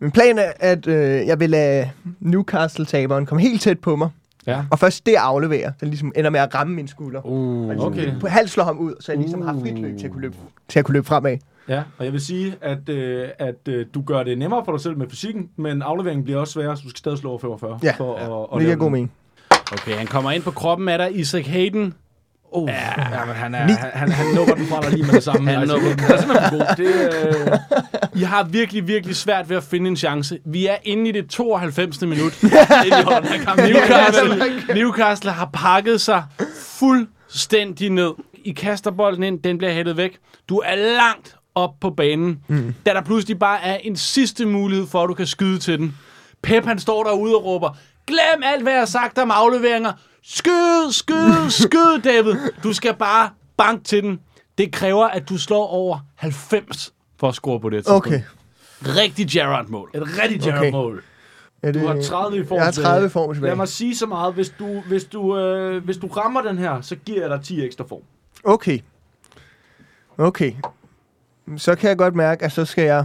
Min plan er, at øh, jeg vil lade Newcastle-taberen komme helt tæt på mig.
Ja.
Og først det afleverer, den ligesom ender med at ramme min skulder. ligesom
Uh.
Okay.
På halv slår ham ud, så jeg ligesom har frit løb til at kunne løbe, til at kunne løbe fremad.
Ja, og jeg vil sige, at, øh, at øh, du gør det nemmere for dig selv med fysikken, men afleveringen bliver også sværere, så du skal stadig slå over 45.
Ja.
for ja. At, at
Det
lave
giver god
den.
mening.
Okay, han kommer ind på kroppen af dig, Isaac Hayden.
Oh, ja, men han, er, han, han, han nukker den fra dig lige med det samme.
Han
altså,
nukker den.
han er simpelthen for god. Det, øh,
I har virkelig, virkelig svært ved at finde en chance. Vi er inde i det 92. minut.
det holder den her kamp.
Newcastle, Newcastle har pakket sig fuldstændig ned. I kaster bolden ind, den bliver hættet væk. Du er langt op på banen,
Hmm.
mm. da der pludselig bare er en sidste mulighed for, at du kan skyde til den. Pep han står derude og råber, glem alt, hvad jeg har sagt om afleveringer. Skyd, skyd, skyd, David. Du skal bare bank til den. Det kræver, at du slår over 90 for at score på det her tidspunkt.
Okay.
Rigtig Gerrard-mål.
Et rigtigt Jared
Okay.
mål.
Er det,
Du har 30 i form
Jeg har
tilbage.
30 i form tilbage.
Lad mig sige så meget. Hvis du, hvis du, øh, hvis du rammer den her, så giver jeg dig 10 ekstra form.
Okay. Okay. Så kan jeg godt mærke, at så skal jeg...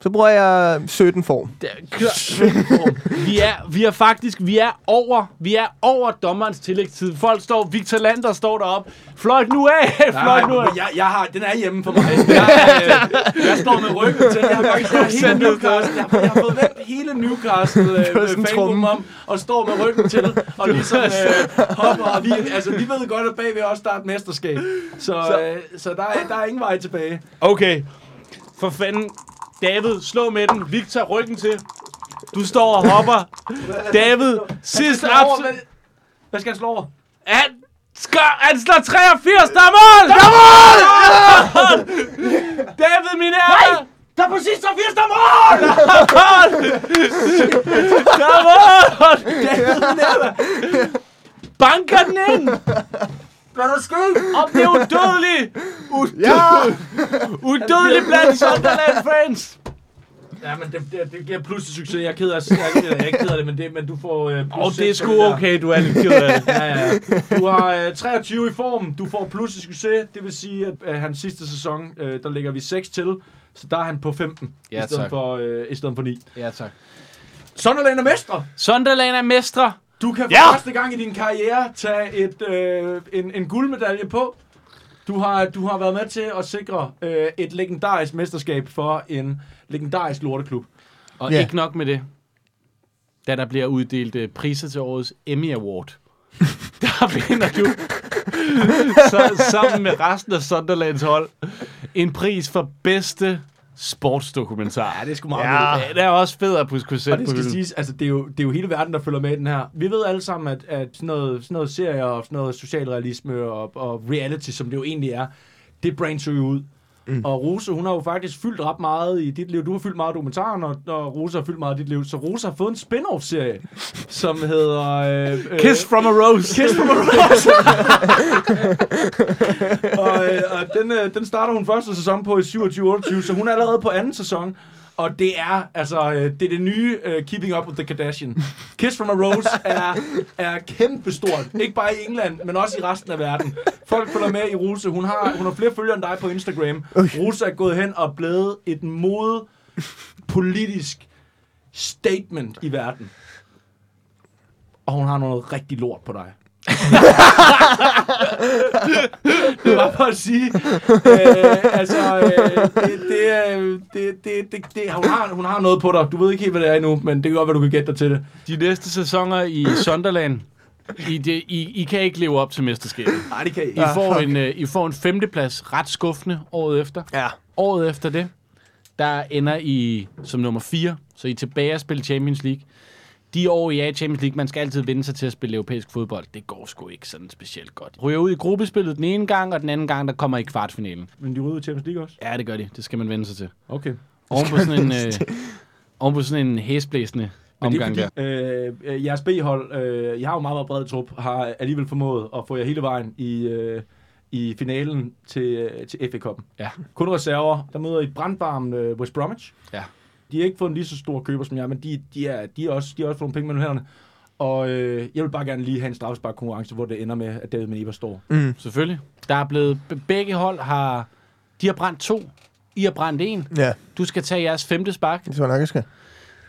Så bruger jeg 17 form.
Det er klart. vi er, vi er faktisk, vi er over, vi er over dommerens tillægstid. Folk står, Victor Lander står deroppe. Fløjt nu af, fløjt nu af.
jeg, jeg har, den er hjemme for mig. Jeg, øh, jeg står med ryggen til. Jeg har faktisk jeg har hele Newcastle. Jeg har, jeg har fået vendt hele Newcastle øh,
var sådan
øh, fangruppen
trummen.
om og står med ryggen til og ligesom øh, hopper. Og vi, altså, vi ved godt, at bagved også der er et mesterskab. Så, øh, så der, er, der er ingen vej tilbage.
Okay. For fanden. David, slå med den. Victor, ryggen til. Du står og hopper. David, sidst
Så over,
absolut.
hvad, hvad skal jeg slå over?
Han, skør, han slår 83. Der er mål! Der er mål! David, min ære!
Der er præcis 83, der er mål!
Der er mål! Banker den ind!
Hvad er der sket?
Om det er udødeligt!
Ja!
Udødeligt blandt Sunderland-fans!
Ja, men det, det, det giver pludselig succes. Jeg er ked af, jeg, jeg er ikke ked af det, men, det, men du får... Øh, plus
Og det er
seks på
sgu
der.
okay, du er lidt ked af det.
Ja, ja. Du har øh, 23 i formen. Du får pludselig succes. Det vil sige, at øh, hans sidste sæson, øh, der lægger vi 6 til. Så der er han på 15,
Ja,
i, stedet
tak.
For, øh, i stedet for 9.
Ja, tak.
Sunderland er mestre!
Sunderland er mestre.
Du kan for
Ja!
ja! første gang i din karriere tage et, øh, en, en guldmedalje på. Du har, du har været med til at sikre øh, et legendarisk mesterskab for en legendarisk lorteklub.
Og
Ja.
yeah. ikke nok med det. Da der bliver uddelt øh, priser til årets Emmy Award, der vinder du så, sammen med resten af Sunderlands hold en pris for bedste sportsdokumentar.
det er sgu
Ja.
Ja, det er også fedt at putte
Og
kursel
det
på
skal
hylden.
siges, altså det er, jo, det er jo hele verden, der følger med i den her. Vi ved alle sammen, at, at sådan, noget, sådan noget serier og sådan noget socialrealisme og, og reality, som det jo egentlig er, det brainser jo ud. Mm. Og Rose, hun har jo faktisk fyldt ret meget i dit liv. Du har fyldt meget af dokumentaren, og, og Rose har fyldt meget i dit liv. Så Rose har fået en spin-off-serie, som hedder... Øh, øh,
Kiss from a Rose.
Kiss from a Rose. og øh, og den, øh, den starter hun første sæson på i 27-28, så hun er allerede på anden sæson. Og det er altså øh, det, er det nye uh, Keeping Up With The Kardashian. Kiss From A Rose er, er kæmpestort. Ikke bare i England, men også i resten af verden. Folk følger med i Ruse. Hun har, hun har flere følgere end dig på Instagram. Ruse er gået hen og blevet et mode politisk statement i verden. Og hun har noget rigtig lort på dig. det var for at sige, øh, altså, øh, det, det, øh, det, det, det, det, hun, har, hun har noget på dig. Du ved ikke helt, hvad det er endnu, men det kan godt være, du kan gætte dig til det.
De næste sæsoner i Sunderland, I, det, I, I kan ikke leve op til mesterskabet.
Nej, det kan jeg
I, får en, øh, I får en femteplads ret skuffende året efter.
Ja.
Året efter det, der ender I som nummer 4, så I er tilbage at spille Champions League. De år, I er i Champions League, man skal altid vende sig til at spille europæisk fodbold. Det går sgu ikke sådan specielt godt. Ryger ud i gruppespillet den ene gang, og den anden gang, der kommer I kvartfinalen.
Men de rydder Champions League også?
Ja, det gør de. Det skal man vende sig til.
Okay.
Oven på sådan en, øh, oven på sådan en hæsblæsende omgang der.
der. Øh, øh, jeres B-hold, øh, jeg har jo meget, meget bred trup, har alligevel formået at få jer hele vejen i, øh, i finalen til, øh, til FA Cup'en.
Ja.
Kun reserver. Der møder I brandvarmen øh, West Bromwich.
Ja.
De har ikke fået en lige så stor køber som jeg, men de, de, er, de, er også, de har også fået nogle penge mellem hænderne. Og øh, jeg vil bare gerne lige have en straffespark konkurrence, hvor det ender med, at David Meneba står.
Selvfølgelig. Der er blevet... be- Begge hold har... De har brændt to. I har brændt en.
Ja,
Du skal tage jeres femte spark.
det tror jeg nok, jeg skal.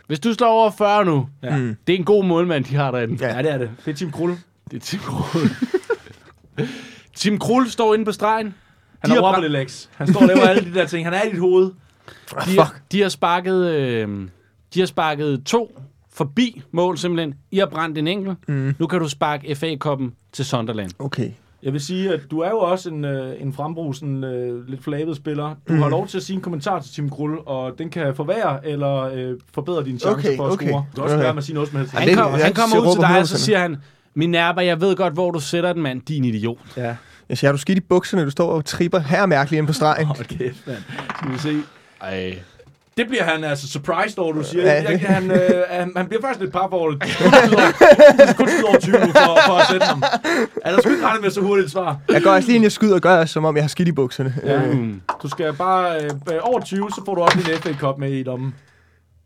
Hvis du slår over 40 nu,
Ja. Mm.
det er en god målmand, de har derinde.
ja, det er det. Det er Tim Krul.
Det er Tim Krul. Tim Krul står inde på stregen.
Han
har
er
brændt-
Robert Lex. Han står og laver alle de der ting. Han er i dit hoved.
Ah,
De, har, de har sparket... Øh, de har sparket to forbi mål simpelthen. I har brændt en enkelt. Mm. Nu kan du sparke FA-koppen til Sunderland.
Okay.
Jeg vil sige, at du er jo også en, øh, en frembrusende, øh, lidt flabet spiller. Du
Mhm.
mm. har lov til at sige en kommentar til Tim Krul, og den kan forværre eller øh, forbedre dine chancer
Okay,
for at
okay.
score. Du kan også
Okay.
være med at sige noget som helst.
Han,
det-
kom,
jeg
han kommer
siger
ud til
råber
dig, og
100%.
så siger han, min nærmer, jeg ved godt, hvor du sætter den, mand. Din idiot.
Ja.
Jeg siger, har du skidt i bukserne, du står og tripper her mærkeligt inde på stregen?
Hold kæft, mand. Skal vi se.
Ej.
Det bliver han altså surprised over, du siger.
Ja.
Ja. Jeg, han, øh, han, han bliver faktisk lidt par for det. Kun skyde over 20 nu for, for at sætte ham. Altså, jeg skulle ikke regne med så hurtigt et svar.
Jeg går også lige ind i skyd og gør, som om jeg har skidt i bukserne. Ja. Øh,
Du skal bare øh, øh, over 20, så får du også din FA Cup med i lommen.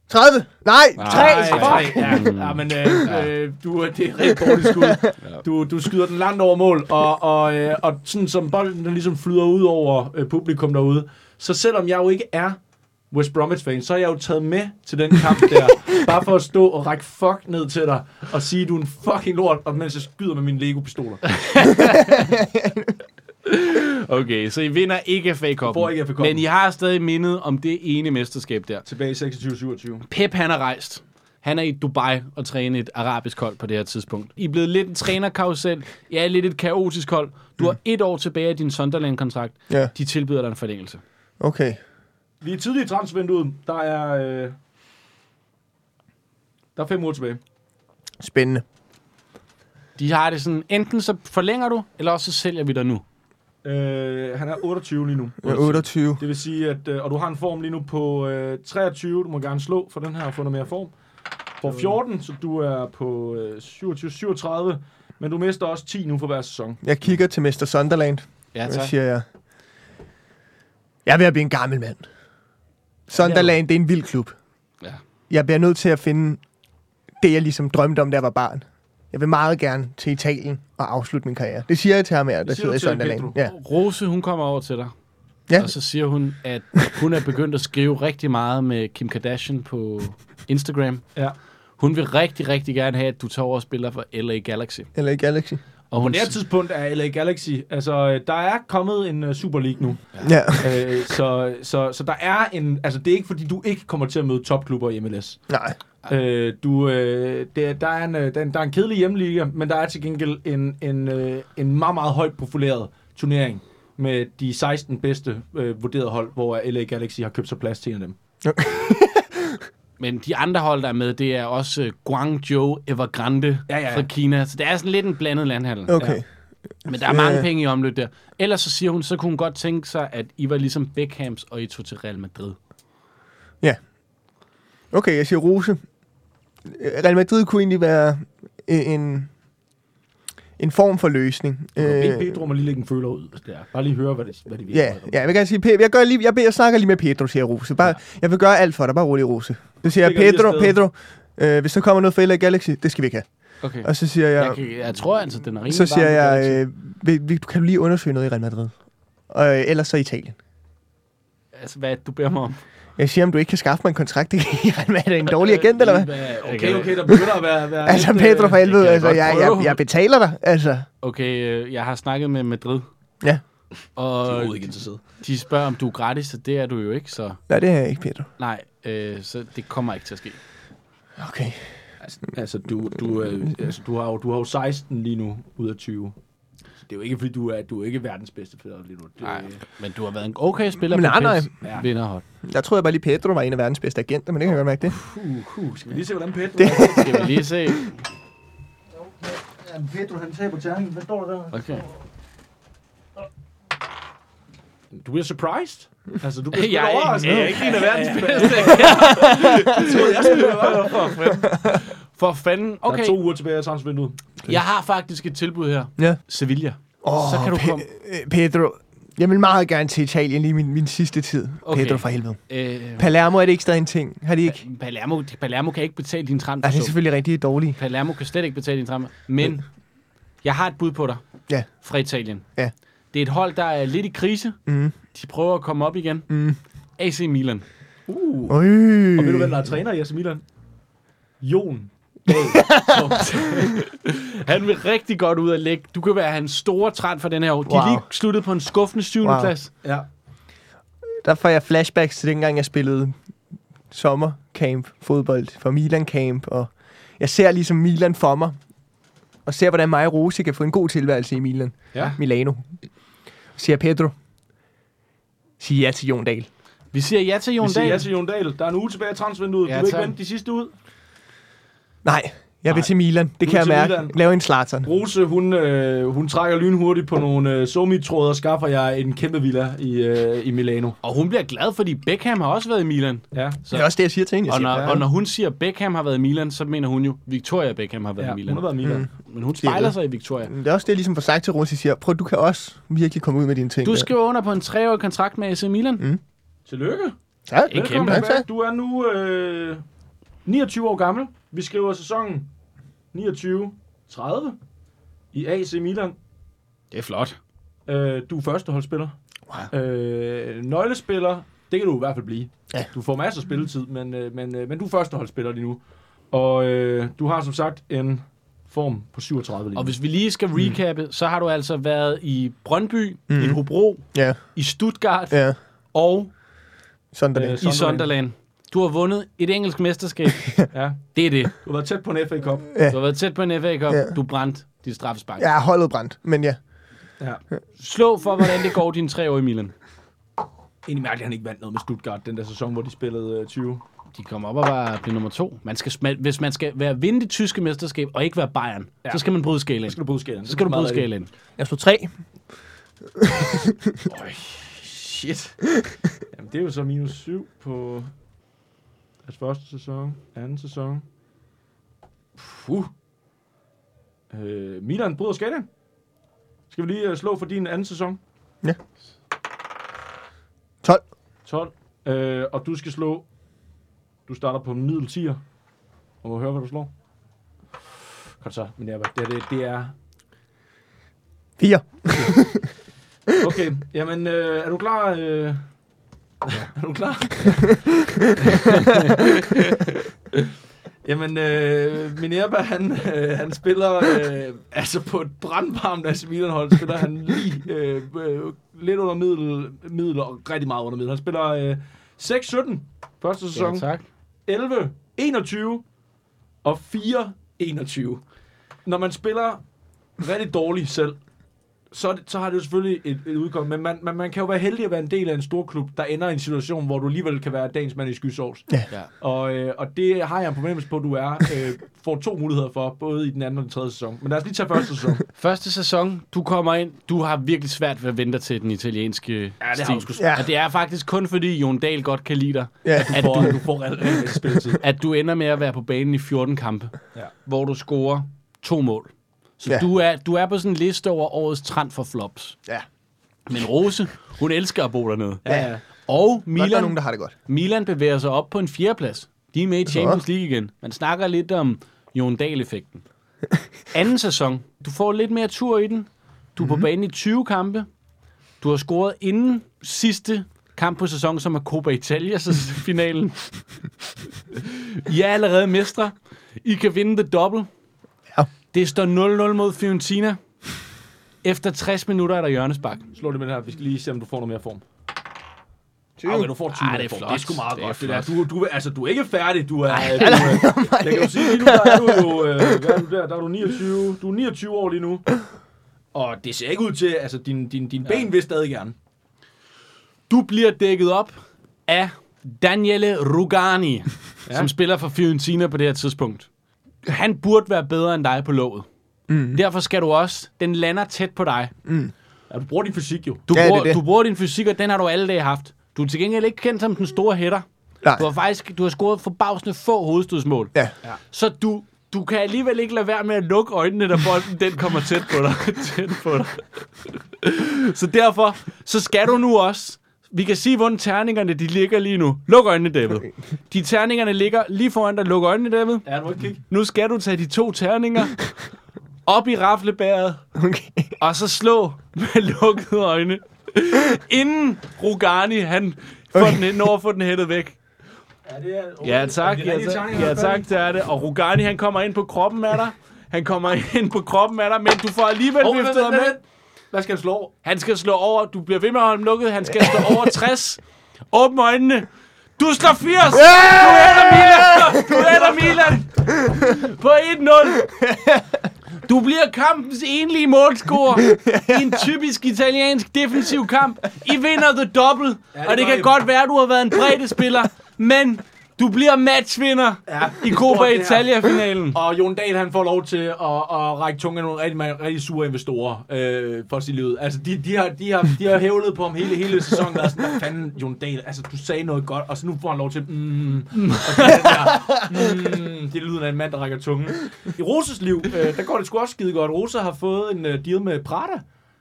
30! Nej! 3!
Ej, tre. Ja, ja, men øh, øh, du, det er rigtig dårligt skud. Du, du skyder den langt over mål, og, og, øh, og sådan som bolden den ligesom flyder ud over øh, publikum derude, så selvom jeg jo ikke er West Bromwich-fan, så har jeg jo taget med til den kamp der, bare for at stå og række fuck ned til dig, og sige, du er en fucking lort, og mens jeg skyder med mine Lego-pistoler.
Okay, så I vinder ikke FA
får ikke FA
Cup'en,
Cup'en.
men I har stadig mindet om det ene mesterskab der.
Tilbage i 26-27.
Pep, han er rejst. Han er i Dubai og træner et arabisk hold på det her tidspunkt. I er blevet lidt en trænerkarusel. Ja, lidt et kaotisk hold. Du har et år tilbage af din Sunderland-kontrakt.
Ja.
De tilbyder dig en forlængelse.
Okay.
Vi er tidligt i transfervinduet. Der er... Øh, der er fem uger tilbage.
Spændende.
De har det sådan, enten så forlænger du, eller også så sælger vi dig nu.
Øh, han er 28 lige nu.
Jeg er 28.
Det vil sige, at øh, og du har en form lige nu på øh, 23. Du må gerne slå for den her og få noget mere form. På 14, så du er på øh, 27-37. Men du mister også 10 nu for hver sæson.
Jeg kigger til Mr. Sunderland.
Ja,
Hvad siger jeg? Jeg er ved at blive en gammel mand. Sunderland, det er en vild klub.
Ja.
Jeg bliver nødt til at finde det, jeg ligesom drømte om, da jeg var barn. Jeg vil meget gerne til Italien og afslutte min karriere. Det siger jeg til ham her, der
siger
sidder
du
i
til
Sunderland.
Pedro.
Ja.
Rose, hun kommer over til dig.
Ja.
Og så siger hun, at hun er begyndt at skrive rigtig meget med Kim Kardashian på Instagram.
Ja.
Hun vil rigtig, rigtig gerne have, at du tager over og spiller for LA Galaxy.
Eller i Galaxy.
Og hun,
Det her tidspunkt er LA Galaxy. Altså, øh, der er kommet en øh, Super League nu.
Ja.
øh, så, så, så der er en... Altså, det er ikke, fordi du ikke kommer til at møde topklubber i MLS.
Nej.
Øh, du, øh, det, der, er en, øh, der, er en, der er en kedelig hjemmeliga, men der er til gengæld en, en, øh, en meget, meget højt profileret turnering med de 16 bedste øh, vurderede hold, hvor LA Galaxy har købt sig plads til en af dem.
Men de andre hold, der er med, det er også øh, Guangzhou Evergrande
Ja, ja, ja.
fra Kina. Så det er sådan lidt en blandet landhandel.
Okay. Øh. Ja.
Men der er
Ja.
mange penge i omløb der. Ellers så siger hun, så kunne hun godt tænke sig, at I var ligesom Beckhams, og I tog til Real Madrid.
Okay, jeg siger Rose. Real Madrid kunne egentlig være en, en form for løsning.
Øh, Pedro må lige lægge en føler ud der. Bare lige høre, hvad det, hvad det virker.
Ja, ja, jeg vil gerne sige, Pe- jeg, gør lige, jeg, beder- jeg snakker lige med Pedro, siger Rose. Bare, Jeg vil gøre alt for dig, bare rolig, Rose. Så siger jeg,
Ligger lige
Pedro,
afsted.
Pedro, øh, hvis der kommer noget fra LA Galaxy, det skal vi ikke have.
Okay.
Og så siger jeg,
Jeg, kan, jeg tror altså, den er rimelig
så siger
varm,
jeg,
Galaxy.
øh, vi, vi, kan du lige undersøge noget i Real Madrid? Og, øh, ellers så Italien.
Altså, hvad er det, du beder mig om?
Jeg siger, om du ikke kan skaffe mig en kontrakt i Real Madrid, er det en dårlig agent, eller hvad?
Okay, okay, der begynder at være... være
Altså,
lidt, øh,
Pedro, for helvede,
jeg
altså,
godt
jeg,
prøve.
jeg, jeg betaler dig, altså.
Okay, øh, jeg har snakket med Madrid.
Ja.
Og
overhovedet ikke interesseret.
de spørger, om du er gratis, og det er du jo ikke, så
Nej, det er jeg ikke, Pedro.
nej, øh, så det kommer ikke til at ske.
Okay.
Altså, altså, du, du, øh, altså du, har jo, du har jo 16 lige nu ud af 20. Så det er jo ikke, fordi du er, du er ikke verdens bedste spiller lige nu. Det, øh,
Nej, Øh, men du har været en okay spiller
Men
på
nej, nej.
Pets vinderhold.
Jeg troede jeg bare lige, Pedro var en af verdens bedste agenter, men det kan jeg godt mærke det.
Uh, uh, skal vi lige se, hvordan Pedro...
Skal vi lige se?
Jamen, Pedro, han taber terningen. Hvad står der der?
Okay.
Du bliver surprised. Altså, du bliver
Jeg
jeg
er ikke-
overrasket.
jeg er ikke en af verdens
bedste.
For fanden.
Okay. Der
Okay,
er to uger tilbage af transfervinduet.
jeg har faktisk et tilbud her.
Ja.
Sevilla.
Oh,
Så kan du
Pe-
komme.
øh, Pedro, jeg vil meget gerne til Italien lige min, min sidste tid.
Okay.
Okay. Pedro for helvede.
Øh,
Palermo er det ikke stadig en ting? Har de ikke?
Palermo, Palermo kan ikke betale din
Nej, det er
transfer.
selvfølgelig rigtig dårligt.
Palermo kan slet ikke betale din transfer. Men jeg har et bud på dig.
Ja.
Fra Italien.
Ja.
Det er et hold, der er lidt i krise.
Mhm.
De prøver at komme op igen.
Mm.
AC Milan.
Uh.
Øj.
Og ved du, hvem der er træner i AC Milan? Jon.
Han vil rigtig godt ud at lægge. Du kan være hans store træt for den her år. De er
Wow.
lige sluttet på en skuffende 7.
Wow.
plads.
ja.
Der får jeg flashbacks til dengang, jeg spillede sommercamp fodbold for Milan Camp. Og jeg ser ligesom Milan for mig. Og ser, hvordan mig og Rose kan få en god tilværelse i Milan.
Ja.
Milano. Siger Pedro. Sig ja til Jon Dahl.
Vi siger ja til Jon
Vi siger ja
Dahl.
til Jon Dahl. Der er en uge tilbage af transfervinduet.
Ja,
Ja, du vil ikke
tak.
vente de sidste ud.
Nej, Jeg vil til Milan. Det kan jeg
til
mærke.
Milan.
Lave en Zlatan.
Rose, hun, øh, hun trækker lynhurtigt på nogle øh, somitråder og skaffer jer en kæmpe villa i, øh, i Milano.
Og hun bliver glad, fordi Beckham har også været i Milan.
Ja.
Det er også det, jeg siger til hende. Jeg
Og
siger,
når,
ja.
og når hun siger, at Beckham har været i Milan, så mener hun jo, Victoria Beckham har været
ja
i Milan.
hun har været i Milan. Mm.
Men hun spejler
det.
sig i Victoria.
Det er også det, jeg ligesom får sagt til Rossi, siger, prøv, du kan også virkelig komme ud med dine ting.
Du
der."
skriver under på en treårig kontrakt med AC Milan. Mm.
Tillykke.
tak.
Ikke
Velkommen
kæmpe.
tilbage. Du er nu øh, 29 år gammel. Vi skriver sæsonen 29-30 i AC Milan.
Det er flot.
Øh, du er førsteholdsspiller. Wow. Øh, nøglespiller, det kan du i hvert fald blive.
Ja.
Du får masser af spilletid, men, øh, men, øh, men du er førsteholdsspiller lige nu. Og øh, du har som sagt en form på 37 lige
Og
nu.
hvis vi lige skal recappe, så har du altså været i Brøndby, mm. i Hobro,
Ja,
i Stuttgart
ja.
og
Sådan der.
Øh,
det.
i
Sunderland.
Sunderland. Du har vundet et engelsk mesterskab.
Ja.
Det er det.
Du har været tæt på en FA Cup.
Du har været tæt på en FA Cup.
Ja.
Du brændte dit straffespark.
Jeg er holdet brændt, men ja.
Ja.
Slå for, hvordan det går dine tre år i Milan.
Egentlig mærkeligt, at han ikke vandt noget med Stuttgart den der sæson, hvor de spillede øh, 20.
De kom op og var blev nummer to. Man skal, sma- hvis man skal være vinde det tyske mesterskab og ikke være Bayern, ja. så skal man bryde skalaen.
Så skal du bryde skalaen.
Så skal du bryde skalaen.
Jeg slog tre.
Shit. Jamen, det er jo så minus 7 på deres første sæson, anden sæson. Puh. Øh, Milan bryder skalaen. Skal vi lige øh, slå for din anden sæson?
12.
12. Øh, og du skal slå... Du starter på middel 10'er. Og må høre, hvad du slår. Kom så, min nærmere. Det, her, det, det er...
4.
Okay, jamen, øh, er du klar? Øh... Er du klar? Jamen, øh, Minerva, han, øh, han spiller øh, altså på et brandvarmt AC Milan-hold, spiller han lige øh, øh, lidt under middel, middel og rigtig meget under middel. Han spiller øh, 6-17 første sæson,
tak.
11-21 og 4-21. Når man spiller rigtig dårligt selv, så, er det- så har det jo selvfølgelig et, et udkom, men man, man, man kan jo være heldig at være en del af en stor klub, der ender i en situation, hvor du alligevel kan være dagens mand i skysovs.
Ja.
Og, øh, og det har jeg en fornemmelse på, at du er. Øh, får to muligheder for, både i den anden og den tredje sæson. Men lad os lige tage første sæson.
Første sæson, du kommer ind, du har virkelig svært ved at vente dig til den italienske Ja,
det har du sgu
svært.
Og det er faktisk kun fordi Jon Dahl godt kan lide dig,
Ja.
at
Hvor
du,
du får rent rent spilletid.
at du ender med at være på banen i 14 kampe,
Ja.
hvor du scorer to mål. Så
Ja.
du, er, du er på sådan en liste over årets trend for flops.
Ja.
Men Rose, hun elsker at bo dernede.
Ja, ja.
Og
Milan. Der er
Milan,
nogen, der har det godt.
Milan bevæger sig op på en fjerdeplads. De er med i Champions League igen. Man snakker lidt om Jon Dahl-effekten. Anden sæson. Du får lidt mere tur i den. Du er på banen i 20 kampe. Du har scoret inden sidste kamp på sæsonen, som er Copa Italia-finalen. I er allerede mestre. I kan vinde det dobbelt.
Ja.
Det står 0-0 mod Fiorentina. Efter 60 minutter er der hjørnesbak.
Slå det med det her. Vi skal lige se, om du får noget mere form.
20.
Okay, du får 20
Ej, det er
form.
flot.
Det er sgu meget
Det er
godt. Det der.
flot.
Du, du, altså, du er ikke færdig. Du er, øh, du, er jeg kan jo sige lige nu, der er du jo... Øh, hvad er du der? Der er du 29. Du er 29 år lige nu. Og det ser ikke ud til... Altså, din, din, din ben vil stadig gerne.
Du bliver dækket op af Daniele Rugani, ja. som spiller for Fiorentina på det her tidspunkt. Han burde være bedre end dig på låget. Mm. Derfor skal du også. Den lander tæt på dig.
Ja, du bruger din fysik jo.
Du,
Ja, det er
bruger,
det.
du bruger din fysik, og den har du alle dage haft. Du er til gengæld ikke kendt som den store hætter.
Nej.
Du har faktisk du har scoret forbavsende få hovedstødsmål.
Ja.
Så du, du kan alligevel ikke lade være med at lukke øjnene, når bolden den kommer tæt på dig. tæt på dig. så derfor, så skal du nu også... Vi kan sige, hvordan terningerne de ligger lige nu. Luk øjnene, David. De terningerne ligger lige foran dig. Luk øjnene, David.
Ja, du må ikke kigge.
Nu skal du tage de to terninger op i raflebæret,
Okay.
og så slå med lukkede øjne. Inden Rugani, han får den, når at få den hættet væk.
Ja, det er, okay.
Ja tak,
Det er
ja,
rigtige
tak,
tegninger,
ja,
i hvert fald.
tak det er det. Og Rugani, han kommer ind på kroppen af dig. Han kommer ind på kroppen af dig, men du får alligevel
Hov,
oh,
vent,
viftet ham
vent,
ind.
vent. Hvad skal han slå over?
Han skal slå over. Du bliver ved med at holde ham lukket. Han skal slå over 60. Åbn øjnene. Du slår 80! Du æder Milan! Du æder Milan! På 1-0. Du bliver kampens enlige målscorer i en typisk italiensk defensiv kamp. I vinder the double,
det
og det
gør
kan
I.
godt være, at du har været en bredde spiller, men du Du bliver matchvinder
Ja,
i
det
Copa
står der.
Italia-finalen.
Og Jon Dahl, han får lov til at, at række tungen nogle rigtig, mange- rigtig sure investorer øh, for sit liv. Altså, de, de, har, de, har, de har hævlet på ham hele, hele sæsonen. Og sådan, hvad fanden, Jon Dahl, altså, du sagde noget godt, og så nu får han lov til, mm, og det, der, mm, det lyder af en mand, der rækker tungen. I Roses liv, øh, der går det sgu også skide godt. Rosa har fået en øh, deal med Prada.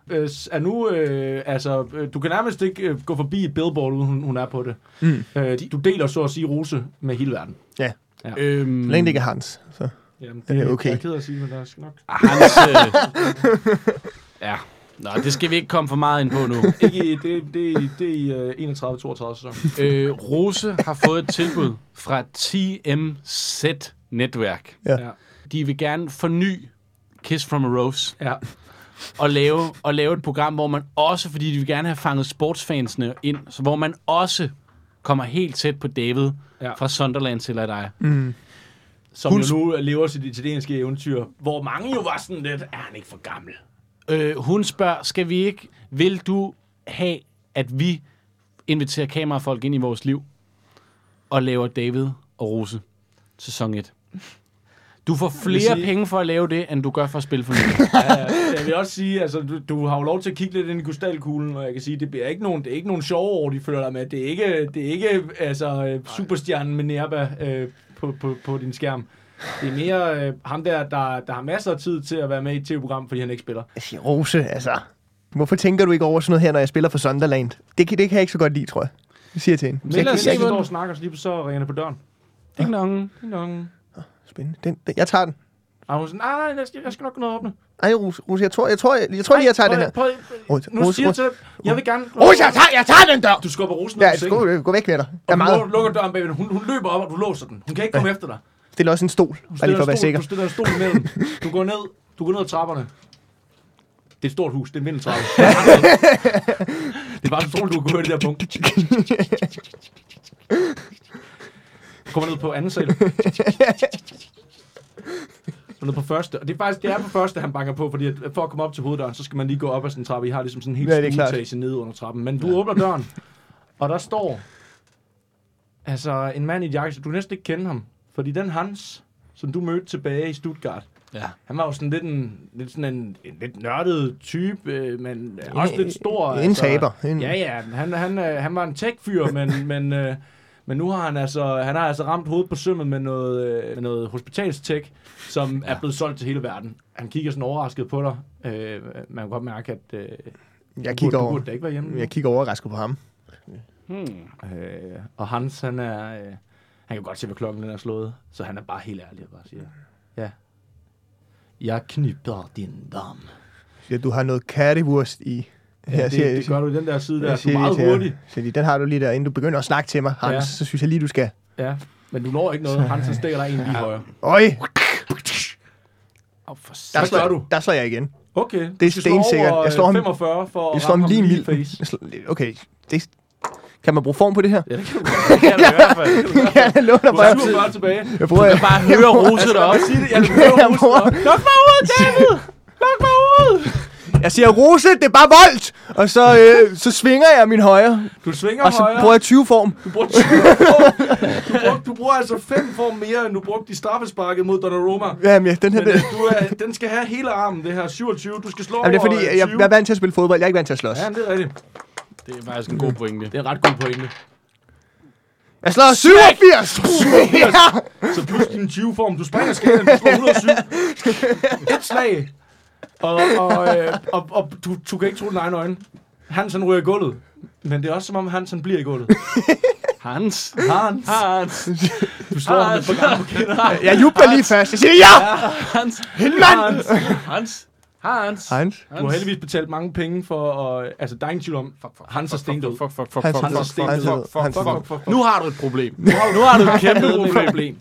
Øh, er nu, øh, altså, øh, du kan nærmest ikke øh, gå forbi et billboard, uden hun, hun er på det. Mm. Øh, du deler så at sige Rose med hele verden.
Ja.
Øhm,
Så længe det ikke er hans. Så.
Jamen, det,
det okay?
Jeg er ked af at sige, men der er nok
Hans... Øh, ja. Nå, det skal vi ikke komme for meget ind på nu.
Ikke i, det, det, er i- det er i 31-32 sæson.
Øh, Rose har fået et tilbud fra TMZ-netværk.
Ja.
Ja.
De vil gerne forny Kiss from a Rose
Ja.
og lave, og lave et program, hvor man også, fordi de vil gerne have fanget sportsfansene ind, så hvor man også kommer helt tæt på David
Ja.
ja. fra Sunderland til dig.
Som jo nu lever sit italienske eventyr, hvor mange jo var sådan lidt, er han ikke for gammel?
Øh, hun spørger, skal vi ikke, vil du have, at vi inviterer kamerafolk ind i vores liv og laver David og Rose sæson 1? Du får flere
sige-
penge for at lave det, end du gør for at spille for mig.
Jeg vil også sige, altså, du, du har jo lov til at kigge lidt ind i krystalkuglen, og jeg kan sige, det, bliver ikke nogen, det er ikke nogen sjove år, de følger dig med. Det er ikke, det er ikke altså, øh, superstjernen med Nerba øh, på, på, på din skærm. Det er mere øh, ham der, der, der har masser af tid til at være med i et tv-program, fordi han ikke spiller.
Jeg siger, Rose, altså. Hvorfor tænker du ikke over sådan noget her, når jeg spiller for Sunderland? Det kan, det kan jeg ikke så godt lide, tror jeg. Det siger jeg til hende.
lad os
Men
se,
jeg står
hvordan-
og snakker, så lige så ringer det på døren.
Ding dong.
Ding dong.
Spændende. Den, den, jeg tager den.
Og hun er sådan, nej, nej, jeg skal, jeg skal nok gå ned og åbne.
Ej, Rose, Rose jeg tror, jeg tror, jeg, jeg, tror, lige, jeg tager
Prøv-
den her.
Prøv,
Rose,
nu
Rose,
siger jeg
Rose,
til dem, jeg vil gerne...
Rose, jeg tager, jeg tager den dør!
Du skubber Rosen ud
Ja,
af sengen,
gå, gå væk med dig. Der
og
er
du
meget.
lu- lukker døren bagved. Hun, hun løber op, og du låser den. Hun kan ikke komme efter dig. Hun
Stil også en stol, bare lige for at
en stol,
være sikker.
Du stiller en stol imellem. Du går ned, du går ned ad trapperne. Det er et stort hus, det er en vindeltrappe. det er bare så du kunne høre det der punkt. Kommer ned på anden sal. Og ned på første. Og det er faktisk, det er på første, han banker på, fordi at for at komme op til hoveddøren, så skal man lige gå op ad sådan en trappe. I har ligesom sådan en
Ja, det er
helt
klart.
stueetage nede under trappen. Men du åbner døren, og der står altså en mand i et jakke, så du kan næsten ikke kende ham. Fordi den Hans, som du mødte tilbage i Stuttgart,
Ja.
han var jo sådan lidt en, lidt sådan en, en lidt nørdet type, øh, men også lidt stor.
en taber. En-
altså, Ja, ja. Han, han, øh, han var en tech-fyr, men, men, øh, men nu har han altså, han har altså ramt hovedet på sømmet med noget, øh, med noget hospitalstech, som ja. er blevet solgt til hele verden. Han kigger sådan overrasket på dig. Øh, man kan godt mærke, at øh,
Jeg
du,
kigger
du
over.
burde da ikke være hjemme.
Jeg kigger overrasket på ham.
Øh, og Hans, han er... Øh, han kan godt se, hvad klokken den er slået, så han er bare helt ærlig og bare siger, ja, jeg knypper din dam.
Ja, du har noget currywurst i.
Ja, det, det gør du i den der side der, du er meget hurtig.
Så den har du lige der, inden du begynder at snakke til mig, Hans,
Ja.
ja. så synes jeg lige, du skal...
Ja, men du når ikke noget. Hans, han stikker dig en lige højre.
Øj,
Oh, for s-
der
Hvad
slår,
gør du?
der slår jeg igen.
Okay,
Det er
du skal slå
stensikkert.
Over,
Jeg slår
øh,
ham-
45 for
Jeg
at
slår
ramme ham
ham lige i
lige i
mild.
face.
Jeg slår- Okay, det, kan man bruge form på det her?
Ja, det kan du
det kan du i hvert fald.
Ja, jeg låner
Du
bare.
er 47 tilbage.
Jeg bruger...
Jeg bare høre Rose deroppe.
Sig det, jeg vil prøve at
Jeg
huske
bruger-
dig.
Luk mig ud, David! Luk mig ud!
Jeg siger, Rose, det er bare voldt! Og så, øh, så svinger jeg min højre,
Du svinger
og så
højre.
bruger jeg 20-form.
Du bruger 20 form. Du bruger, du bruger altså 5 form mere, end du brugte i straffesparket mod Donnarumma.
Jamen, ja, den her...
Men øh, du er, den skal have hele armen, det her 27. Du skal slå
Jamen, det er fordi,
over øh,
jeg,
20.
jeg er vant til at spille fodbold, jeg er ikke vant til at slås.
Ja, det er rigtigt.
Det er faktisk en god pointe.
Det er en ret god pointe.
Jeg slår 87! Ja!
Så plus din 20-form. Du springer skalaen, du slår 107. Et slag. Og, og, øh, og, og du, du kan ikke tro dine egne øjne. Hansen ryger i gulvet. Men det er også som om Hansen bliver i gulvet.
Hans.
Hans,
Hans.
du slår ham med på gang på kinder.
Jeg jubler lige først. Jeg siger, ja!
Hans.
mand!
Hans. Hans. Hans.
Hans,
Du har heldigvis betalt mange penge for at... Altså, der er ingen tvivl om, Hans er stendød.
Fuck, fuck, fuck,
Hans
fuck,
er
fuck,
stenet.
fuck,
Hans er
fuck, fuck,
stenet.
fuck,
Hans
fuck, fuck. Nu har du et problem. Nu har du et kæmpe problem.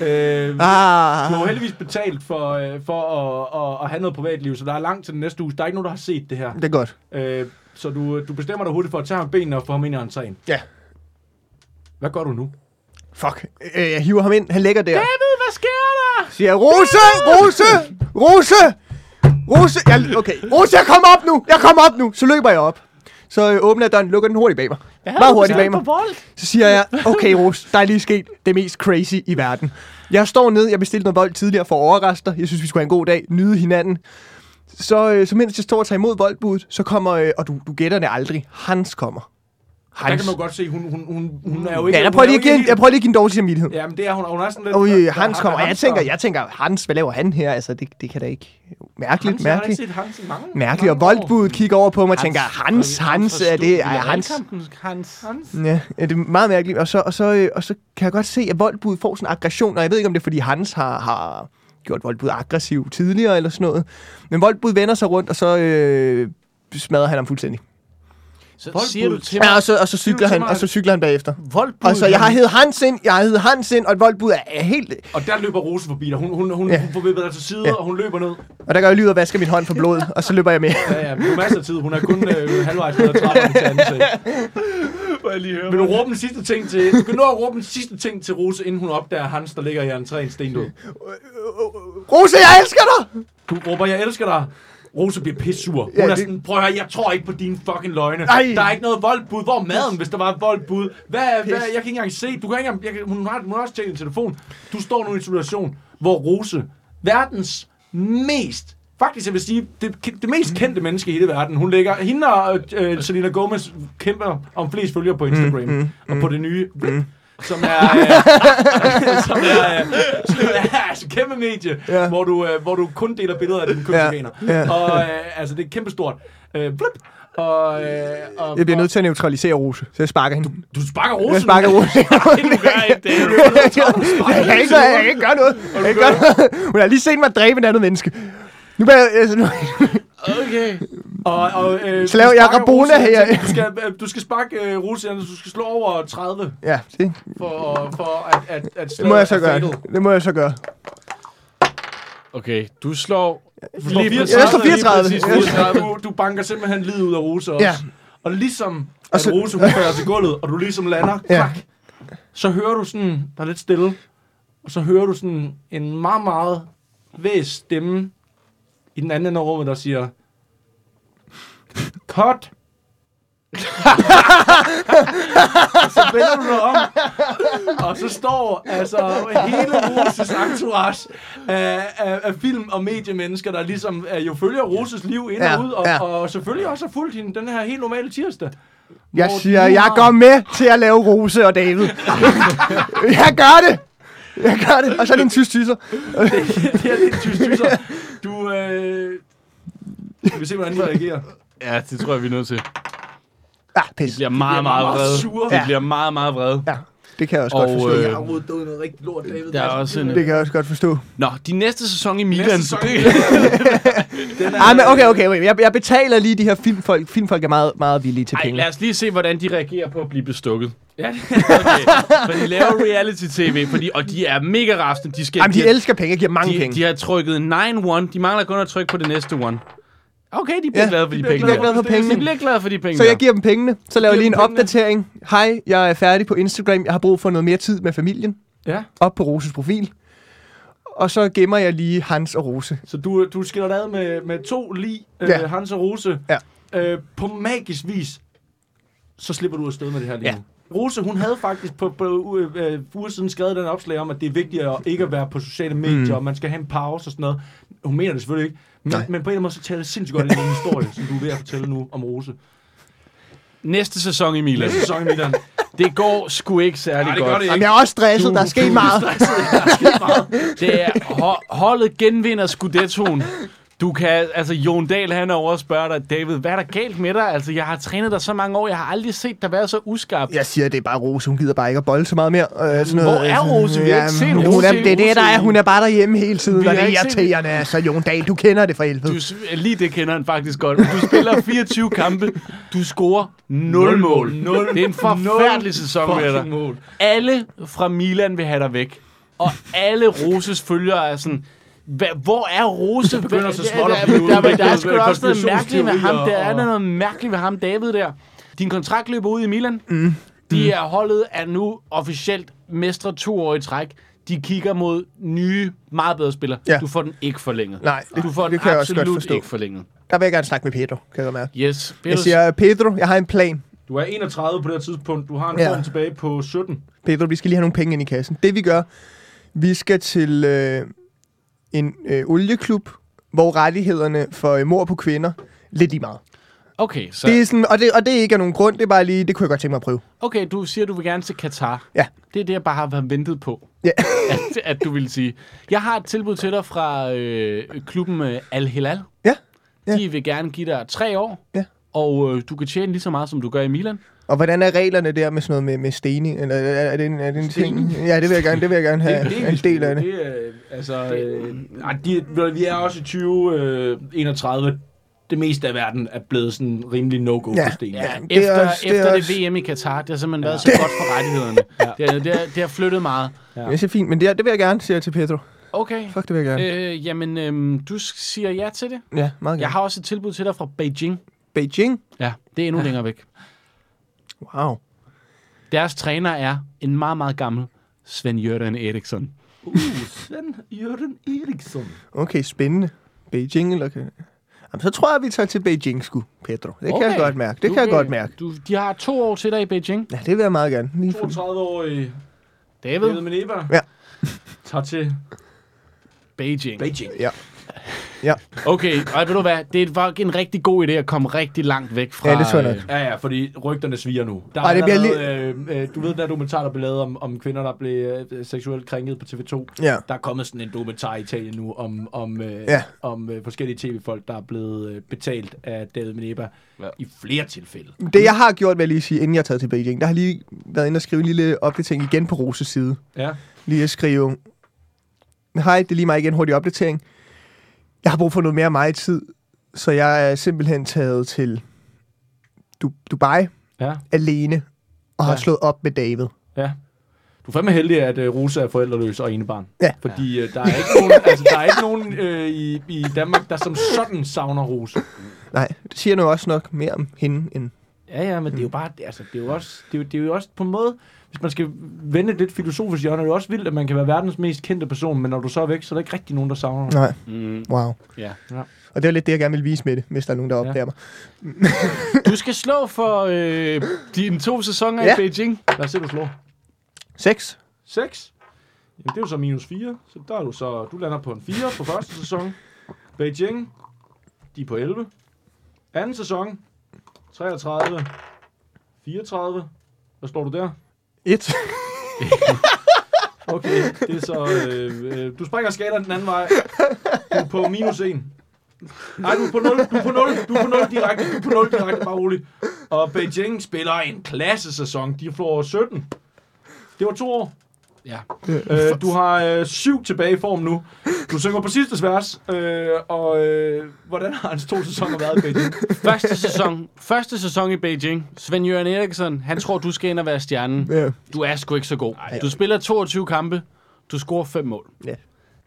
Øh,
Ah.
Du har jo heldigvis betalt for, øh, for at, at, at have noget privatliv, så der er langt til den næste uge. Der er ikke nogen, der har set det her.
Det er godt.
Øh, så du, du bestemmer dig hurtigt for at tage ham i benene og få ham ind i entréen.
Ja.
Hvad gør du nu?
Fuck. Øh, jeg hiver ham ind. Han ligger der.
David, hvad sker der?
Siger jeg, Rose! Rose! Rose! Rose! Jeg, okay. Rose, jeg kommer op nu! Jeg kommer op nu! Så løber jeg op. Så øh, åbner jeg døren, lukker den hurtigt bag mig.
Ja,
Meget hurtigt bag mig.
På bold.
Så siger jeg, okay Rus, der er lige sket det mest crazy i verden. Jeg står ned, jeg bestilte noget bold tidligere for at overraske dig. Jeg synes, vi skulle have en god dag, nyde hinanden. Så, øh, så mens jeg står og tager imod boldbuddet, så kommer, øh, og du, du gætter det aldrig, Hans kommer. Hans.
Der kan man jo godt se, hun, hun, hun, hun er jo ikke...
Ja, jeg prøver lige at
hun er
give
jo
en,
ikke
jeg prøver lige at give en dårlig samvittighed.
helt- Jamen, det er hun, og hun er sådan lidt...
Og
der- der-
øh, Hans
der-
kommer, og jeg
Hans
tænker,
der-
jeg tænker, Hans, hvad laver han her? Altså, det, det kan da ikke... Mærkeligt,
Hans, jeg har ikke
mærkeligt.
set Hans i mange,
Mærkeligt, og
mange år.
boldbuddet kigger over på mig og tænker, Hans, Hans, er det er Hans?
Hans. Hans.
Ja, ja, det er meget mærkeligt. Og så, og, så, øh, og så kan jeg godt se, at voldbud får sådan en aggression, og jeg ved ikke, om det er, fordi Hans har, har gjort voldbud aggressiv tidligere eller sådan noget. Men voldbud vender sig rundt, og så øh, smadrer han ham fuldstændig.
Så
Boldbud.
siger du til mig,
Ja, og så, og så
det
cykler
er
han,
meget-
og så cykler han bagefter.
voldbud.
Og så, jeg har hed Hans ind, jeg har hed Hans ind, og et voldbud er, er helt...
Og der løber Rose forbi dig. Hun, hun, hun,
Ja.
hun får vippet dig til side,
Ja.
og hun løber ned.
Og der gør jeg lyd og vasker min hånd for blod, og så løber jeg med.
Ja, ja, men hun har masser af tid. Hun er kun øh, halvvejs ned ad trappen til anden sal.
Må jeg lige høre,
Vil du råbe den sidste ting til... Du kan nå at råbe den sidste ting til Rose, inden hun opdager Hans, der ligger i entréen stendød.
Rose, jeg elsker dig!
Du råber, jeg elsker dig. Rose bliver pissur. Hun
Ja,
ja, er
det-
sådan, prøv at høre, jeg tror ikke på dine fucking løgne.
Ej.
Der er ikke noget voldbud. Hvor er maden, hvis der var et voldbud? Hvad, hvad, jeg
Pis.
kan ikke engang se. Du kan ikke engang, jeg, kan- hun, har, hun har også tjekket en telefon. Du står nu i en situation, hvor Rose, verdens mest Faktisk, jeg vil sige, det, det mest kendte menneske i hele verden. Hun lægger, hende og øh, Selena Gomez kæmper om flest følgere på Instagram. Mm, mm, og på det nye RIP, mm. som er... Øh, som er, øh, som er altså, kæmpe medie,
Ja.
ja. hvor, du, øh, hvor du kun deler billeder af dine kønsorganer.
Ja, ja.
Og øh, altså, det er kæmpestort. Øh, blip. Og, øh, og,
Jeg bliver nødt til at neutralisere Rose, så jeg sparker hende.
og, du sparker rosen.
Jeg sparker Rose.
du gør ikke det.
jeg, kan ikke, jeg kan ikke gøre noget. Jeg kan ikke gøre noget. Hun har lige set mig dræbe et andet menneske. Nu bliver jeg... Altså, nu,
Okay.
Og, og, øh,
Så laver
du
jeg
sparker
Rabona
rosen.
her.
Du skal, øh, du skal sparke øh, rosen, altså, du skal slå over 30
ja, det,
for, for at, at, at
det
slå
må jeg så gøre.
fatal.
Det må jeg så gøre.
Okay, du slår...
Du slår
lige
34.
Jeg slår
lige præcis
34.
34. Du, du banker simpelthen livet ud af Rose også.
Ja.
Ja. Og ligesom
Og
at
så-
Rose hun falder til gulvet, og du ligesom lander,
Ja.
ja. klak, så hører du sådan, der er lidt stille, og så hører du sådan en meget, meget væs stemme i den anden ende af rummet, der siger, Cut! Og så vender du dig om, og så står altså hele Roses entourage af, af, af film- og mediemennesker, der ligesom øh, jo følger Roses liv ind
Ja,
og ud, og,
ja.
og selvfølgelig også har fulgt hende den her helt normale tirsdag.
Jeg
Hvor
siger,
du
jeg
har-
går med til at lave Rose og David. jeg gør det! Jeg gør det. Og så er det en tysk tyser.
det er lidt tyst, tyser. Du, øh... Vi vil se, hvordan de reagerer.
Ja, det tror jeg, vi er nødt til.
Ah, pis.
De bliver meget, meget,
meget
vrede.
sure.
De
Ja.
bliver meget, meget vrede.
Ja, det kan jeg også
Og,
godt forstå.
øh,
Jeg har rodet ud noget rigtig lort, David.
Der er også en... øh,
Det kan jeg også godt forstå.
Nå, de næste sæson i Milan.
Næste sæson,
det-
den er,
Ej, men okay, okay, okay. Jeg, jeg betaler lige de her filmfolk. Filmfolk er meget, meget villige til
Ej,
penge.
lad os lige se, hvordan de reagerer på at blive bestukket.
Ja, det-
Okay. For de laver reality-tv, fordi, og de er mega rasende. De, skal,
Jamen, de
har-
elsker penge. Jeg giver mange
de,
penge.
de har trykket 9-1. De mangler kun at trykke på det næste one. Okay, de bliver
Ja,
glade for de,
bliver
penge.
Jeg er glad
der.
for pengene.
De bliver glade for de penge.
Så jeg
der.
giver dem pengene, så laver
Giver
jeg lige en
dem pengene.
opdatering. Hej, jeg er færdig på Instagram. Jeg har brug for noget mere tid med familien.
ja.
Op på Roses profil. Og så gemmer jeg lige Hans og Rose.
Så du, du skiller dig ad med, med to lig, øh,
Ja.
ja. Hans og Rose.
Ja.
Øh, på magisk vis, så slipper du afsted med det her lige
Ja.
ja. Rose, hun havde faktisk på, på u- øh, uger siden skrevet den opslag om, at det er vigtigt at ikke at være på sociale medier, mm. og man skal have en pause og sådan noget. Hun mener det selvfølgelig ikke. Men, men på en eller anden måde, så tager det sindssygt godt i den historie, som du er ved at fortælle nu om Rose.
Næste sæson i Milan.
Næste sæson i midten.
Det går sgu ikke særlig
Nej, det
godt.
gør det
Jamen, jeg er også stresset. Der er sket meget.
Det er, ho- holdet genvinder Scudettoen. Du kan, altså Jon Dahl han er over og spørger dig, David, hvad er der galt med dig? Altså, jeg har trænet dig så mange år, jeg har aldrig set dig være så uskarp.
Jeg siger, det er bare Rose. Hun gider bare ikke at bolde så meget mere. Øh, sådan noget.
Hvor er Rose? Vi har ikke set
Jamen,
Rose
Hun er,
i
det er det, der er. Hun er bare derhjemme hele tiden.
Vi
Og det
har
er
ikke set-
irriterende. Altså, Jon Dahl, du kender det for helvede.
Du, s- lige det kender han faktisk godt. Du spiller 24 kampe, du scorer 0 mål.
Nul.
Det er en forfærdelig sæson med
Fucking
dig.
mål.
Alle fra Milan vil have dig væk. Og alle Roses følgere er sådan, "Hva- hvor er Rose?
begynder
Hva-
så småt at
der-
blive
Der, der,
udviklet
der er sgu da også noget mærkeligt med ham. Der
konspirationsteorier
er
og-
der noget mærkeligt med ham, David, der. Din kontrakt løber ud i Milan. Mm. De er holdet er nu officielt mestre to år i træk. De kigger mod nye, meget bedre spillere.
Ja.
Du får den ikke forlænget.
Nej, det-
du får den
det kan jeg også
absolut
godt forstå.
ikke forlænget.
Der vil jeg gerne snakke med Pedro, kan jeg godt mærke.
Yes.
Jeg
Peters,
siger, Pedro, jeg har en plan.
Du er 31 på det her tidspunkt. Du har en
Ja.
form tilbage på 17.
Pedro, vi skal lige have nogle penge ind i kassen. Det vi gør, vi skal til øh, en øh, olieklub, hvor rettighederne for øh, mor på kvinder lidt i meget.
Okay, så,
Det er sådan, og, det, og det ikke er nogen grund, det er bare lige, det kunne jeg godt tænke mig at prøve.
okay, du siger, du vil gerne til Katar.
Ja.
Det er det, jeg bare har været ventet på,
Ja.
at, at du ville sige. Jeg har et tilbud til dig fra øh, klubben øh, Al Hilal.
Ja. Ja.
De vil gerne give dig tre år,
Ja.
og øh, du kan tjene lige så meget, som du gør i Milan.
Og hvordan er reglerne der med sådan noget med, med stening? Eller er, er det en, er det en ting? Ja, det vil jeg gerne, det vil jeg gerne have
Det er
en del af det.
Det, er, øh, altså, øh, nej, de, vi er også i 2031. Øh, det meste af verden er blevet sådan rimelig no-go
Ja.
på sten.
Ja,
Ja, det er
efter,
også- det er
efter det,
også-
VM i Katar, det har simpelthen været så godt for rettighederne. Det, har- det, har- det har flyttet meget.
Ja. Det er fint, men det, er- det vil jeg gerne, siger jeg til Pedro.
Okay,
Fuck, det vil jeg gerne.
øh, jamen øhm, du siger ja til det.
Ja, meget
Jeg
gerne.
har også et tilbud til dig fra Beijing.
Beijing?
Ja, det er endnu ja. længere væk.
Wow.
Deres træner er en meget, meget gammel Sven-Jørgen Eriksson.
Uh, Sven Jørgen Eriksson.
Okay, spændende. Beijing, eller kan... Jamen, så tror jeg, vi tager til Beijing, sku, Pedro. Det okay. kan jeg
Okay.
godt mærke. Det
Du
kan jeg godt mærke.
Du, de har to år til dig i Beijing.
Ja, det vil jeg meget gerne. Lige for...
32-årig David
David,
Meneva
Ja.
tager til
Beijing.
Beijing.
Okay, og ved du hvad, det er faktisk en rigtig god idé at komme rigtig langt væk fra...
Ja, det tror jeg nok.
øh,
Ja, ja, fordi rygterne sviger nu. Der
Ej, det
har
bliver
været, øh, øh, du ved, der dokumentar, der blev lavet om, om kvinder, der blev øh, seksuelt krænket på TV2.
Ja.
Der er kommet sådan en dokumentar i Italien nu om, om, øh,
Ja.
ja. om øh, forskellige tv-folk, der er blevet øh, betalt af David Meneba
Ja.
ja. i flere tilfælde.
Det, jeg har gjort, vil jeg lige sige, inden jeg er taget til Beijing, der har lige været inde og skrive en lille opdatering igen på Roses side.
Ja.
Lige at skrive, hej, det er lige mig igen, hurtig opdatering. Jeg har brug for noget mere af mig i tid, så jeg er simpelthen taget til du- Dubai
Ja.
alene og har
Ja.
slået op med David.
ja. Du er fandme heldig, at øh, Rosa er forældreløs og enebarn.
Ja.
Fordi øh, der er ikke nogen, altså, der er ikke nogen øh, i, i Danmark, der som sådan savner Rosa.
Nej, det siger nu også nok mere om hende end...
Ja, ja, men det er jo bare, altså, det er jo også, det er jo, det er jo også på en måde, hvis man skal vende et lidt filosofisk hjørne, er det jo også vildt, at man kan være verdens mest kendte person, men når du så er væk, så er der ikke rigtig nogen, der savner dig.
Nej,
Mm,
wow.
ja.
Og det var lidt det, jeg gerne ville vise med det, hvis der er nogen, der opdager mig.
Du skal slå for øh, dine to sæsoner ja.
Ja.
i Beijing.
Lad os se, du slår.
6.
6. Jamen, det er jo så minus 4, så der er du så, du lander på en 4 på første sæson. Beijing, de er på 11. Anden sæson, 33, 34. Hvad står du der?
1.
Okay, det er så... Øh, øh, du springer skateren den anden vej. Du er på minus 1. Nej, du er på 0. Du er på 0. Du er på 0 direkte. Du er på 0 direkte, bare rolig. Og Beijing spiller en klassesæson. De får 17. Det var to år.
Ja.
Øh, du har øh, syv tilbage i form nu. Du synger på sidste vers. Øh, og øh, hvordan har hans to sæsoner været i Beijing?
Første sæson, første sæson i Beijing. Svend Jørgen Eriksen, han tror, du skal ind og være stjernen.
Ja.
Du er sgu ikke så god. Du spiller 22 kampe. Du scorer 5 mål.
Ja.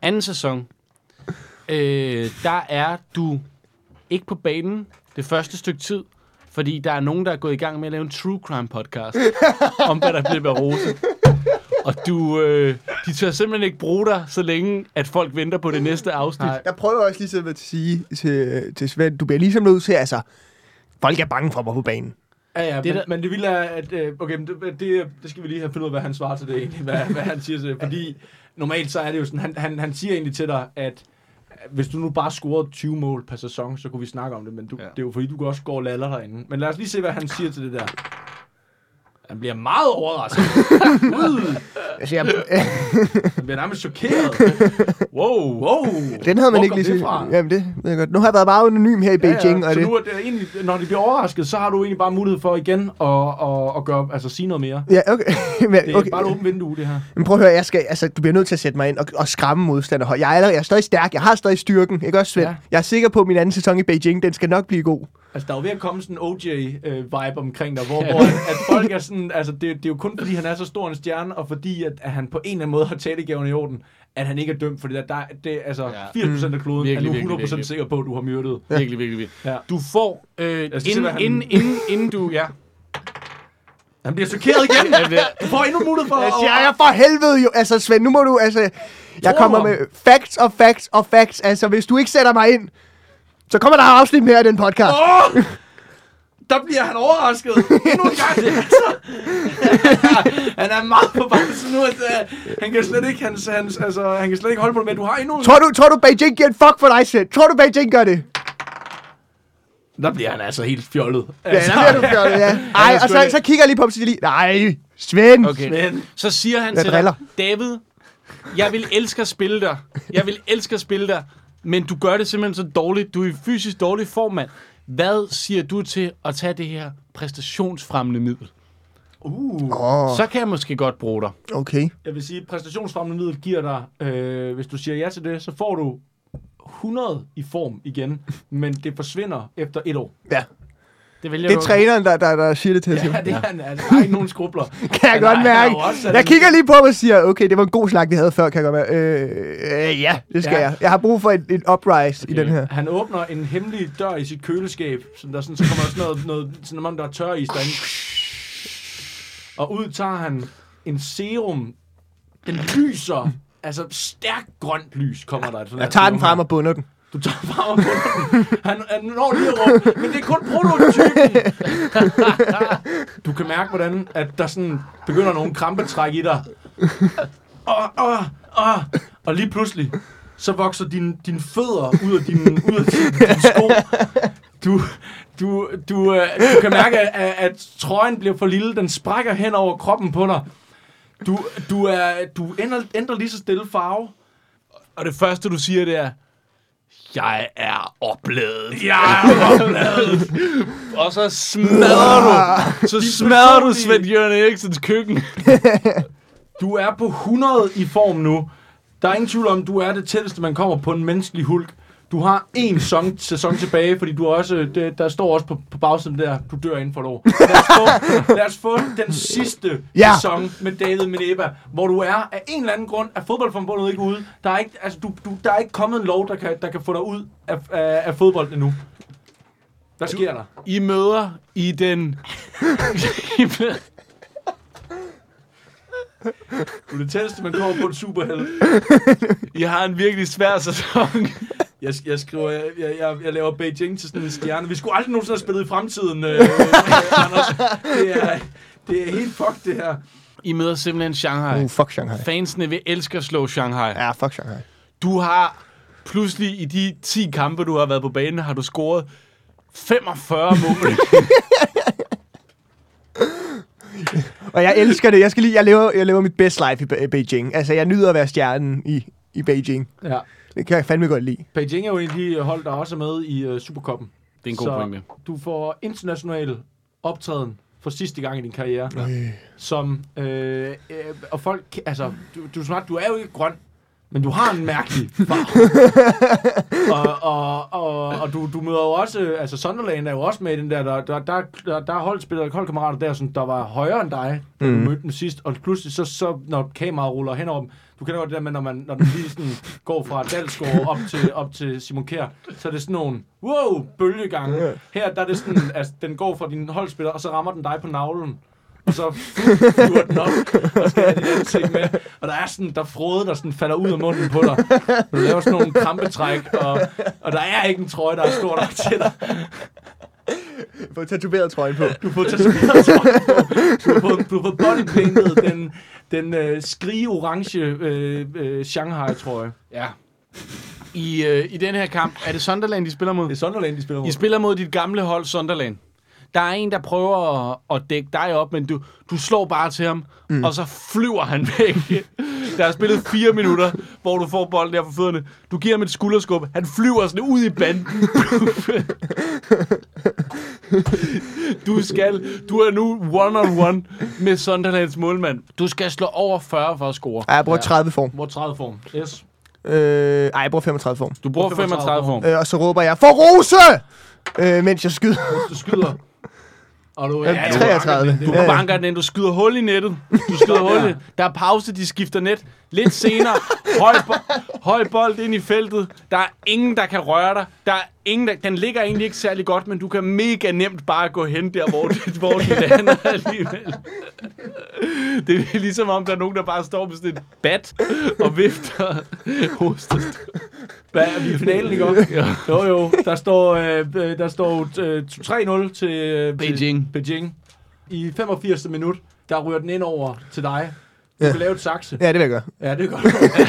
Anden sæson. Øh, der er du ikke på banen det første stykke tid, fordi der er nogen, der er gået i gang med at lave en true crime podcast om, hvad der blev med Rose. Og du, øh, de tør simpelthen ikke bruge dig, så længe at folk venter på det næste afsnit. Nej.
Jeg prøver også ligesom at sige til, til Svend, du bliver ligesom nødt til, altså, folk er bange for mig på banen.
Ja, ja,
Det
det men,
der-
der... men det vilde er, at... Øh, okay, men det, det, det skal vi lige have fundet ud af, hvad han svarer til det egentlig. Hvad, hvad han siger til det. Fordi normalt så er det jo sådan, han, han, han siger egentlig til dig, at øh, hvis du nu bare scorede 20 mål per sæson, så kunne vi snakke om det, men du, ja. det er jo fordi, du kan også score laller derinde. Men lad os lige se, hvad han siger til det der. Han bliver meget overrasket.
Altså, jeg,
Han bliver nærmest chokeret. Wow, wow.
den havde man
Hvor
ikke
kom
lige
det fra?
Jamen, det ved jeg godt. Nu har jeg været meget anonym her i Beijing,
ja,
og
så
det...
nu er det egentlig, når de bliver overrasket, så har du egentlig bare mulighed for igen at, at, at gøre, altså sige noget mere.
Ja, okay.
Det
Men,
er okay.
okay.
bare et åbent vindue, det her.
Men prøv at høre, jeg skal, altså, du bliver nødt til at sætte mig ind og, og skræmme modstander. Jeg er, allerede, jeg er stadig stærk, jeg har stadig styrken, ikke også Svend? Ja.
Ja.
Jeg er sikker på, at min anden sæson i Beijing, den skal nok blive god.
Altså, der er jo ved at komme sådan en OJ-vibe omkring dig, hvor, hvor at, at folk er sådan... Altså, det, det er jo kun, fordi han er så stor en stjerne, og fordi, at, at han på en eller anden måde har talegaverne i orden, at han ikke er dømt, fordi der, der det, altså,
Ja.
80% af kloden
Virkelig,
er nu
virkelig,
100%
virkelig.
sikker på, at du har myrdet.
Virkelig, virkelig, virkelig.
Ja.
Du får, øh,
Jeg skal se,
inden,
hvad han-
inden, inden, inden du... Ja.
Han bliver chokeret igen! Du får endnu mulighed for
Jeg
at...
siger, Altså, jeg for helvede jo. Altså, Svend, nu må du, altså... Jeg
Tror
kommer
mig.
med facts og facts og facts. Altså, hvis du ikke sætter mig ind, så kommer der afsnit mere af den podcast.
Åh! der bliver han overrasket. Endnu en gang. Altså, han er meget på bamsen nu. At, uh, han, kan slet ikke, hans, hans, altså, han kan slet ikke holde på det med, du har endnu en.
Tror du, tror du Beijing giver en fuck for dig selv? Tror du, Beijing gør det?
Der bliver han altså helt fjollet.
Ja, der bliver du fjollet, ja. Ej, og så, så kigger jeg lige på ham, så siger jeg lige, nej, Svend.
Okay.
Men
Så siger han
Jeg
til
driller.
dig, David, jeg vil elske at spille dig. Jeg vil elske at spille dig. Men du gør det simpelthen så dårligt. Du er i fysisk dårlig form, mand. Hvad siger du til at tage det her præstationsfremmende middel?
Åh,
Så kan jeg måske godt bruge dig.
okay.
jeg vil sige, præstationsfremmende middel giver dig, øh, hvis du siger ja til det, så får du 100 i form igen, men det forsvinder efter et år.
Ja.
Det vælger
Det er
du.
træneren, der, der, der siger det til os.
Ja, det er han. Altså, der er ikke nogen skrubler.
Kan jeg
Han er-
godt
han er
mærke.
jo også sådan-
Jeg kigger lige på ham og siger, okay, det var en god snak, vi havde før, kan jeg godt mærke. Øh, øh, ja, det skal
Ja.
jeg. Jeg har brug for en, en uprise i den her.
Han åbner en hemmelig dør i sit køleskab, som der sådan, så kommer der sådan noget, noget sådan, om der er tør is derinde. Og ud tager han en serum. Den lyser, altså stærkt grønt lys kommer der. Sådan
Jeg tager den frem og bunder den.
Du tager den frem og bunder den. Han, han når lige at råbe, men det er kun prototypen. du kan mærke, hvordan at der sådan begynder nogle krampetræk i dig. Og, og, og, og lige pludselig, så vokser din, din fødder ud af din, ud af din, din sko. Du, du, du, øh, du kan mærke, at, at trøjen bliver for lille. Den sprækker hen over kroppen på dig. Du, du, er, du ændrer, ændrer lige så stille farve.
Og det første, du siger, det er, jeg er opladet.
Ja,
Og så smadrer du. Så smadrer du
personlige-
Svend Jørgen Eriksens køkken.
Du er på 100 i form nu. Der er ingen tvivl om, du er det tætteste, man kommer på en menneskelig hulk. Du har én sæson, sæson tilbage, fordi du er også, det, der står også på, på bagsiden der, du dør inden for et år. Lad os få, lad os få den sidste
Ja.
ja. sæson med David Mineba, hvor du er af en eller anden grund, er fodboldforbundet ikke ude. Der er ikke, altså, du, du, der er ikke kommet en lov, der kan, der kan få dig ud af, af, af fodbold endnu. Hvad sker der?
I møder i den... I møder-
Du er det tætteste, man kommer på en superheld.
I har en virkelig svær sæson.
Jeg, jeg skriver, jeg, jeg, jeg, jeg laver Beijing til sådan en stjerne. Vi skulle aldrig nogensinde have spillet i fremtiden, øh, øh, Anders. Det er, det er helt fucked, det her.
I møder simpelthen Shanghai.
Uh, fuck Shanghai.
Fansene vil elske at slå Shanghai.
Ja, fuck Shanghai.
Du har pludselig i de 10 kampe, du har været på banen, har du scoret 45 mål.
Og jeg elsker det. Jeg, skal lige, jeg, lever, jeg lever mit best life i Be- Beijing. Altså, jeg nyder at være stjernen i, i Beijing.
Ja.
Det kan jeg fandme godt lide.
Beijing er jo en af de hold, der også er med i uh, Superkoppen.
Det er en god
Så
pointe.
du får international optræden for sidste gang i din karriere.
Øh.
Som, øh, øh, og folk, kan- altså, du, du, er smart, du er jo ikke grøn, men du har en mærkelig farve. og, og, og, og du, du møder jo også, øh, altså Sunderland er jo også med i den der, der, der, der, der, der er holdspillere, holdkammerater der, som der var højere end dig, da mm. du mødte dem sidst, og pludselig så, så når kameraet ruller hen over dem, du kender godt det der med, når man når den lige sådan går fra Dalsgaard op til, op til Simon Kjær, så er det sådan nogle, wow, bølgegange. Her der er det sådan, at altså, den går fra din holdspiller, og så rammer den dig på navlen og så flyver den op, og skal have dit ansigt med. Og der er sådan, der er frode, der sådan falder ud af munden på dig. Du laver sådan nogle krampetræk, og, og der er ikke en trøje, der er stor nok til dig.
Få tatoveret trøjen på.
Du har fået tatoveret trøje på. Du har fået, du har fået bodypainted den, den øh, skrige-orange øh, øh, Shanghai-trøje.
ja. I, øh, I den her kamp, er det Sunderland, de spiller mod?
Det er Sunderland, de spiller mod.
I spiller mod dit gamle hold, Sunderland. Der er en, der prøver at, at dække dig op, men du, du slår bare til ham, mm. og så flyver han væk. Der er spillet fire minutter, hvor du får bolden der for fødderne. Du giver ham et skulderskub. Han flyver sådan ud i banden. Du skal, du er nu one-on-one med Sunderlands målmand. Du skal slå over 40 for at score.
Ej, jeg bruger 30 form.
Hvor 30-form. Yes.
Øh, ej, jeg bruger 35 form.
Du bruger 35 form.
Øh, og så råber jeg, for Rose! Øh, mens jeg skyder.
Du skyder. Og du,
Ja,
du-
33.
Du
Ja, ja.
banker den ind, du skyder hul i nettet. Du skyder hul i Der er pause, de skifter net. Lidt senere, høj, bo- Høj bold ind i feltet. Der er ingen, der kan røre dig. Der er ingen, der... Den ligger egentlig ikke særlig godt, men du kan mega nemt bare gå hen der, hvor, du- hvor du lander alligevel. Det er ligesom om, der er nogen, der bare står med sådan et bat og vifter hostet.
Hvad er vi i finalen, ikke også? Jo, jo. Der står, øh, øh, der står øh, 3-0 til øh, til
Beijing.
Beijing. I 85. minut, der ryger den ind over til dig. Du
Ja.
kan lave et sakse.
Ja, det vil jeg gøre.
Ja, det er godt.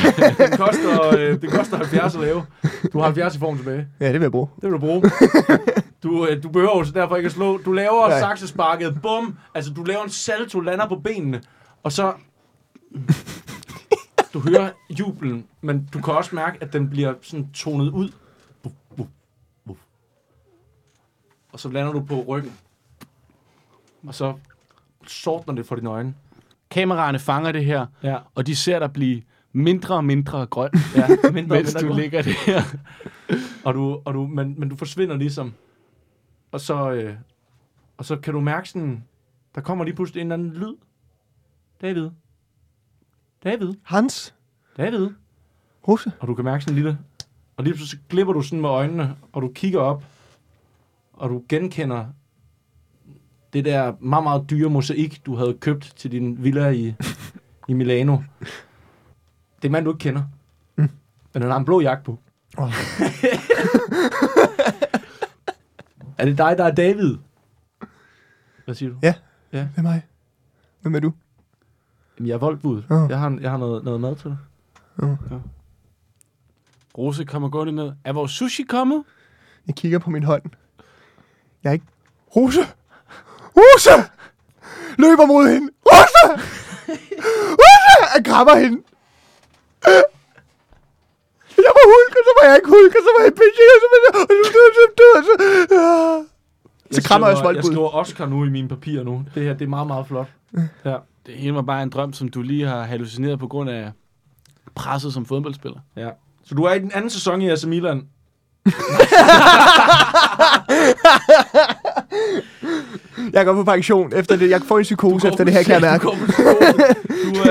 den, koster, øh, den koster 70 at lave. Du har 70 i form tilbage.
Ja, det vil jeg bruge.
Det vil du bruge. Du, øh, du behøver jo så derfor ikke at slå. Du laver
Nej.
saksesparket. Bum. Altså, du laver en salto, lander på benene. Og så... Du hører jublen, men du kan også mærke, at den bliver sådan tonet ud. Buf, buf, buf. Og så lander du på ryggen. Og så sortner det for dine øjne.
Kameraerne fanger det her,
Ja.
og de ser dig blive mindre og mindre grøn,
ja mindre, og
mens
mindre
du
grå.
ligger der.
Og du, og du, men, men du forsvinder ligesom. Og så, øh, og så kan du mærke sådan, der kommer lige pludselig en eller anden lyd. David. David.
Hans?
David.
Rose?
Og du kan mærke sådan en lille... Og lige pludselig så glipper du sådan med øjnene, og du kigger op, og du genkender det der meget, meget dyre mosaik, du havde købt til din villa i, i Milano. Det er en mand, du ikke kender. Men han har en blå jakke på.
Mm. Åh.
er det dig, der er David? Hvad siger du?
Ja.
Ja.
Hvem er jeg? Hvem er du?
Jamen, jeg er voldbud.
Nå.
Jeg har, jeg har noget, noget mad til dig.
Rose kommer gående ned. Er vores sushi kommet?
Jeg kigger på min hånd. Jeg er ikke... Rose! Rose! Løber mod hende! Rose! Rose! Jeg krammer hende. Jeg var hulk, og så var jeg ikke hulk, og så var jeg pitching, og så var jeg... Og så, og så, og så, og så, så krammer jeg også
skriver- Jeg
voldbud.
skriver Oscar nu i mine papirer nu. Det her, det er meget, meget flot. Ja.
Det hele var bare en drøm, som du lige har hallucineret på grund af presset som fodboldspiller.
Ja. Så du er i den anden sæson i AC Milan.
Jeg går på pension efter det. Jeg får en psykose efter det her, kan jeg mærke.
Du, går på psykose. du,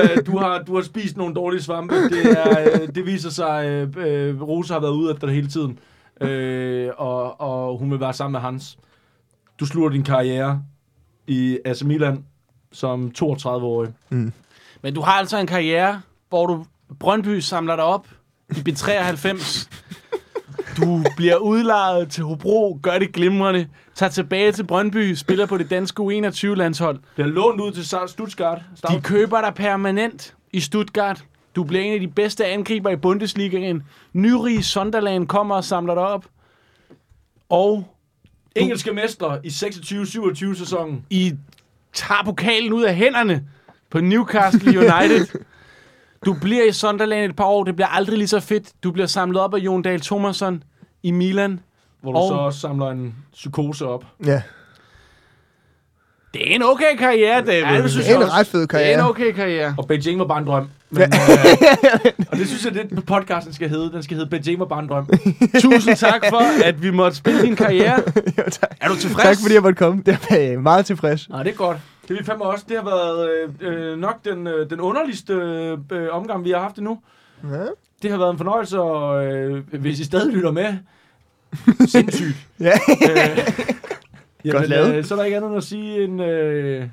øh, du, har, du har spist nogle dårlige svampe. Det, er, øh, det viser sig, øh, øh, Rosa har været ude efter det hele tiden. Øh, og, og hun vil være sammen med Hans. Du slutter din karriere i AC Milan som 32-årig.
Men du har altså en karriere, hvor du Brøndby samler dig op i B93. Du bliver udlejet til Hobro, gør det glimrende, tager tilbage til Brøndby, spiller på det danske U21-landshold.
Det er lånt ud til Sa- Stuttgart.
De
Stav-
køber dig permanent i Stuttgart. Du bliver en af de bedste angriber i Bundesligaen. Nyrige Sonderland kommer og samler dig op. Og
engelske mestre i 26-27 sæsonen.
I tager pokalen ud af hænderne på Newcastle United. Du bliver i Sunderland et par år. Det bliver aldrig lige så fedt. Du bliver samlet op af Jon Dahl Thomasson i Milan.
Hvor du
Og-
så også samler en psykose op.
Ja.
Det er en okay karriere, David. Ja, det,
Det er en ret
det
fed
er en
karriere.
okay karriere.
Og Beijing var bare en drøm. Men, øh, og det synes jeg, det podcasten skal hedde. Den skal hedde Beijing var bare en drøm.
Tusind tak for, at vi måtte spille din karriere.
Jo, tak.
Er du tilfreds?
tak fordi jeg måtte komme. Det var jeg meget tilfreds.
Nej, det er godt. Det er vi fandme også. Det har været øh, øh, nok den, øh, den underligste øh, øh, omgang, vi har haft endnu.
Ja.
Det har været en fornøjelse, og øh, hvis I stadig lytter med, sindssygt.
Ja.
øh,
Godt lavet.
Øh, så er der ikke andet end at sige en... Øh,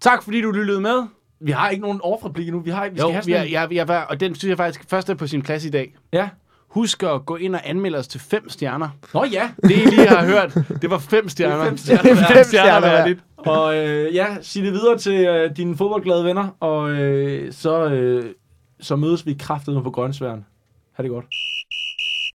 Tak fordi du lyttede med.
vi har ikke nogen off-replik endnu. Vi, har, vi skal
Jo,
have
vi er,
sådan en-
jeg, jeg var, og den synes jeg faktisk først er på sin plads i dag.
Ja.
Husk at gå ind og anmelde os til fem stjerner.
Nå ja,
Det, I lige har hørt, det var fem stjerner.
fem stjerner. Det er
fem stjerner,
der var
ja.
lidt.
Og øh, ja, sig det videre til øh, dine fodboldglade venner, og øh, så, øh, så mødes vi kraftedeme på grønsværen. Ha' det godt.